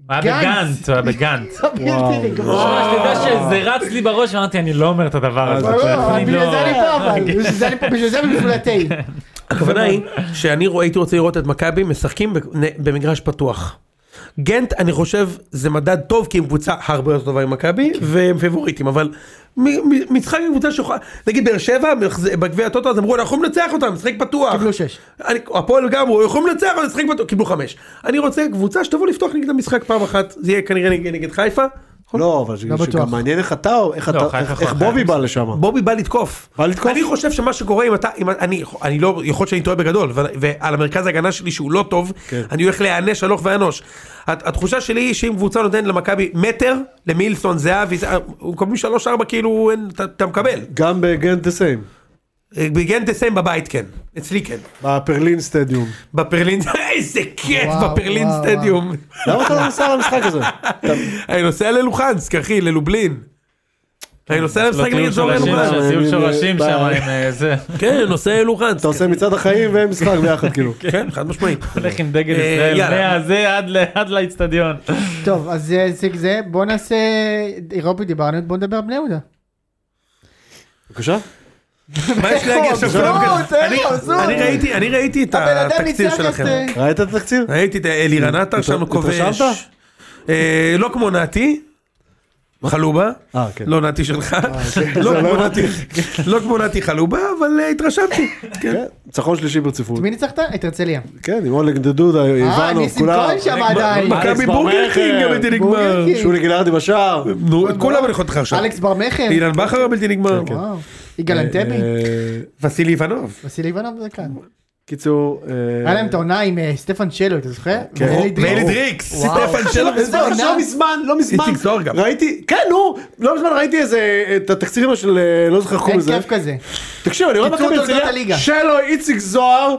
C: הוא היה
A: גנץ.
C: בגנט, הוא היה בגנט.
A: בלתי נגמר.
C: אתה יודע שזה רץ לי בראש ואמרתי אני לא אומר את הדבר הזה.
A: ברור, אבל
C: אני
A: בגלל
C: לא-
A: אה, זה אני פה, אבל. בשביל אוקיי. זה אני פה, בשביל זה ובשביל התה.
D: הכוונה היא שאני רוא- הייתי רוצה לראות את מכבי משחקים ב- נ- במגרש פתוח. גנט, אני חושב, זה מדד טוב, כי הם קבוצה הרבה יותר טובה עם
A: כן.
D: מכבי, והם פיבוריטים, אבל מ- מ- משחק עם קבוצה שיכולה, נגיד באר שבע, מחז- בגביע הטוטו, אז אמרו, אנחנו יכולים לנצח אותם, משחק פתוח.
A: קיבלו שש.
D: אני- הפועל גם, הוא יכולים לנצח, אבל משחק פתוח, קיבלו חמש. אני רוצה קבוצה שתבוא לפתוח נגד המשחק פעם אחת, זה יהיה כנראה נגד נגד חיפה.
E: לא, אבל
A: לא בטוח.
E: שגם מעניין איך אתה, איך
C: לא,
E: אתה,
C: חיפה
E: איך-
C: יכולה,
E: איך בובי
C: חיפה.
E: בא לשם.
D: בובי בא לתקוף.
E: בא לתקוף?
D: אני חושב שמה שקורה אם אתה, אם אני, אני לא, יכול להיות שאני טועה בגדול, ו- ועל המרכז ההגנה שלי שהוא לא טוב,
E: כן.
D: אני הולך להיענש הלוך ואנוש. הת- התחושה שלי היא שאם קבוצה נותנת למכבי מטר, למילסון, זהבי, זה- הוא מקבלים שלוש ארבע כאילו אין, אתה, אתה מקבל.
E: גם בגנט דה סיים,
D: בגן תסיים בבית כן, אצלי כן.
E: בפרלין סטדיום.
D: בפרלין, איזה כיף,
A: וואו,
D: בפרלין
A: וואו,
D: סטדיום.
E: למה אתה לא נוסע למשחק הזה?
D: אני נוסע ללוחנסק אחי, ללובלין. אני נוסע
C: לא,
D: למשחק נגד
C: טיול
D: זורר
C: שורשים
D: לוחנסק.
C: שם, טיול
E: הם,
C: שורשים
E: אה,
C: שם
E: ב-
C: עם אה, זה.
D: כן, נוסע ללוחנסק.
E: אתה עושה מצעד החיים ומשחק ביחד, כאילו.
D: כן, חד משמעית.
C: הולך עם דגל
D: אה,
C: ישראל
D: יאללה.
C: מהזה עד ל- עד לאצטדיון.
A: טוב, אז זה הישג זה, בוא נעשה, אירופי דיברנו, בוא נדבר על בני יהודה.
E: בבקשה?
D: מה יש להגיד עכשיו?
A: זוז,
D: כולם כזה-
A: תן לא, לו,
D: אני-
A: זוז.
D: אני ראיתי, אני ראיתי את
A: אוקיי. הבן אדם
D: התקציר
A: ניצח את...
D: שלכם.
A: אה,
E: ראית את התקציר?
D: ראיתי את אלירן עטר שם
E: התרשמת?
D: כובש. אה, לא כמו נתי. חלובה,
E: אה, כן.
D: לא נתי שלך, לא כמו נתי- לא כמו נתי חלובה, אבל אה, התרשמתי. כן.
E: כן, ניצחון שלישי ברציפות.
A: מי ניצחת? את הרצליה.
E: כן, עם אולג דדודה,
A: אה,
E: איוונוב,
A: ניסים
E: כולם.
A: כהן שם עדיין. אה,
D: מכבי
E: אלכס אה,
D: בורגר
E: ברמכר,
D: קינג הבלתי נגמר.
A: בורגר קינג.
E: שולי גלערדי בשער.
D: נו, את כולם אני יכול אותך עכשיו.
A: אלכס בר מכר.
D: אילן בכר הבלתי
E: כן,
D: נגמר.
A: וואו. יגאל אנטבי.
E: אה,
D: וסילי איבנוב.
A: וסילי איוונוב זה כאן.
E: קיצור... אה,
A: היה להם את העונה עם אה, סטפן שלו, אתה זוכר?
E: כן.
A: ואלי דריקס.
D: ואלי דריקס.
A: וואו.
D: סטפן שלו.
A: איזה
E: לא,
A: עונה.
E: לא מזמן, לא מזמן.
D: איציק זוהר גם.
E: ראיתי, כן, נו, לא מזמן ראיתי איזה, את התקצירים האלה של, אה, לא זוכר איך
A: אין
E: קוראים לזה.
A: כיף כזה.
E: תקשיב, אני רואה
A: קיצור
E: מכבי
A: תולדות
E: הרצליה,
A: הליגה.
E: שלו, איציק זוהר,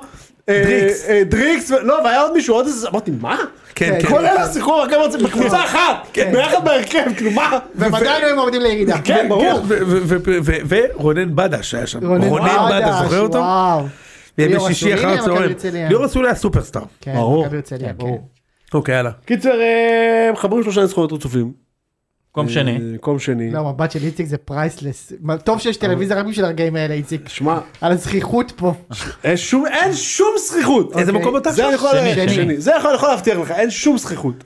E: אה,
D: דריקס.
E: אה, דריקס, ו- לא, והיה עוד מישהו, עוד איזה, אמרתי, מה?
D: כן, כן.
E: כל אלה שיחקו במכבי
A: כן.
E: הרצליה בקבוצה אחת, ביחד בהרכב, כאילו, מה?
A: והם עדיין היו מורדים לירידה.
E: כן, ברור.
D: ו- ו- ו- ו- ו- ורונן בדש היה שם. רונן
A: בדש,
D: בדש, זוכר אותו?
A: וואו. ליאור
D: בשישי
A: אסולין
D: אחר
A: היה מכבי
D: הצהריים.
A: הרצליה.
D: ליאור אסולין היה סופרסטאר.
A: כן,
E: ברור.
A: מכבי הרצליה,
E: כן,
A: כן.
E: ברור.
D: אוקיי, יאללה.
E: קיצר, אה, מחברים שלושה ניצחונות רצופים.
C: מקום שני.
E: אה, מקום שני.
A: לא, המבט של איציק זה פרייסלס. טוב שיש טלוויזיה רק בשביל הרגעים האלה, איציק.
E: שמע,
A: על הזכיחות פה.
E: אין שום- אין שום זכיחות.
D: איזה מקום אתה
E: זה
D: עכשיו?
E: אני יכול
C: שני,
E: להגיד,
C: שני.
E: שני. זה יכול- אני יכול להבטיח לך, אין שום זכיחות.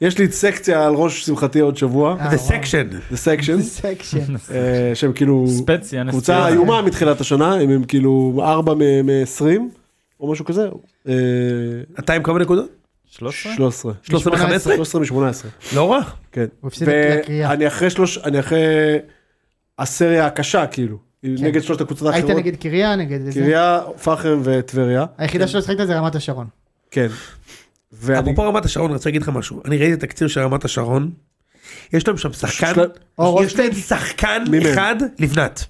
E: יש לי סקציה על ראש שמחתי עוד שבוע,
A: אה,
D: זה
A: וואו.
D: סקשן.
E: The Sections,
A: סקשן.
E: אה, שהם כאילו
C: ספציה, נס אה,
E: קבוצה
D: אה.
C: ציונה.
E: איומה מתחילת השנה, הם הם כאילו 4 מ-20 או משהו כזה, אה,
D: אתה עם כמה נקודות?
C: 13?
E: 13.
D: 13 ו-15?
E: 13 מ-18,
D: לא רע.
E: כן.
A: הוא הפסיד לקריאה.
E: ואני אחרי שלוש, אני אחרי הסריה הקשה כאילו, נגד שלושת הקבוצות
A: כן. היית
E: האחרות,
A: נגד קריה, נגד איזה?
E: קריה, פחם וטבריה,
A: היחידה שלא שחקת זה רמת השרון.
E: כן. ואני-
D: אפרופו רמת השרון, אני רוצה להגיד לך משהו. אני ראיתי תקציר של רמת השרון. יש להם שם שחקן,
E: יש להם-
D: יש להם שחקן
E: מי מהם?
D: אחד, לבנת.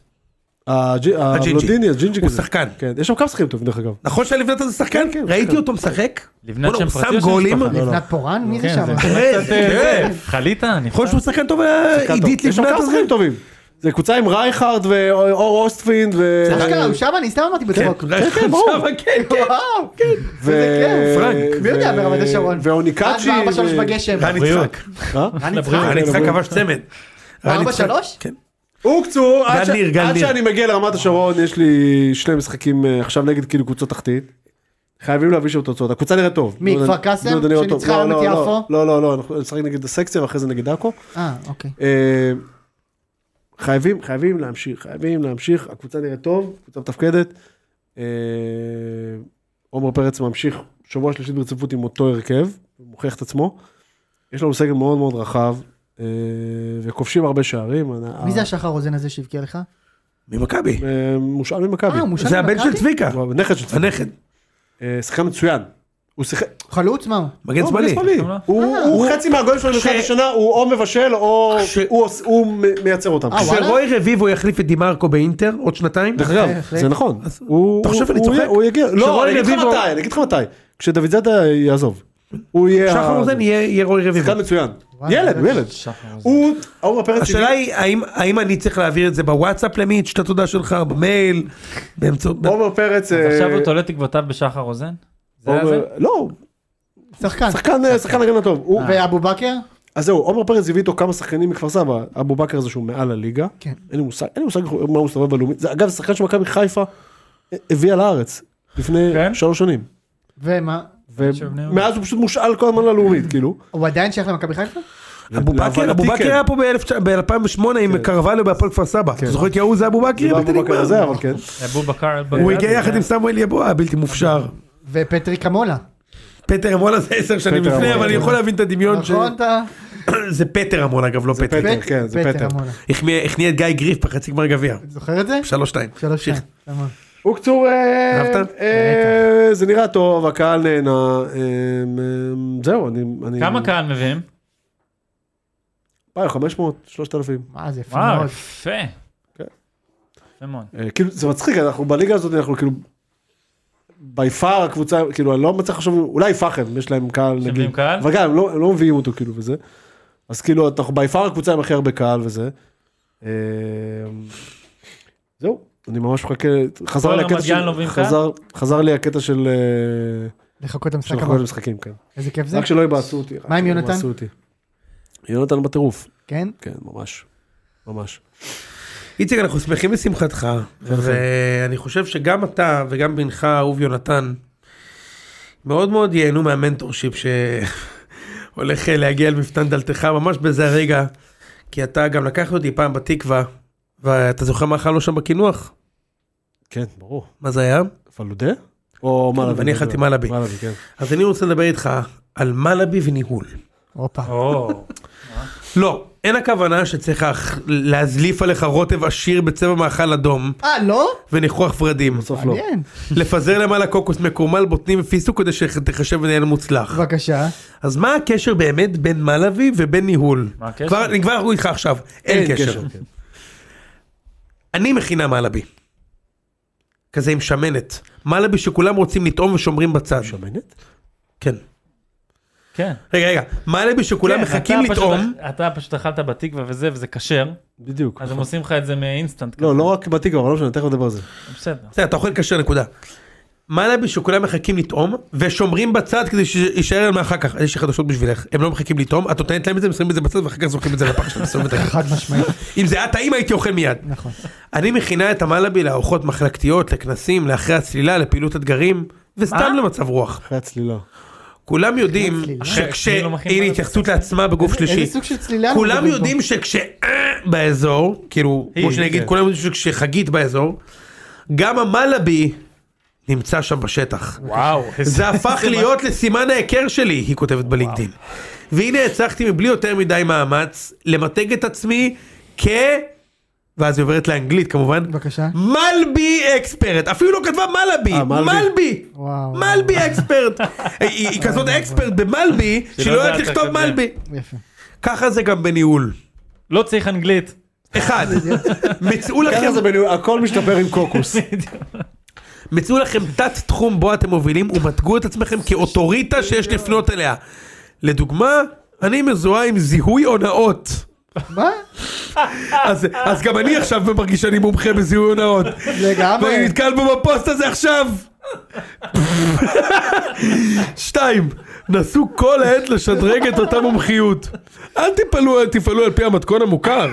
E: הג'י- הבלונדיני, הג'ינג'י
D: הוא
E: כזה.
D: שחקן.
E: כן, יש שם כמה שחקנים טובים דרך אגב.
D: נכון שלבנת הזה שחקן?
E: כן, כן,
D: ראיתי
E: כן.
D: אותו משחק.
C: לבנת
D: בואנה,
C: שם
D: הוא
C: פרטי או
D: שם
C: שם
D: גולים.
C: משפחה?
E: לא, לא.
A: לבנת פורן? מי זה
C: כן,
A: שם?
C: זה קצת,
D: כן,
C: אה,
D: כן.
C: חלית? אני
D: יכול להיות שהוא שחקן טוב, היה
E: שחקן טוב.
D: עידית
E: יש שם
D: לבנת
E: כמה
D: הזה.
E: שחקנים טובים. זה קבוצה עם רייכרד ואור אוסטפינד ו...
A: אשכרה, הוא שם? אני סתם אמרתי בצחוק.
D: כן, כן, ברור. כן, כן.
A: וואו, כן.
E: ו...
A: איזה כיף.
E: פרנק.
A: כן, מי יודע ברמת השרון?
E: ואוניקאצ'י.
A: עד בארבע שלוש
E: ו-
A: בגשם.
D: רן
C: בריאות.
D: יצחק.
E: אה?
A: רן יצחק?
C: לבריאות.
D: רן יצחק כבש צמד. רן
A: ארבע,
D: יצחק.
A: שלוש?
D: כן.
E: וקצור, עד
D: גל
E: ש-
D: ניר, גל
E: עד
D: ניר.
E: שאני מגיע לרמת השרון, יש לי שני משחקים אה, עכשיו נגד כאילו קבוצות תחתית. חייבים להביא שם תוצאות, הקבוצה נראית טוב.
A: מי,
E: לא יודע-
A: כפר קאסם?
E: לא יודע לראות
A: שניצחה
E: טוב. לא,
A: היום את
E: לא,
A: יפו?
E: לא, לא, לא, אנחנו נשחק נגד הסקציה ואחרי זה נגד עכו.
A: אה, אוקיי.
E: אה, חייבים, חייבים להמשיך, חייבים להמשיך, הקבוצה נראית טוב, קבוצה מתפקדת. אה, עומר פרץ ממשיך שבוע שלישית ברציפות עם אותו הרכב, הוא מוכיח את עצמו. יש לנו סגל מאוד מאוד רחב, אה, וכובשים הרבה שערים.
A: מי זה השחר רוזן הזה שהבקיע לך?
D: ממכבי.
E: אה, מושאל ממכבי.
A: אה, הוא מושל
D: זה הבן
A: ממכבי?
D: של צביקה.
E: הוא הנכד של צביקה.
D: הנכד.
E: אה, שחקן מצוין. הוא שיחק...
A: חלוץ? מה הוא?
D: מגן
E: לא,
D: שמאלי.
E: הוא שמאלי. הוא הוא חצי מהגולים שלו
D: כש-
E: לפני השנה, הוא או מבשל או
D: כש-
E: הוא עוש- הוא מ- מייצר אותם.
A: אה, וואלה?
D: כשרוי רביבו יחליף את דימרקו באינטר עוד שנתיים.
E: דרך אגב,
A: בהחלט.
E: זה נכון.
D: אז
E: הוא-
D: אתה חושב
E: הוא-
D: אני
E: הוא
D: צוחק?
E: יהיה- הוא יגיע. לא,
D: שרוני
E: אני אגיד לך
D: רביבו-
E: מתי, אני אגיד לך מתי. כשדוד זאדה יעזוב. הוא יהיה...
D: שחר
E: ה-
D: רוזן יהיה יהיה רוי רביבו.
E: שחקן מצוין.
A: וואלה,
E: ילד, הוא
A: זה-
E: ילד.
C: שחר רוזן.
E: הוא... עומר פרץ...
D: השאלה
E: הגיע-
D: היא האם- האם אני צריך להעביר את זה בוואטסאפ למי את שאת התודה שלך במייל באמצעות
E: עומר פרץ...
C: אז
E: אה,
C: עכשיו הוא תולה תקוותיו בשחר רוזן? זה היה
E: עומר-
C: זה?
E: לא,
A: שחקן.
E: שחקן אה, שחקן הגנה טוב. הוא-
A: ואבו בכר?
E: אז זהו, עומר פרץ הביא איתו כמה שחקנים מכפר סבא, אבו בכר זה שהוא מעל הליגה,
A: כן.
E: אין לי מושג, אין לי מושג איך הוא- מה הוא מסתובב בלאומית, זה אגב זה שחקן שמכבי חיפה אה, הביאה לארץ לפני
C: כן?
E: שלוש שנים,
A: ומה?
C: שבני יהודה.
E: ומאז הוא פשוט מושאל כל הזמן ללאומית, כאילו,
A: הוא עדיין שייך למכבי חיפה?
D: אבו בכר, אבו
E: להבנתי
D: בכר
E: כן.
D: היה פה ב-2008 עם קרווליו בהפועל כפר סבא. אתה זוכר את יהוא זה אבו בכר?
E: זה לא
D: כאילו בלתי
E: אבו
D: נגמר.
E: בכר הזה, אבל כן,
C: אבו בקר.
D: הוא הגיע יחד עם סמואל יבוע הבלתי מופשר.
A: ופטרי קמולה.
D: פטר אמונה זה עשר שנים
E: כן. פטר
D: לפני
E: אמונה,
D: אבל אני
E: כן.
D: יכול להבין את הדמיון. ש-
A: נכון אתה?
D: זה פטר אמונה אגב לא פטר.
E: פטר, כן, זה פטר.
A: עמונה.
D: החמיא- החמיא את גיא גריף בחצי גמר גביע.
A: זוכר את זה?
D: שלוש שתיים.
A: שלוש
D: המשיך.
A: שתיים. תמון.
E: וקצור, אה,
D: אהבת?
E: אה, זה נראה טוב, הקהל נהנה, אה, אה, זהו, אני, אני,
C: כמה קהל מביאים?
E: 500, 3,000,
A: מה זה יפה
C: וואו,
A: מאוד.
C: יפה.
E: כן.
C: יפה מאוד.
E: אה, כאילו זה מצחיק, אנחנו בליגה הזאת אנחנו כאילו, בי פאר הקבוצה, כאילו אני לא מצליח לחשוב, אולי פחם, יש להם קהל נגיד,
C: מביאים קהל?
E: אבל גם הם לא, הם לא מביאים אותו כאילו וזה, אז כאילו אנחנו בי פאר הקבוצה עם הכי הרבה קהל וזה, אה, זהו, אני ממש מחכה, חזר
C: כל
E: לי הקטע
C: רמת גן
E: של,
C: לא מביאים קהל?
E: חזר, חזר לי הקטע של, אה,
A: לחכות
E: של
A: למשחק הבא.
E: חכות משחקים, כן,
A: איזה כיף זה.
E: רק שלא יבאסו אותי, רק
A: מה עם
E: שלא
A: יונתן?
E: יבאסו אותי. יונתן בטירוף,
A: כן?
E: כן ממש, ממש,
D: איציק אנחנו שמחים לשמחתך ואני חושב שגם אתה וגם בנך אהוב יונתן מאוד מאוד ייהנו מהמנטורשיפ שהולך להגיע אל מפתן דלתך ממש בזה הרגע כי אתה גם לקחת אותי פעם בתקווה ואתה זוכר מה אכלנו שם בקינוח?
E: כן ברור,
D: מה זה היה?
E: פלודה? או
D: כן,
E: מלאבי?
D: ואני אכלתי מלאבי.
E: מלאבי, כן.
D: אז אני רוצה לדבר איתך על מלאבי וניהול.
A: הופה.
E: אה,
C: או,
D: לא, אין הכוונה שצריך להח- להזליף עליך רוטב עשיר בצבע מאכל אדום
A: אה, לא?
D: וניחוח ורדים.
E: בסוף לא.
A: מעניין.
D: לפזר למעלה קוקוס מקורמל בוטנים ופיסטוק כדי שתחשב מנהל מוצלח.
A: בבקשה.
D: אז מה הקשר באמת בין מלאבי ובין ניהול?
C: מה הקשר?
D: כבר- אני כבר אגיד לך עכשיו, אין קשר.
E: כן.
D: אני מכינה מלאבי. כזה עם שמנת. מלאבי שכולם רוצים לטעום ושומרים בצד.
E: שמנת?
D: כן.
C: כן.
D: רגע, רגע. מלאבי שכולם
C: כן,
D: מחכים
C: אתה פשוט-
D: לטעום.
C: אתה פשוט אכלת בתקווה וזה, וזה כשר,
E: לא. בדיוק.
C: אז הם עושים לך את זה מאינסטנט.
E: נכון. לא,
C: כזה.
E: לא רק בתקווה, אבל לא משנה, תכף נדבר על זה.
C: בסדר.
D: בסדר, אתה אוכל כשר נקודה. מלאבי שכולם מחכים לטעום ושומרים בצד כדי שיישאר להם אחר כך. יש לי חדשות בשבילך, הם לא מחכים לטעום, את נותנת להם את זה, הם שמים את זה בצד ואחר כך זורקים את זה לפח של מסוים ותגיד.
A: חד משמעית.
D: אם זה היה טעים הייתי אוכל מיד.
A: נכון.
D: אני מכינה את המלאבי לארוחות מחלקתיות, לכנסים, לאחרי הצלילה, לפעילות אתגרים, וסתם
C: מה?
D: למצב רוח.
E: אחרי הצלילה.
D: כולם יודעים
A: הצלילה?
D: שכש...
C: אני לא מכין
D: הנה
C: מלאבי.
D: התייחסות לעצמה בגוף שלישי.
A: איזה סוג של צלילה? אנחנו
D: כולם
A: מדברים פה?
D: יודעים שכש... אה, באזור, כאילו, כמו
C: היא,
D: שנגיד,
C: כן.
D: כולם יודעים שכשחגית באזור, גם המלאבי נמצא שם בשטח.
C: וואו.
D: זה הפך להיות לסימן ההיכר שלי, היא כותבת בלינקדאין. והנה הצלחתי מבלי יותר מדי מאמץ למתג את עצמי כ... ואז היא עוברת לאנגלית כמובן.
A: בבקשה.
D: מלבי אקספרט, אפילו לא כתבה מלבי,
E: אה, מלבי.
D: מלבי,
A: וואו.
D: מלבי אקספרט. היא היא כזאת אקספרט במלבי, שהיא לא
C: יודעת
D: יודעת לכתוב
C: לקבל.
D: מלבי.
A: יפה.
D: ככה זה גם בניהול.
C: לא צריך אנגלית.
D: אחד, מצאו
E: ככה
D: לכם
E: זה בניו- הכל משתפר עם קוקוס.
D: מצאו לכם תת תחום בו אתם מובילים ומתגו את עצמכם כאוטוריטה שיש לפנות אליה. לדוגמה, אני מזוהה עם זיהוי הונאות.
A: מה?
D: אז, אז גם אני עכשיו מרגיש שאני מומחה בזיהוי הונאות.
A: לגמרי.
D: ואני נתקל בו בפוסט הזה עכשיו. שתיים, נסו כל העת לשדרג את אותה מומחיות. אל תפעלו, אל תפעלו על פי המתכון המוכר.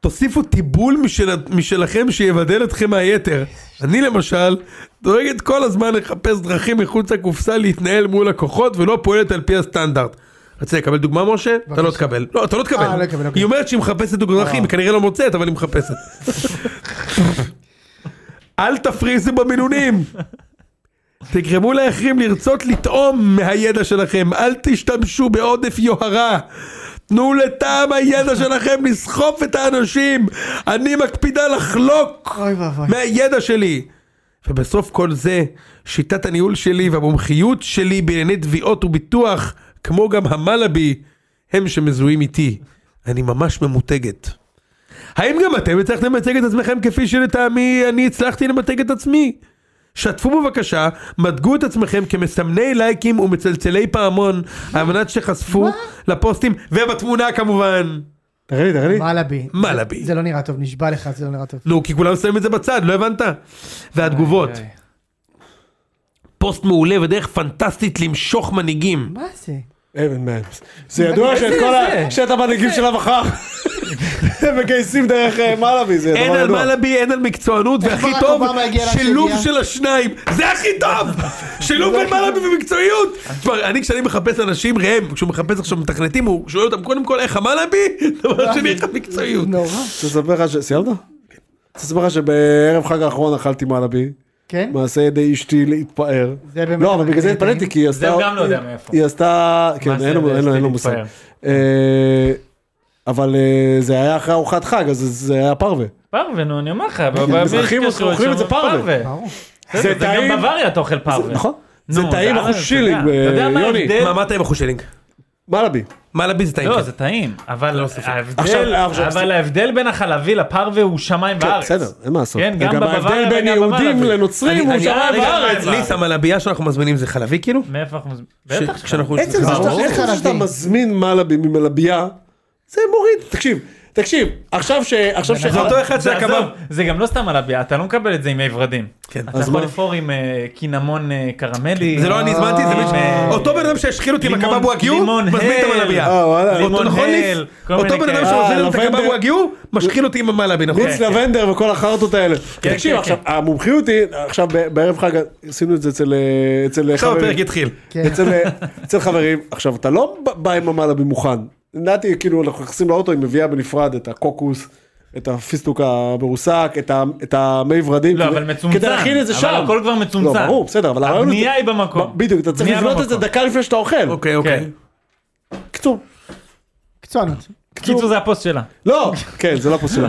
D: תוסיפו טיבול משל, משלכם שיבדל אתכם מהיתר. אני למשל, דואגת כל הזמן לחפש דרכים מחוץ לקופסה להתנהל מול לקוחות ולא פועלת על פי הסטנדרט. רצית לקבל דוגמה משה? אתה לא תקבל. לא, אתה לא תקבל.
A: אה, לא אקבל, אוקיי. אה.
D: היא אומרת שהיא מחפשת דרכים, היא כנראה לא מוצאת, אבל היא מחפשת. אל תפריזו במינונים. תגרמו לאחרים לרצות לטעום מהידע שלכם, אל תשתמשו בעודף יוהרה. תנו לטעם הידע שלכם לסחוף את האנשים. אני מקפידה לחלוק
A: אוי ואבוי.
D: מהידע שלי. ובסוף כל זה, שיטת הניהול שלי והמומחיות שלי בענייני תביעות וביטוח, כמו גם המלאבי, הם שמזוהים איתי. אני ממש ממותגת. האם גם אתם הצלחתם למתג את עצמכם כפי שלטעמי אני הצלחתי למתג את עצמי? שתפו בבקשה, מדגו את עצמכם כמסמני לייקים ומצלצלי פעמון על מנת שחשפו לפוסטים ובתמונה כמובן.
E: תראה לי, תראה לי.
A: מלאבי.
D: מלאבי.
A: זה לא נראה טוב, נשבע לך, זה לא נראה טוב.
D: נו, כי כולם שמים את זה בצד, לא הבנת? והתגובות. פוסט מעולה ודרך פנטסטית למשוך מנהיגים.
A: מה זה?
E: אבן מהם. זה ידוע שאת כל ה- שאת המנהיגים של המחר הם מגייסים דרך אה, מלאבי, זה
D: אין
E: דבר
D: על
E: ידוע.
D: מלאבי, אין על מקצוענות, והכי
A: ברק
D: טוב,
A: אובמה הגיע לאן
D: שילוב
A: שהגיע?
D: של השניים, זה הכי טוב! שילוב בין מלאבי ומקצועיות! כבר, אני כשאני מחפש אנשים, ראם, כשהוא מחפש עכשיו מתכנתים, הוא שואל אותם קודם כל איך המלאבי, דבר שני איך המקצועיות.
A: נורא.
E: רוצה לספר לך ש... סיימת? רוצה לספר לך שבערב חג האחרון אכלתי מלאבי.
A: כן?
E: מעשה ידי אשתי להתפאר.
A: זה באמת אה,
E: לא, אבל בגלל
A: טעים.
E: זה התפלאתי, כי היא עשתה...
C: הוא גם לא יודע מאיפה.
E: היא עשתה... כן,
C: זה
E: אין
C: ידי
E: לו- אין לו- אין
C: אשתי
E: לו מושג.
C: להתפאר?
E: אה, אבל אה, זה היה אחרי ארוחת חג, אז זה היה פרווה.
C: פרווה, נו, אני אומר לך.
E: מזרחים אוכלים את זה פרווה.
A: ברור.
C: זה
E: זה
C: טעים.
E: טעים.
C: גם בוואריה אתה אוכל פרווה.
E: נכון?
C: נו,
E: זה טעים
C: אתה-
E: אחוז שילינג,
C: אתה יודע- אתה יודע מה
E: אה, יוני.
C: ההבדל?
D: מה מה אתה עם החושלינג?
E: מלאבי.
D: מלאבי זה טעים.
C: לא,
D: כן.
C: זה טעים, אבל ההבדל,
E: לא, עכשיו, עכשיו,
C: אבל ההבדל בין החלבי לפרווה הוא שמיים
E: כן,
C: וארץ.
E: בסדר, אין מה לעשות.
C: כן, גם
E: וגם ההבדל
C: בבוואריה
E: בין
C: וגם
E: יהודים
C: במלאבי.
E: לנוצרים הוא
D: אני-
E: שם.
C: שמיים
D: רגע,
C: בארץ.
D: ליסה, מלאבייה שאנחנו מזמינים זה חלבי כאילו?
C: מאיפה אנחנו... מזמינים?
D: ש-
C: בטח שכן.
D: כשאנחנו-
E: עצם זה
D: ברור.
E: שאתה- עצם זה שאתה
A: חלבי.
E: מזמין מלאבי ממלאבייה, זה מוריד. תקשיב, תקשיב, עכשיו ש... עכשיו ש...
D: זה אותו אחד
C: זה
D: שהקבב.
C: עזוב, זה גם לא סתם מלאביה, אתה לא מקבל את זה עם הוורדים.
D: כן.
C: אתה
E: אז
C: יכול
E: מה?
C: לבחור עם אה, קינמון אה, קרמלי.
D: זה לא אני הזמנתי, זה מישהו-
C: אה,
D: אותו בן אדם שהשחיל אותי עם
C: לימון-
D: הקבב וואגיו,
C: לימון
D: מזמין את
C: הל.
D: המלאבייה.
E: אה, וואלה.
D: אותו,
C: לימון
D: נכון, ליס?
C: הל, כל
D: אותו
C: מיני
D: בן אדם
C: כאלה.
D: שעוזר לנו את
E: אה,
D: הקבב
E: לבנדר.
D: וואגיו, משחיל אותי עם המלאבי, נכון?
E: מיץ לבנדר וכל החרטות האלה. תקשיב,
C: כן,
E: עכשיו, המומחיות היא, עכשיו ב- בערב חג עשינו את זה אצל אה, אצל
D: עכשיו
E: חברים.
D: הפרק התחיל.
A: כן.
E: אצל, אה, אצל חברים. עכשיו, אתה לא ב- בא עם המלאבי מוכן. נתי, כאילו, אנחנו נכנסים לאוטו, היא מביאה בנפרד את הקוקוס. את הפיסטוק המרוסק, את ה- את המי ורדים.
C: לא,
E: כדי-
C: אבל מצומצם.
E: כדי להכין את זה
C: אבל
E: שם.
C: הכל כבר מצומצם.
E: לא, ברור, בסדר, אבל הרעיון הוא-
C: הבנייה היא במקום.
E: בדיוק, אתה צריך
C: בנייה
E: לבנות את זה
C: במקום.
E: דקה לפני שאתה אוכל.
D: אוקיי, אוקיי.
E: קצור.
A: קצוענות.
C: קיצור זה הפוסט שלה.
E: לא, כן, זה לא פה שלה.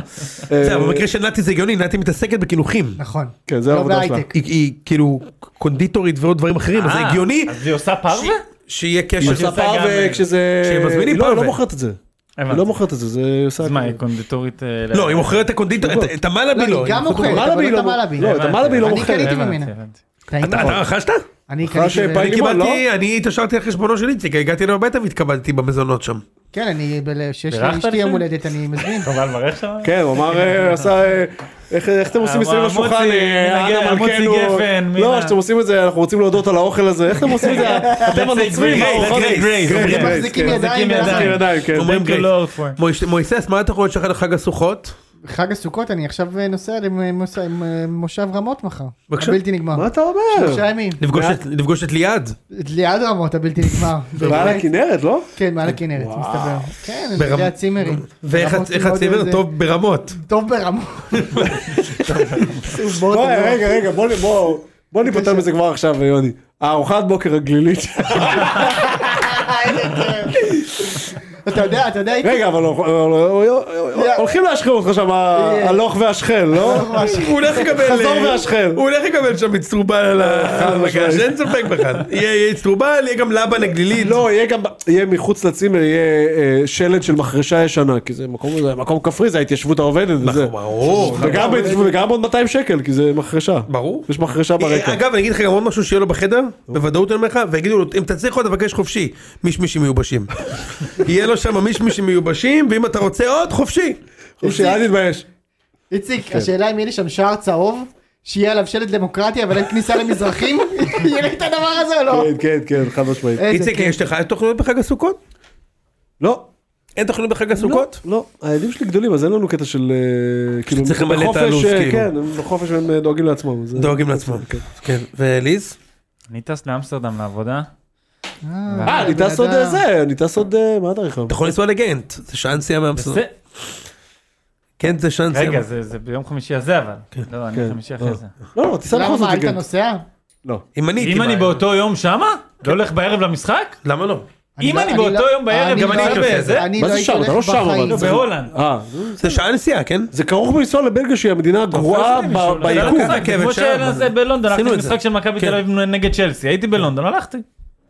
D: זה, אבל במקרה של נתי זה הגיוני, נתי מתעסקת בקינוחים.
A: נכון.
E: כן, זה
A: לא
E: העבודה שלה.
A: בהייטק.
D: היא- היא כאילו קונדיטורית ועוד דברים אחרים, אז זה
C: אה,
D: הגיוני
C: אז היא עושה פרווה?
D: שיהיה
E: היא
D: קשר.
E: עושה
C: עושה גם,
E: פרווה
C: אה,
E: כשזה...
D: כשהם מזמינים
E: היא לא- היא
D: פרווה.
E: לא מוכרת את זה. היא
C: הבנתי.
E: לא מוכרת את זה, זה עושה...
C: אז מה, היא קונדיטורית? אה,
D: לא, היא מוכרת את הקונדיטור, את- את המלאבי
A: לא,
D: לא.
A: היא גם
D: היא-
A: מוכרת,
E: מלאבי
A: אבל לא
E: לא
A: את המלאבי.
E: לא, את
C: הבנתי,
E: המלאבי היא לא
A: אני
E: מוכרת.
A: קניתי
C: הבנתי,
A: ממנה.
C: הבנתי.
A: טעימה.
D: אתה אתה רכשת?
A: לא. אני לא.
E: אחרי
A: קניתי ממנה.
E: שפעיל-
D: אני
E: לימון,
D: קיבלתי, אני התעשרתי על חשבונו של איציק, הגעתי אליו הביתה והתקבלתי במזונות שם.
A: כן, אני, ב- שיש
C: בירכת
A: לאשתי
C: לפני?
A: יום הולדת, אני מזמין.
C: חבל מראה שם?
E: כן, הוא אמר, אה, עשה... אה, איך איך אתם עושים מסביב
C: המוצי,
E: לשולחן, אה,
C: מנגן,
E: אנה
C: המוצי
E: מלכנו,
C: גפן, מינה.
E: לא, שאתם עושים את זה, אנחנו רוצים להודות על האוכל הזה, איך אתם עושים את זה, אתם הנוצרים,
C: great,
E: הארוחות-
C: let's get great.
E: כן,
C: אומרים,
E: כן,
A: מחזיקים
E: כן.
A: ידיים
C: מחזיקים
A: ולחיים.
E: מחזיקים ידיים, כן.
D: אומרים
C: Thank you,
D: great.
C: Lord, for-
D: מויש- מויסס, מה התוכניות שלך לחג הסוכות?
A: חג הסוכות, אני עכשיו אה, נוסע למוס- עם, אה, מושב רמות מחר.
D: בבקשה.
A: הבלתי נגמר.
E: מה אתה אומר?
A: שלושה ימים.
D: לפגוש את- לפגוש את ליעד?
A: ליד רמות הבלתי נגמר.
E: מעל הכנרת, לא?
A: כן, מעל הכנרת, מסתבר. כן, אני
D: ברמ-
A: יודע צימרים.
D: ואיך
A: רמות
D: איך
A: מאוד
D: הצימר
A: זה-
D: טוב ברמות?
A: טוב ברמות.
E: בוא, רגע, רגע, בוא, בוא, בוא ניפטר מזה כבר עכשיו, יוני. הארוחת בוקר הגלילית.
A: אתה יודע, אתה יודע,
E: רגע, אבל אה, הולכים להשחיר אותך שם, הלוך והשכל, לא?
A: נכון.
D: הוא הולך לקבל... אה,
E: חזור אה, והשכל.
D: הוא הולך לקבל שם אצטרובל על ה- על המגש, אין ספק בכלל. יהיה יהיה אצטרובל, יהיה גם לבה נגלילית.
E: לא, יהיה גם, יהיה מחוץ לצימר, יהיה אה, שלט של מחרשה ישנה, כי זה מקום, זה מקום כפרי, זה ההתיישבות העובדת, זה.
D: נכון, ברור.
E: וגם בהתיישבות, וגם עוד 200 שקל, כי זה מחרשה.
D: נכון. ברור. אה,
E: יש מחרשה ברקע.
D: אגב, אני אגיד לך גם עוד משהו שיהיה לו בחדר, בוודאות אני אומר לך, ויגידו לו, אם אתה צריך עוד תבקש חופשי, מישמישים מיובשים. יהיה לו שם מישמישים מיובשים, ואם אתה רוצה עוד, חופשי.
E: חופשי, אל תתבייש. כן.
A: איציק, השאלה אם יהיה לי שם שער צהוב, שיהיה עליו שלט דמוקרטיה אבל אין כניסה למזרחים, יהיה לי את הדבר הזה או לא?
E: כן, כן, כן, חד משמעית.
A: איזה
D: איציק,
A: כיף.
D: יש לך תוכניות בחג הסוכות?
E: לא,
D: אין תוכניות בחג הסוכות?
E: לא, הילדים שלי גדולים, אז אין לנו קטע של... אה, כאילו,
D: שצריך למלא את
E: בחופש,
D: הלו"ז,
E: אה,
D: כאילו.
E: כן, הם בחופש הם אה, דואגים לעצמם. אז, אה,
D: דואגים לעצמם.
E: כן.
D: כן. וליז?
C: אני טס לאמסטרדם לעבודה.
E: אה, אני טס עוד אה, זה, אני טס עוד... אה, מה התאריך היום?
D: אתה יכול לנסוע לגנט, זה שעה נסיעה מאמסטרדם.
C: זה-
D: כן, זה שעה נסיעה.
C: רגע, זה זה ביום חמישי הזה אבל. לא, אני
E: כן.
C: חמישי אחרי זה.
E: לא, לא, תיסע בכל
A: למה
E: זאת.
A: מה, היית
E: כן.
A: נוסע?
E: לא.
D: אם אני הייתי...
C: אם אני
D: בא-
C: באותו יום שמה? לא הולך בערב למשחק?
D: למה לא?
A: אני
C: אם
A: לא-
C: אני
A: אני
C: באותו
A: לא-
C: יום בערב,
A: אני
C: גם
A: לא
C: אני
A: הייתי-
C: הייתי בזה.
A: אני
E: מה
A: לא
E: זה
A: הייתי
E: שם? אתה
A: הולך
E: לא שם, אבל...
A: בחיים.
E: אתה
C: לא,
E: צריך-
C: בהולנד.
E: אה, זה-
D: זה שעה נסיעה, כן?
E: זה כרוך בלנסוע לבלגיה שהיא המדינה הגרועה
C: עושה לי מישהו,
E: ב-
C: לא,
E: ביקום.
C: לא לקחתי,
D: רכבת,
C: כמו
D: שעה,
C: שהיה
D: מה
C: זה
D: זה?
C: בלונדון,
D: עשינו
C: הלכתי
D: את זה.
C: למשחק של מכבי
D: כן.
C: תל אביב נגד צ'לסי, הייתי בלונדון, הלכתי.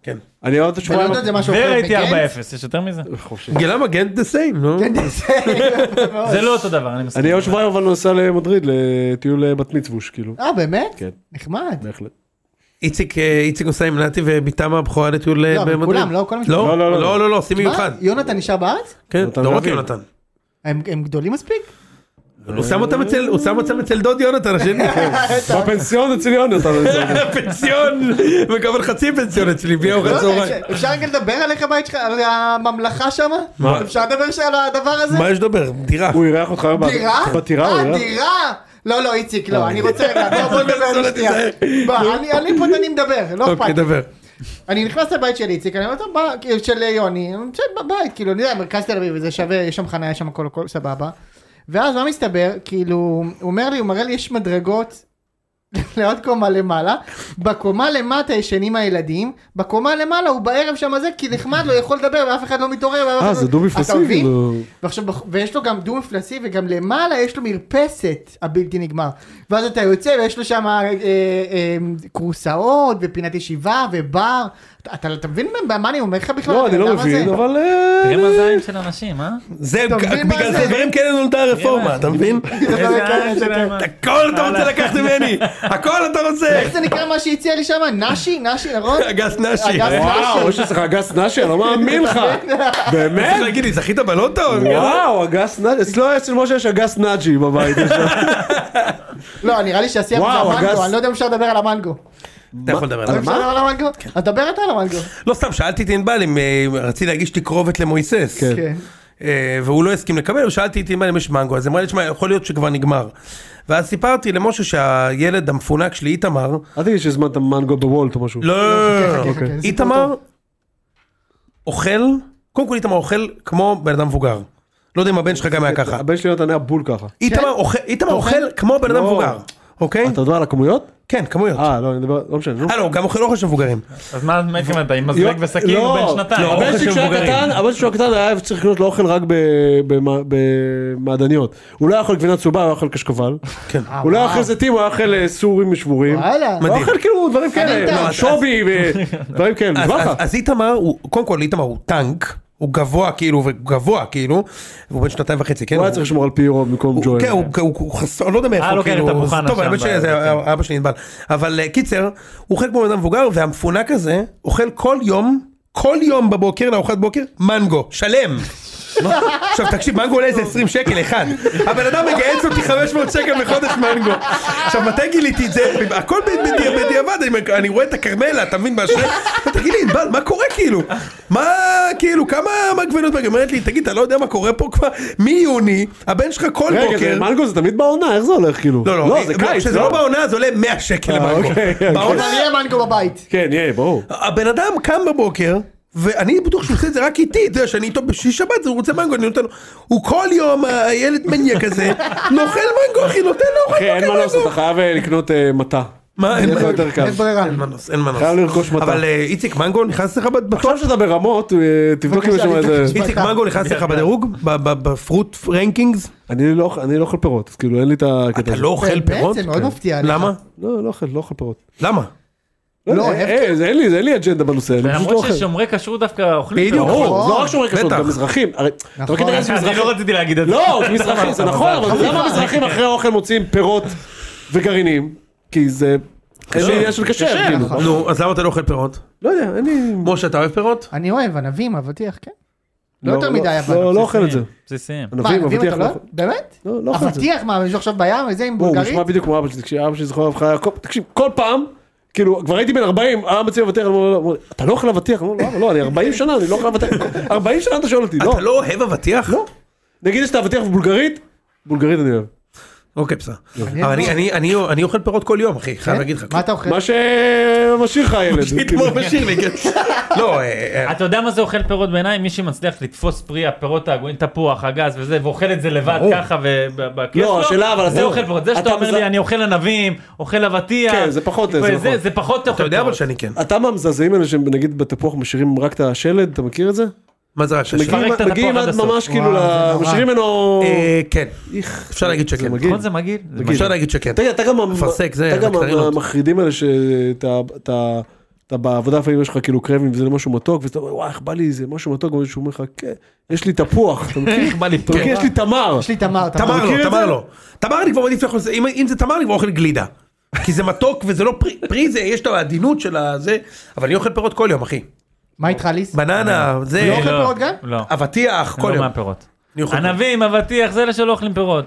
D: כן.
E: אני לא אמרתי שהוא...
A: בלונדון זה משהו אחר. כן.
C: וראיתי 4-0,
A: בגנט?
C: יש יותר מזה?
D: למה גנט לא? דה סיים, נו?
A: כן.
C: זה לא אותו דבר, אני מסכים.
E: אני עוד שבועיים אבל נוסע למדריד לטיול בת מצווש כאילו.
A: אה, באמת?
E: כן.
A: נחמד.
E: בהחלט.
D: איציק אה, איציק נוסע עם נתי ובתם הבכורה לטיול אה,
A: לא, אבל
D: במדריד.
A: כולם, לא, כל המשפחה.
D: לא,
E: לא, לא, לא.
D: לא, לא, לא, עושים
A: מה?
D: מיוחד.
A: יונתן נשאר בארץ?
D: כן,
E: יונתן
D: לא רק
E: ואביב.
D: יונתן.
A: הם הם גדולים מספיק?
D: הוא שם אותם אצל, הוא שם אותם אצל דוד יונתן השני.
A: כן,
E: בפנסיון אצל יונתן. אני זוכר.
D: פנסיון, מקבל חצי פנסיון אצלי, בלי ארוחת
A: לא יודע,
D: צהריים.
A: אפשר- אפשר רגע לדבר עליך בית שלך, על הממלכה שמה?
D: מה?
A: אפשר לדבר שם על הדבר הזה?
D: מה יש לדבר? דירה.
A: לא
E: הוא אירח אותך היום.
A: דירה?
E: בטירה הוא
A: אה,
E: אירח.
A: דירה? לא, לא, איציק, לא, אני רוצה רגע, בוא בוא נדבר על זה שנייה. בוא, אני- אני פה אני מדבר, לא
D: אוקיי,
A: אכפת. לי.
D: דבר.
A: אני נכנס לבית של איציק, אני אומר, טוב, בא, כאילו, של יוני, אני יושב בבית, כאילו, אני יודע, מרכז תל אביב, זה שווה, יש שם חניה, יש שם הכל, הכל סבבה. ואז מה מסתבר, כאילו, הוא אומר לי, הוא מראה לי, יש מדרגות לעוד קומה למעלה, בקומה למטה ישנים הילדים, בקומה למעלה הוא בערב שם זה, כי נחמד לו, יכול לדבר, ואף אחד לא מתעורר. ואף
E: אה,
A: אחד
E: זה
A: לא-
E: דו
A: אתה
E: מפלסי.
A: מבין?
E: כאילו.
A: ועכשיו, בח- ויש לו גם דו מפלסי וגם למעלה יש לו מרפסת הבלתי נגמר. ואז אתה יוצא ויש לו שם אה, אה, אה, כורסאות ופינת ישיבה ובר. אתה, אתה, אתה מבין מה- מה אני אומר לך בכלל?
E: לא, אני
A: הבן
E: לא
A: אדם הזה?
E: מבין, אבל... אה,
C: תראה מה זה העין של אנשים, אה?
D: זה,
A: אתה מבין מה
D: בגלל
A: זה?
D: זה דברים כאלה נולדה הרפורמה, אתה מבין?
C: איזה העין שלהם, אה?
D: הכל אתה רוצה לקחת ממני, הכל אתה רוצה.
A: איך זה נקרא מה שהציע לי שם? נשי? נשי, נכון?
D: אגס נשי.
A: אגס
E: וואו, יש אצלך אגס נשי, אני לא מאמין לך.
D: צריך
E: באמת?
D: להגיד לי, זכית בלוטו?
E: וואו, אגס נאג'י, אצלו אצל משה יש אגס נאג'י בבית.
A: לא, נראה לי שהשיח זה
E: וואו, הגס.
A: המנגו, אני לא יודע אם אפשר לדבר על המנגו.
D: אתה יכול לדבר על
A: אפשר
D: מה?
A: לדבר על המנגו? אז דבר אתה על המנגו.
D: לא סתם שאלתי את ענבל אם אה, רציתי להגיש תקרובת למויסס.
E: כן.
A: כן.
D: אה, והוא לא הסכים לקבל, ושאלתי את אמא אם יש מנגו, אז היא אמרה לי, שמע, יכול להיות שכבר נגמר. ואז סיפרתי למשה שהילד המפונק שלי, איתמר,
E: אל תגיד שהזמנת מנגו בוולט או משהו.
D: לא, לא, לא,
A: חכה,
D: לא,
A: חכה, זה סיפור
D: איתמר
A: טוב.
D: אוכל, קודם כל איתמר אוכל כמו בן אדם מבוגר. לא יודע אם הבן שלך גם היה ככה.
E: הבן שלי נתן היה בול ככה.
D: איתמר אוכל- איתמר
A: אוכל?
D: אוכל כמו בן אדם
E: לא.
D: מבוגר, אוקיי?
E: אתה מדבר על הכמויות?
D: כן, כמויות.
E: אה, לא, אני מדבר, לא משנה. נו.
D: אה לא, הוא גם אוכל אוכל של מבוגרים.
C: אז מה מה התכוונת, עם מזלג
E: לא,
C: וסכין הוא בן שנתיים.
D: לא,
C: אוכל
E: הבן שלי
C: של
E: כשהיה
C: מבוגרים.
E: קטן, הבן שלי כשהיה קטן היה צריך לקנות לו אוכל רק ב- במע- במעדניות. הוא לא היה אוכל גבינה צהובה, הוא היה אוכל קשקבל.
D: כן.
E: הוא לא היה
A: וואו.
E: אוכל זיתים, הוא היה אוכל אה, סורים שבורים.
A: וואלה.
E: הוא היה אוכל כאילו דברים
A: טנק.
E: כאלה,
A: לא,
D: אז-
E: שובי ודברים כאלה,
D: אז-
E: נשבע
D: אז-
E: לך.
D: אז איתמר, הוא- קודם כל איתמר הוא טנק, הוא גבוה כאילו, הוא גבוה כאילו, הוא בן שנתיים וחצי, כן?
E: הוא היה צריך לשמור על פיירו במקום
D: הוא-
E: ג'ואל.
D: כן, הוא- הוא הוא חסון, לא יודע מאיפה,
C: אה, לא, כן,
D: כאילו,
C: את הבוכנה
D: טוב,
C: שם
D: האמת
C: ב-
D: שזה היה- אבא שלי נדבל, אבל אה, קיצר, הוא אוכל כמו בן אדם מבוגר, והמפונק הזה אוכל כל יום, כל יום בבוקר, לארוחת בוקר, מנגו, שלם. עכשיו תקשיב, מנגו עולה איזה 20 שקל אחד, הבן אדם מגייס אותי 500 שקל בחודש מנגו. עכשיו מתי גיליתי את זה? הכל בד- בדיע- בדיעבד, אני- אני רואה את הכרמלה, אתה מבין, באשרי? תגיד לי, ענבל, מה קורה כאילו? מה, כאילו, כמה מגבנות? היא אומרת לי, תגיד, אתה לא יודע מה קורה פה כבר? מיוני, הבן שלך כל
E: רגע, זה
D: בוקר...
E: מנגו זה תמיד בעונה, איך זה הולך כאילו?
D: לא, לא,
E: לא, זה קיץ,
D: כשזה לא בעונה זה עולה 100 שקל
E: אה,
D: למנגו.
E: אוקיי, כן.
D: בעונה,
A: אבל יהיה מנגו בבית.
E: כן, יהיה, ברור.
D: הבן אדם קם בבוקר, ואני בטוח שהוא עושה את זה רק איתי, אתה יודע שאני איתו בשישי שבת, אז הוא רוצה מנגו, אני נותן לו. הוא כל יום, הילד מניאק הזה, נאכל מנגו, אחי, נותן לו, אוכל
E: אחי, כן, אין מה
D: מנגו.
E: לעשות, אתה חייב אה, לקנות אה, מטע.
D: מה, אין
E: יהיה לו
D: מה-
E: יותר קל.
A: אין ברירה.
D: אין מנוס, אין מנוס.
E: חייב לרכוש מטע.
D: אבל אה, איציק מנגו נכנס לך בטוח?
E: עכשיו שאתה ברמות, אה, תבדוק אם יש שם
A: בבקשה,
E: איזה...
A: תבדוק.
D: איציק מנגו נכנס לך בדירוג? ב- ב- בפרוט רנקינגס?
E: אני לא אוכל- אני לא אוכל פירות, אז כאילו אין לי את הקטע
D: אתה לא אוכל
A: באמת,
D: פירות?
A: זה מאוד
D: כן.
A: מפתיע עליך.
D: למה?
E: לא, לא אוכל, לא אוכל פירות.
D: למה?
A: לא,
E: לא, אין-
A: איפה-
E: אין אין לי, אין לי אג'נדה בנושא, אני פשוט לא
C: למרות
E: אוכל.
C: ששומרי כשרות דווקא אוכלים
D: בדיוק.
C: פירות.
E: ברור, לא רק שומרי כשרות,
D: בטח.
E: גם מזרחים. הרי- אתה מכיר את
A: נכון.
E: העניין של
C: אני
E: מזרחים?
C: לא רציתי להגיד את זה.
E: לא, מזרחים, זה נכון, אבל אתה יודע למה מזרחים אחרי האוכל מוצאים פירות וגרעינים? כי זה... אין לי עניין של כשר,
C: כשר,
E: כאילו.
A: נכון.
D: נו, אז למה אתה לא אוכל פירות?
E: לא יודע, אין לי...
D: משה, אתה אוהב פירות?
A: אני אוהב ענבים, אבטיח, כן. לא יותר
E: לא,
A: מדי, אבל.
E: לא, לא אוכל את זה.
C: בסיסיים.
A: מה,
E: ענבים,
A: ענבים
E: אבטיח
A: אתה
E: לא
A: לא
E: אוכל.
A: אוהב? באמת?
E: לא, לא אוכל את זה.
A: אבטיח, מה, מישהו עכשיו בים, וזה עם
E: הוא
A: בולגרית?
E: נשמע בדיוק כמו אבא שלי, כשאבא שלי זכרו לברכה, כל- תקשיב, כל פעם, כאילו, כבר הייתי בן 40, היה מציע אבטיח, אמרו לו, אמרו לי, אתה לא אוכל אבטיח? אמרו לו, "למה? לא, אני 40 שנה, אני לא אוכל אבטיח. 40 שנה אתה שואל אותי, לא.
D: אתה לא אוהב אבטיח?
E: לא. נגיד שאתה אבטיח בבולגרית, בולגרית אני אוהב.
D: אוקיי, בסדר.
A: מעניין
D: אבל אני-
A: מאוד.
D: אני- אני אני אוכל פירות כל יום, אחי, חייב להגיד לך.
A: כן?
D: כן.
A: מה אתה אוכל?
E: מה שמשאיר לך הילד. כאילו.
D: אתמול בשיר לי, כן. לא, אה,
E: כן.
D: אה,
C: אתה יודע מה זה אוכל פירות בעיניי? מי שמצליח לתפוס פרי הפירות העגולים, תפוח, הגז וזה, ואוכל את זה לבד
D: ברור.
C: ככה ובכיף
E: לא, השאלה, אבל
C: זה
E: זהו.
C: אוכל פירות. זה
E: אתה
C: שאתה אומר
E: מזל-
C: לי, אני אוכל ענבים, אוכל אבטיח.
E: כן, זה פחות, זה נכון.
C: זה פחות
D: אתה
C: אוכל
D: יודע אבל
C: פירות.
D: שאני כן.
E: אתה מהמזעזעים האלה שנגיד בתפוח משאירים רק את השלד, אתה מכיר את זה?
D: מה זה רעש?
E: מגיעים-
C: את התפוח
E: מגיעים
C: עד
E: עד
C: הסוף.
E: ממש כאילו,
A: וואו,
E: ל-
A: זה נורא.
E: משאירים ממנו...
D: אה, כן. אפשר להגיד שכן.
E: מגעיל.
C: נכון זה מגעיל? זה
E: מגעיל.
D: אפשר להגיד שכן.
E: תגיד, אתה גם... המ-
D: אפרסק, זה,
E: אתה גם
D: בקטרינות.
E: המחרידים האלה שאתה... אתה- אתה בעבודה לפעמים יש לך כאילו קרבים וזה משהו מתוק ואתה אומר וואי איך בא לי איזה משהו מתוק ומישהו אומר לך כן יש לי תפוח אתה מכיר?
C: איך בא לי
E: אתה מכיר? יש לי כן. תמר.
A: יש לי תמר,
D: תמר
E: מכיר את
D: לא, תמר
E: זה?
D: לא. תמר אני כבר מעדיף לאכול, זה- אם- אם זה תמר אני כבר אוכל גלידה. כי זה מתוק וזה לא פרי, פרי זה, יש את העדינות של הזה, אבל אני אוכל פירות כל יום, אחי.
A: מה איתך ליס?
D: בננה, זה,
A: לא אוכל פירות גם?
C: לא,
D: אבטיח, כל
C: לא
D: יום.
C: מהפירות.
D: אני אוכל פירות.
C: ענבים, אבטיח, זה אלה שלא אוכלים פירות.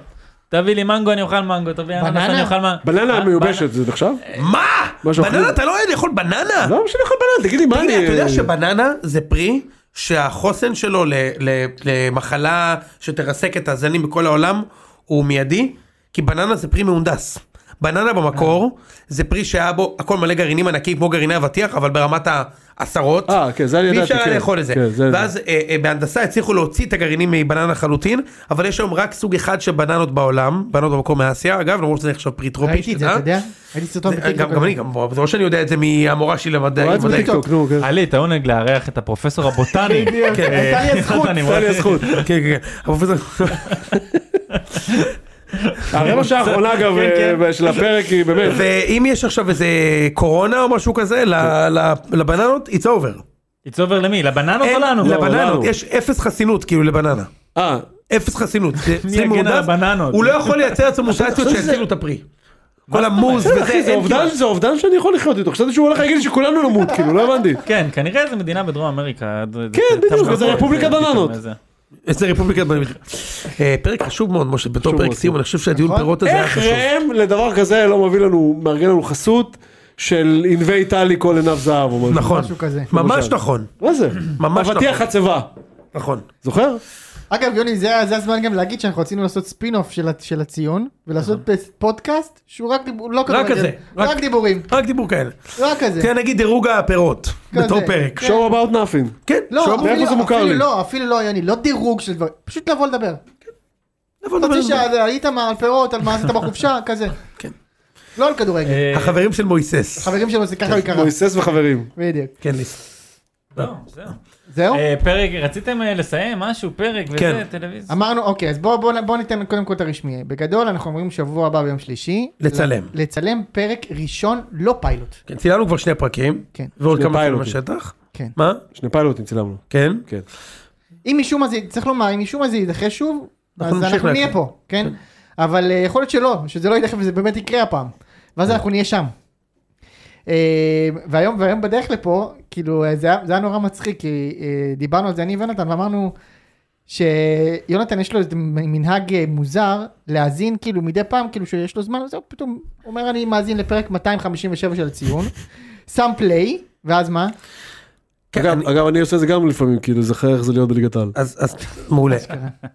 C: תביא לי מנגו, אני אוכל מנגו, תביא אננס,
A: בננה?
C: אני אוכל אה, מנגו.
D: אה,
E: בננה מיובשת זה נחשב?
D: מה?
E: משהו אחר.
D: בננה, אתה לא אוהב לאכול בננה?
E: לא משנה לך בננה תגיד לי מה
D: תגיד
E: אני...
D: לי, אתה יודע שבננה זה פרי שהחוסן שלו ל- ל- למחלה שתרסק את הזנים בכל העולם הוא מיידי? כי בננה זה פרי מהונדס. בננה
E: אה.
D: במקור זה פרי שהיה בו הכל מלא גרעינים ענקים כמו גרעיני אבטיח אבל ברמת העשרות.
E: אה, כן, זה אני
D: ואי
E: ידעתי,
D: אפשר היה
E: כן.
D: לאכול את זה.
E: כן, זה אני
D: ואז אה, אה, בהנדסה הצליחו להוציא את הגרעינים מבננה לחלוטין אבל יש היום רק סוג אחד של בננות בעולם בננות במקור מאסיה אגב למרות שזה נחשב פרי טרופי.
A: ראיתי את זה,
D: שתדע.
A: אתה יודע? ראיתי סרטון
D: זה- אה? גם גם אני גם זה לא שאני יודע את זה מהמורה שלי למדעי.
E: אוהד
D: מדעי.
E: בטיקטוק, נו, כן.
C: היה לי את העונג לארח את הפרופסור הבוטני.
A: בדיוק,
C: אה,
A: הייתה לי הזכות.
C: אני
E: הייתה לי
C: מרגיש-
E: הזכות.
D: כן כן כן. הפרופסור-
E: הרבע שעה האחרונה אגב
C: כן,
E: אה, של הפרק היא באמת.
D: ואם יש עכשיו איזה קורונה או משהו כזה ל- ל- לבננות it's over.
C: לא It's over למי? לבננות או
D: אין-
C: לנו?
A: לא,
E: לנו.
D: לבננות יש אפס חסינות כאילו לבננה.
E: אה,
D: אפס חסינות. זה-
C: מי
D: זה
C: יגן
D: מהונדס.
C: על הבננות?
D: הוא לא יכול לייצר לעצמו מוטציות שיצילו את הפרי. כל המוז וזה
E: אחי, זה
D: אין
E: אובדן-
D: כמעט.
E: זה אובדן שאני יכול לחיות איתו. חשבתי שהוא הולך להגיד לי שכולנו נמות, כאילו, לא הבנתי.
C: כן, כנראה איזה מדינה בדרום אמריקה. אה,
E: כן, בדיוק, זה רפובליקת בננות.
D: איזה רפובליקת בננות. אה, פרק חשוב מאוד משה בתור
E: חשוב
D: פרק
E: מאוד.
D: סיום אני חושב שהדיון
A: נכון.
D: פירות הזה היה
E: איך
D: חשוב.
E: ראם לדבר כזה לא מביא לנו, מארגן לנו חסות של ענבי טלי כל עיניו זהב או משהו.
D: נכון.
A: משהו כזה.
D: ממש
E: למשל.
D: נכון.
E: מה זה?
D: ממש
E: אבטיח
D: נכון.
E: הצבה.
D: נכון.
E: זוכר?
A: אגב, יוני, זה זה הזמן גם להגיד שאנחנו רצינו לעשות ספינוף של ה- של הציון, ולעשות פס- פודקאסט שהוא רק דיבור, לא כדורגל.
D: כזה, רק- כן.
A: רק דיבורים.
D: רק דיבור כאלה.
A: רק כזה.
D: תראה נגיד דירוג הפירות.
A: כזה.
D: בתור פרק.
E: show about nothing.
D: כן.
A: לא,
E: שוב,
A: אפילו-
E: מאיפה זה מוכר
A: אפילו
E: לי?
A: לא, אפילו לא, יוני, לא דירוג של דברים. פשוט לבוא לדבר.
D: נבוא נדבר על
A: חצי
D: זה.
A: שעה, על איתמר, על פירות, על מה עשית בחופשה, כזה.
D: כן.
A: לא על
C: אה,
A: כדורגל.
E: אה,
D: החברים של מויסס.
A: חברים שלו זה ככה
E: כן,
C: כן,
A: הוא יקרא.
E: מויסס וחברים.
A: בדיוק.
D: כן, ליס.
C: לא, זהו.
A: זהו?
E: לא.
C: אה, פרק, רציתם אה, לסיים משהו, פרק וזה,
D: כן.
C: טלוויזיה.
A: אמרנו, אוקיי, אז בואו בוא, בוא ניתן קודם כל את הרשמי. בגדול, אנחנו אומרים שבוע הבא ביום שלישי.
D: לצלם.
A: לצלם פרק ראשון, לא פיילוט.
D: כן, צילמנו כבר שני פרקים.
A: כן.
D: ועוד
E: שני
D: כמה צילומים
E: פיילוטים.
D: בשטח.
A: כן.
D: מה?
E: שני פיילוטים צילמנו.
D: כן.
E: כן.
A: אם משום מה זה, צריך לומר, אם משום מה זה יידחה שוב,
D: אנחנו
A: אז
D: נמשיך
A: אנחנו נהיה
D: לעקוב.
A: פה, כן? אבל אה, יכול להיות שלא, שזה לא יידחה וזה באמת יקרה הפעם.
D: כן.
A: ואז אנחנו נהיה שם. אה, והיום, והיום בדרך לפה, כאילו, אה, זה היה, זה היה נורא מצחיק, כי אה, דיברנו על זה אני ויונתן, ואמרנו שיונתן יש לו איזה מנהג אה, מוזר להאזין, כאילו, מדי פעם, כאילו, שיש לו זמן, אז הוא פתאום אומר, אני מאזין לפרק 257 של הציון, שם פליי, ואז מה?
D: כן,
E: אגב-
D: אני-
E: אגב, אני עושה את זה גם לפעמים, כאילו, זכר איך זה להיות בליגת העל.
D: אז אז מעולה.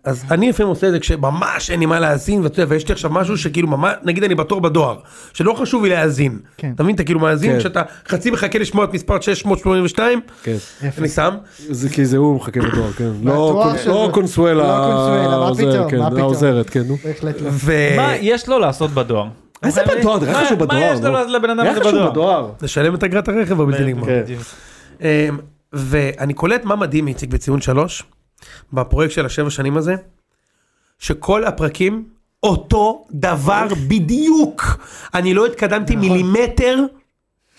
D: אז אני לפעמים עושה את זה כשממש אין לי מה להאזין ואתה יודע, ויש לי עכשיו משהו שכאילו ממש נגיד אני בתור בדואר שלא חשוב לי להאזין.
A: כן.
D: אתה מבין אתה כאילו
E: כן.
D: מאזין כשאתה חצי מחכה לשמוע את מספר 682
E: כן.
D: אני שם.
E: זה כי זה הוא מחכה בתואר, כן.
A: בתואר
E: לא קונ-
A: של-
E: לא קונסואלה.
A: לא קונסואלה, מה
E: העוזר,
A: פתאום,
E: כן,
A: מה פתאום.
E: העוזרת, כן, נו.
A: בהחלט לא.
D: ו...
C: מה יש לו לעשות בדואר?
E: איזה בדואר, נראה לך שהוא
C: מה-
E: בדואר.
C: מה יש לו
E: נו.
C: לבן אדם
E: נראה
C: הזה
E: לך שהוא
C: בדואר?
E: בדואר.
D: לשלם את אגרת הרכב הבלתי נגמר.
E: כן.
C: בדיוק.
D: אמ, ואני קולט מה מדהים איציק בציון שלוש, בפרויקט של השבע שנים הזה, שכל הפרקים אותו דבר בדיוק. אני לא התקדמתי מילימטר.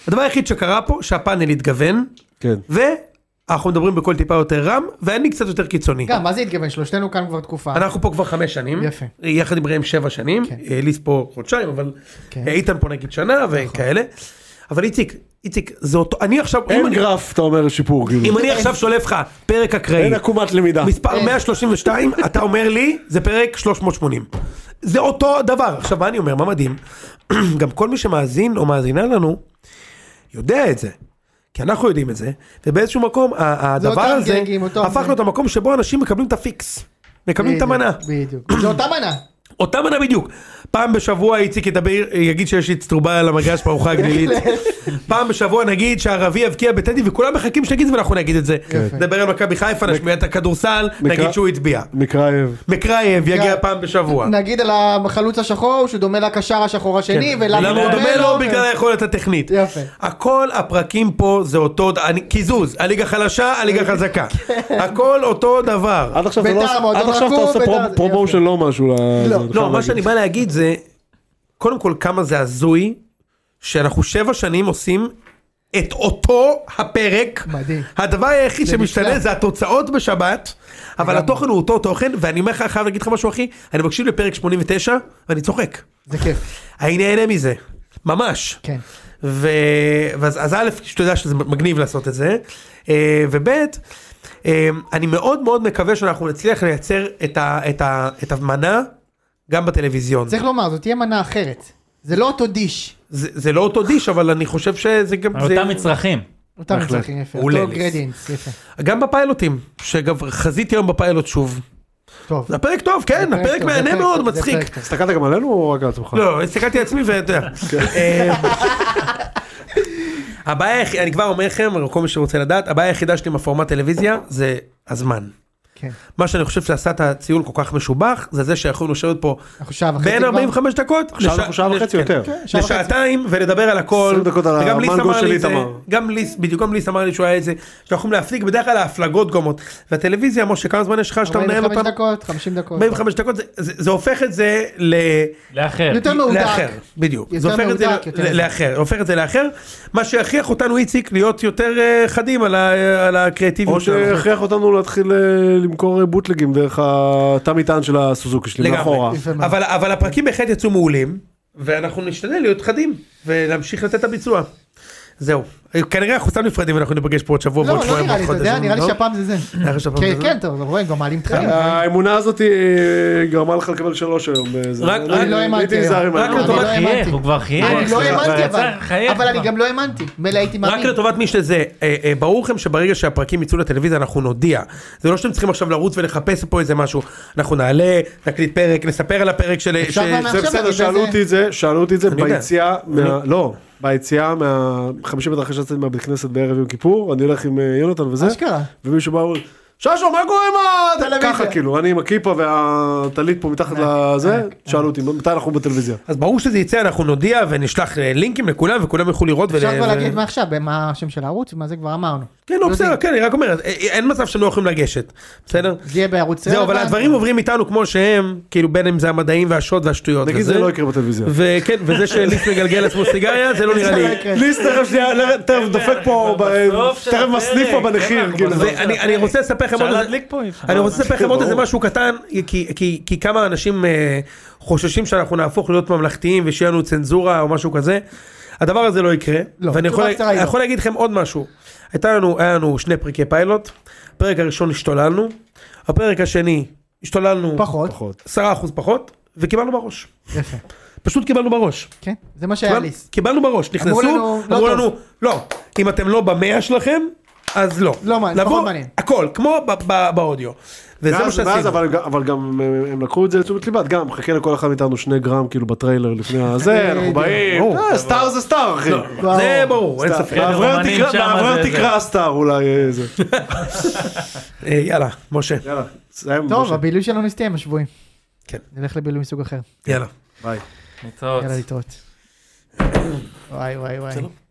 D: הדבר היחיד שקרה פה, שהפאנל התגוון,
E: כן.
D: ואנחנו מדברים בקול טיפה יותר רם, ואני קצת יותר קיצוני.
A: גם, מה זה התגוון? שלושתנו כאן כבר תקופה.
D: אנחנו פה כבר חמש שנים,
A: אה. יפה.
D: יחד עם ראם שבע שנים,
A: כן.
D: אה, ליס פה חודשיים, אבל אה,
A: כן. נכון.
D: איתן פה נגיד שנה וכאלה, אבל איציק, איציק, זה אותו, אני עכשיו, אם
E: אין
D: אני-
E: גרף, אתה אומר שיפור, כאילו.
D: אם אני עכשיו שולף לך פרק אקראי,
E: אין עקומת למידה.
D: מספר
A: אין.
D: 132, אתה אומר לי, זה פרק 380. זה אותו דבר. עכשיו, מה אני אומר, מה מדהים? גם כל מי שמאזין או מאזינה לנו, יודע את זה. כי אנחנו יודעים את זה, ובאיזשהו מקום, ה- הדבר
A: אותם
D: הזה,
A: גגים, אותו-
D: הפך להיות המקום שבו אנשים מקבלים את הפיקס. מקבלים את
A: בדיוק,
D: המנה.
A: בדיוק. זו אותה מנה.
D: אותה מנה בדיוק. פעם בשבוע איציק ידבר, יגיד שיש אצטרובל על המגש בארוחה הגלילית. פעם בשבוע נגיד שהערבי הבקיע בטדי וכולם מחכים שנגיד את זה ואנחנו נגיד את זה. נדבר על מכבי חיפה, נשמיע את הכדורסל, נגיד שהוא הצביע.
E: מקרייב.
D: מקרייב יגיע
A: יאללה.
D: פעם בשבוע.
A: נגיד על החלוץ השחור שהוא דומה לקשר השחור השני ולמה
D: כן. למה הוא דומה לו? בגלל היכולת הטכנית.
A: אוקיי. יפה.
D: הכל הפרקים פה זה אותו, ד- אני- קיזוז, הליגה חלשה, הליגה חזקה. הכל אותו דבר.
E: עד עכשיו אתה לא
A: בית"ר,
E: עושה-
A: מועדון
E: עד עכשיו אתה
A: רקוב,
E: עושה
A: בית"ר,
E: פרו-
A: זה
E: פרומושן לא משהו. ל- זה, אני
D: לא,
E: חייב
D: מה שאני
E: להגיד.
D: בא להגיד זה, קודם כל כמה זה הזוי, שאנחנו שבע שנים עושים את אותו הפרק.
A: מדהים.
D: הדבר היחיד
A: זה
D: שמשתנה
A: נפלא.
D: זה התוצאות בשבת, אבל התוכן הוא אותו תוכן, ואני אומר לך, חייב להגיד לך משהו אחי, אני מקשיב לפרק 89, ואני צוחק.
A: זה כיף.
D: אני נהנה מזה, ממש.
A: כן.
D: ו... ואז, אז א', שאתה יודע שזה מגניב לעשות את זה, אה, וב', אה, אני מאוד מאוד מקווה שאנחנו נצליח לייצר את, ה... את, ה... את המנה גם בטלוויזיון. זה...
A: צריך לומר, זאת תהיה מנה אחרת. זה לא אותו דיש.
D: זה, זה לא אותו דיש, אבל אני חושב שזה גם...
C: על
D: זה...
C: אותם מצרכים.
A: אותם
E: בהחלט.
A: מצרכים יפה.
D: מעולה,
A: אותו
D: ליס.
A: גרדיאנס, יפה.
D: גם בפיילוטים, שגם חזיתי היום בפיילוט שוב.
A: טוב.
D: זה פרק טוב, כן,
A: זה פרק
D: הפרק
A: טוב, זה
D: מהנה
A: פרק
D: מאוד,
A: טוב, זה
D: מצחיק.
A: פרק טוב.
E: הסתכלת גם עלינו או רק על עצמך?
D: לא, הסתכלתי על עצמי ואתה יודע. אה, הבעיה, היח- אני כבר אומר לכם, כל מי שרוצה לדעת, הבעיה היחידה שלי עם הפורמט טלוויזיה זה הזמן.
A: כן.
D: מה שאני חושב שעשה את הציון כל כך משובח, זה זה שיכולנו לשבת פה
A: אנחנו שעה וחצי
D: בין
A: כבר.
D: 45 דקות,
E: עכשיו אנחנו שעה
D: לש-
E: וחצי
D: כן,
E: יותר.
A: שעה וחצי.
D: לשעתיים ולדבר על הכל,
E: 20 דקות על
D: וגם ליס
E: המנגו
D: אמר
E: של
D: לי את זה,
E: איתמר.
D: גם ליס, בדיוק גם ליס אמר לי שהוא היה את זה, שאנחנו יכולים להפליג, בדרך כלל ההפלגות גומות, והטלוויזיה, משה, כמה זמן יש לך שאתה מנהל
A: 45
D: אותה?
A: דקות, 50 דקות.
D: 45 דקות, זה- זה זה הופך את זה ל...
C: לאחר.
A: יותר לא, מהודק.
D: לאחר, בדיוק,
A: יותר
D: זה הופך את זה
A: מהודק,
D: ל-
A: יותר
D: ל-
A: זה.
D: לאחר, הופך את זה לאחר, מה שיכריח אותנו איציק להיות יותר אה, חדים על ה- על
E: או
D: הקריאטיביות שלנו.
E: שהכריח אותנו להתחיל אה, למכור בוטלגים דרך התא מטען של הסוזוקי שלי מאחורה.
D: לגמרי.
A: יפה מאוד.
D: אבל, אבל הפרקים בהחלט יצאו מעולים, ואנחנו נשתדל להיות חדים, ולהמשיך לתת את הביצוע. זהו. כנראה אנחנו סתם נפרדים ואנחנו ניפגש פה עוד שבוע
A: לא,
D: ועוד
A: לא
D: שבועיים.
A: נראה לי, אתה
D: ועוד
A: יודע,
D: חודש,
A: נראה לי
D: לא?
A: שהפעם זה זה.
D: נראה לי שהפעם
A: כן,
D: זה זה.
A: כן, טוב, אנחנו רואים, כבר מעלים תכנים.
E: האמונה הזאת אה, גרמה לך לקבל שלוש היום. אה, זה-
D: רק-
E: אני-
D: רק-
E: אני
A: לא האמנתי
E: הייתי נזהר
A: היום.
E: עם
D: רק
E: ה-
A: אני
D: לטובת
A: לא
C: חייב,
A: האמנתי.
C: הוא כבר חייב.
A: אני לא
C: כבר
A: האמנתי
C: יצא,
A: אבל,
C: חייב
A: אבל אני
C: כבר.
A: גם לא האמנתי, מילא הייתי
D: רק
A: מאמין.
D: לטובת מי שזה, אה, אה, ברור לכם שברגע שהפרקים יצאו לטלוויזיה אנחנו נודיע. זה לא שאתם צריכים עכשיו לרוץ ולחפש פה איזה משהו. אנחנו נעלה, נקליט פרק, נספר על הפרק של...
A: אפשר
D: ש-
A: גם
D: ש-
E: זה
A: עכשיו
E: בסדר,
A: נגיד
E: שאלו
A: איזה-
E: אותי את זה, שאלו אותי את זה
D: אני יודע.
E: ביציאה, מה- לא, ביציאה מה... 50 מטר אחרי שיצאתי מהבית כנסת בערב יום כיפור, אני הולך עם אה, יונתן וזה,
A: אשכרה.
E: ומישהו בא ואומר, ששו, מה קורה עם ה...
A: טלוויזיה."
E: ככה כאילו, אני עם הכיפה והטלית פה מתחת לזה, שאלו אותי, מתי אנחנו בטלוויזיה?
D: אז ברור שזה יצא, אנחנו נודיע ונשלח אה, לינקים לכולם וכולם יוכלו לראות. ול-
A: אפשר כבר
D: ו-
A: להגיד מה עכשיו, מה השם של הערוץ, מה זה כבר אמרנו.
D: כן, לא,
A: יודעים.
D: בסדר, כן, אני רק אומר, אה, אין מצב שהם לא יכולים לגשת, בסדר?
A: זה יהיה בערוץ
D: זהו, אבל
A: רלוונט.
D: הדברים עוברים איתנו כמו שהם, כאילו בין אם זה המדעים והשוד והשטויות.
E: נגיד
D: וזה.
E: זה לא יקרה בטלוויזיה.
D: וכן, וזה שליף מגלגל לעצמו סיגריה, זה לא נראה לי.
A: יקרה.
E: ליס תכף שנייה, לך- תכף דופק פה, ב-
C: בסוף של
E: תכף מסניף פה
C: הפרק,
E: בנחיר,
C: כן,
E: כאילו.
C: אנחנו
D: ואני אני רוצה לספר לכם
C: אפשר
D: עוד איזה-
C: להדליק פה, אי אפשר.
D: אני רוצה לספר לכם עוד איזה
E: ברור.
D: משהו קטן, כי- כי- כי כמה אנשים אה, חוששים שאנחנו נהפוך להיות ממלכתיים ושיהיה לנו צנזורה או משהו כזה. הדבר הזה לא יקרה,
A: לא, התשובה
D: ואני יכול-
A: הקצרה היא לא.
D: יכול להגיד לכם עוד משהו. הייתה לנו, היה לנו שני פרקי פיילוט, הפרק הראשון השתוללנו, הפרק השני השתוללנו
A: פחות.
E: פחות.
D: 10% פחות, וקיבלנו בראש.
A: יפה.
D: פשוט קיבלנו בראש.
A: כן, זה מה שהיה
D: קיבל-
A: ליס.
D: קיבלנו בראש, נכנסו,
A: לנו, לא
D: אמרו
A: טוב.
D: לנו, לא, אם אתם לא במאה שלכם, אז לא.
A: לא, מה, זה
D: לבוא,
A: פחות מעניין.
D: הכל, כמו ב- ב- באודיו. וזה מה
E: ואז- ואז
D: שעשינו.
E: אבל גם- אבל גם הם- הם לקחו את זה לתשומת ליבם, גם חכה לכל אחד מאיתנו שני גרם כאילו בטריילר לפני הזה, אנחנו
A: בדיוק.
E: באים,
D: ברור.
E: אה, סטאר זה סטאר אחי.
D: זה ברור, אין ספק.
C: ברור.
E: מאוורר
C: רומנים
E: תקרא-
C: שם,
E: מאוורר
C: זה- זה.
E: תקרא הסטאר אולי אה, זה.
D: אה, יאללה, משה,
E: יאללה, סיים.
A: טוב,
E: משה.
A: הבילוי שלנו הסתיים השבועים.
D: כן.
A: נלך לבילוי מסוג אחר.
D: יאללה.
E: ביי.
C: להתראות. אה, לא-
A: יאללה, להתראות. וואי וואי וואי.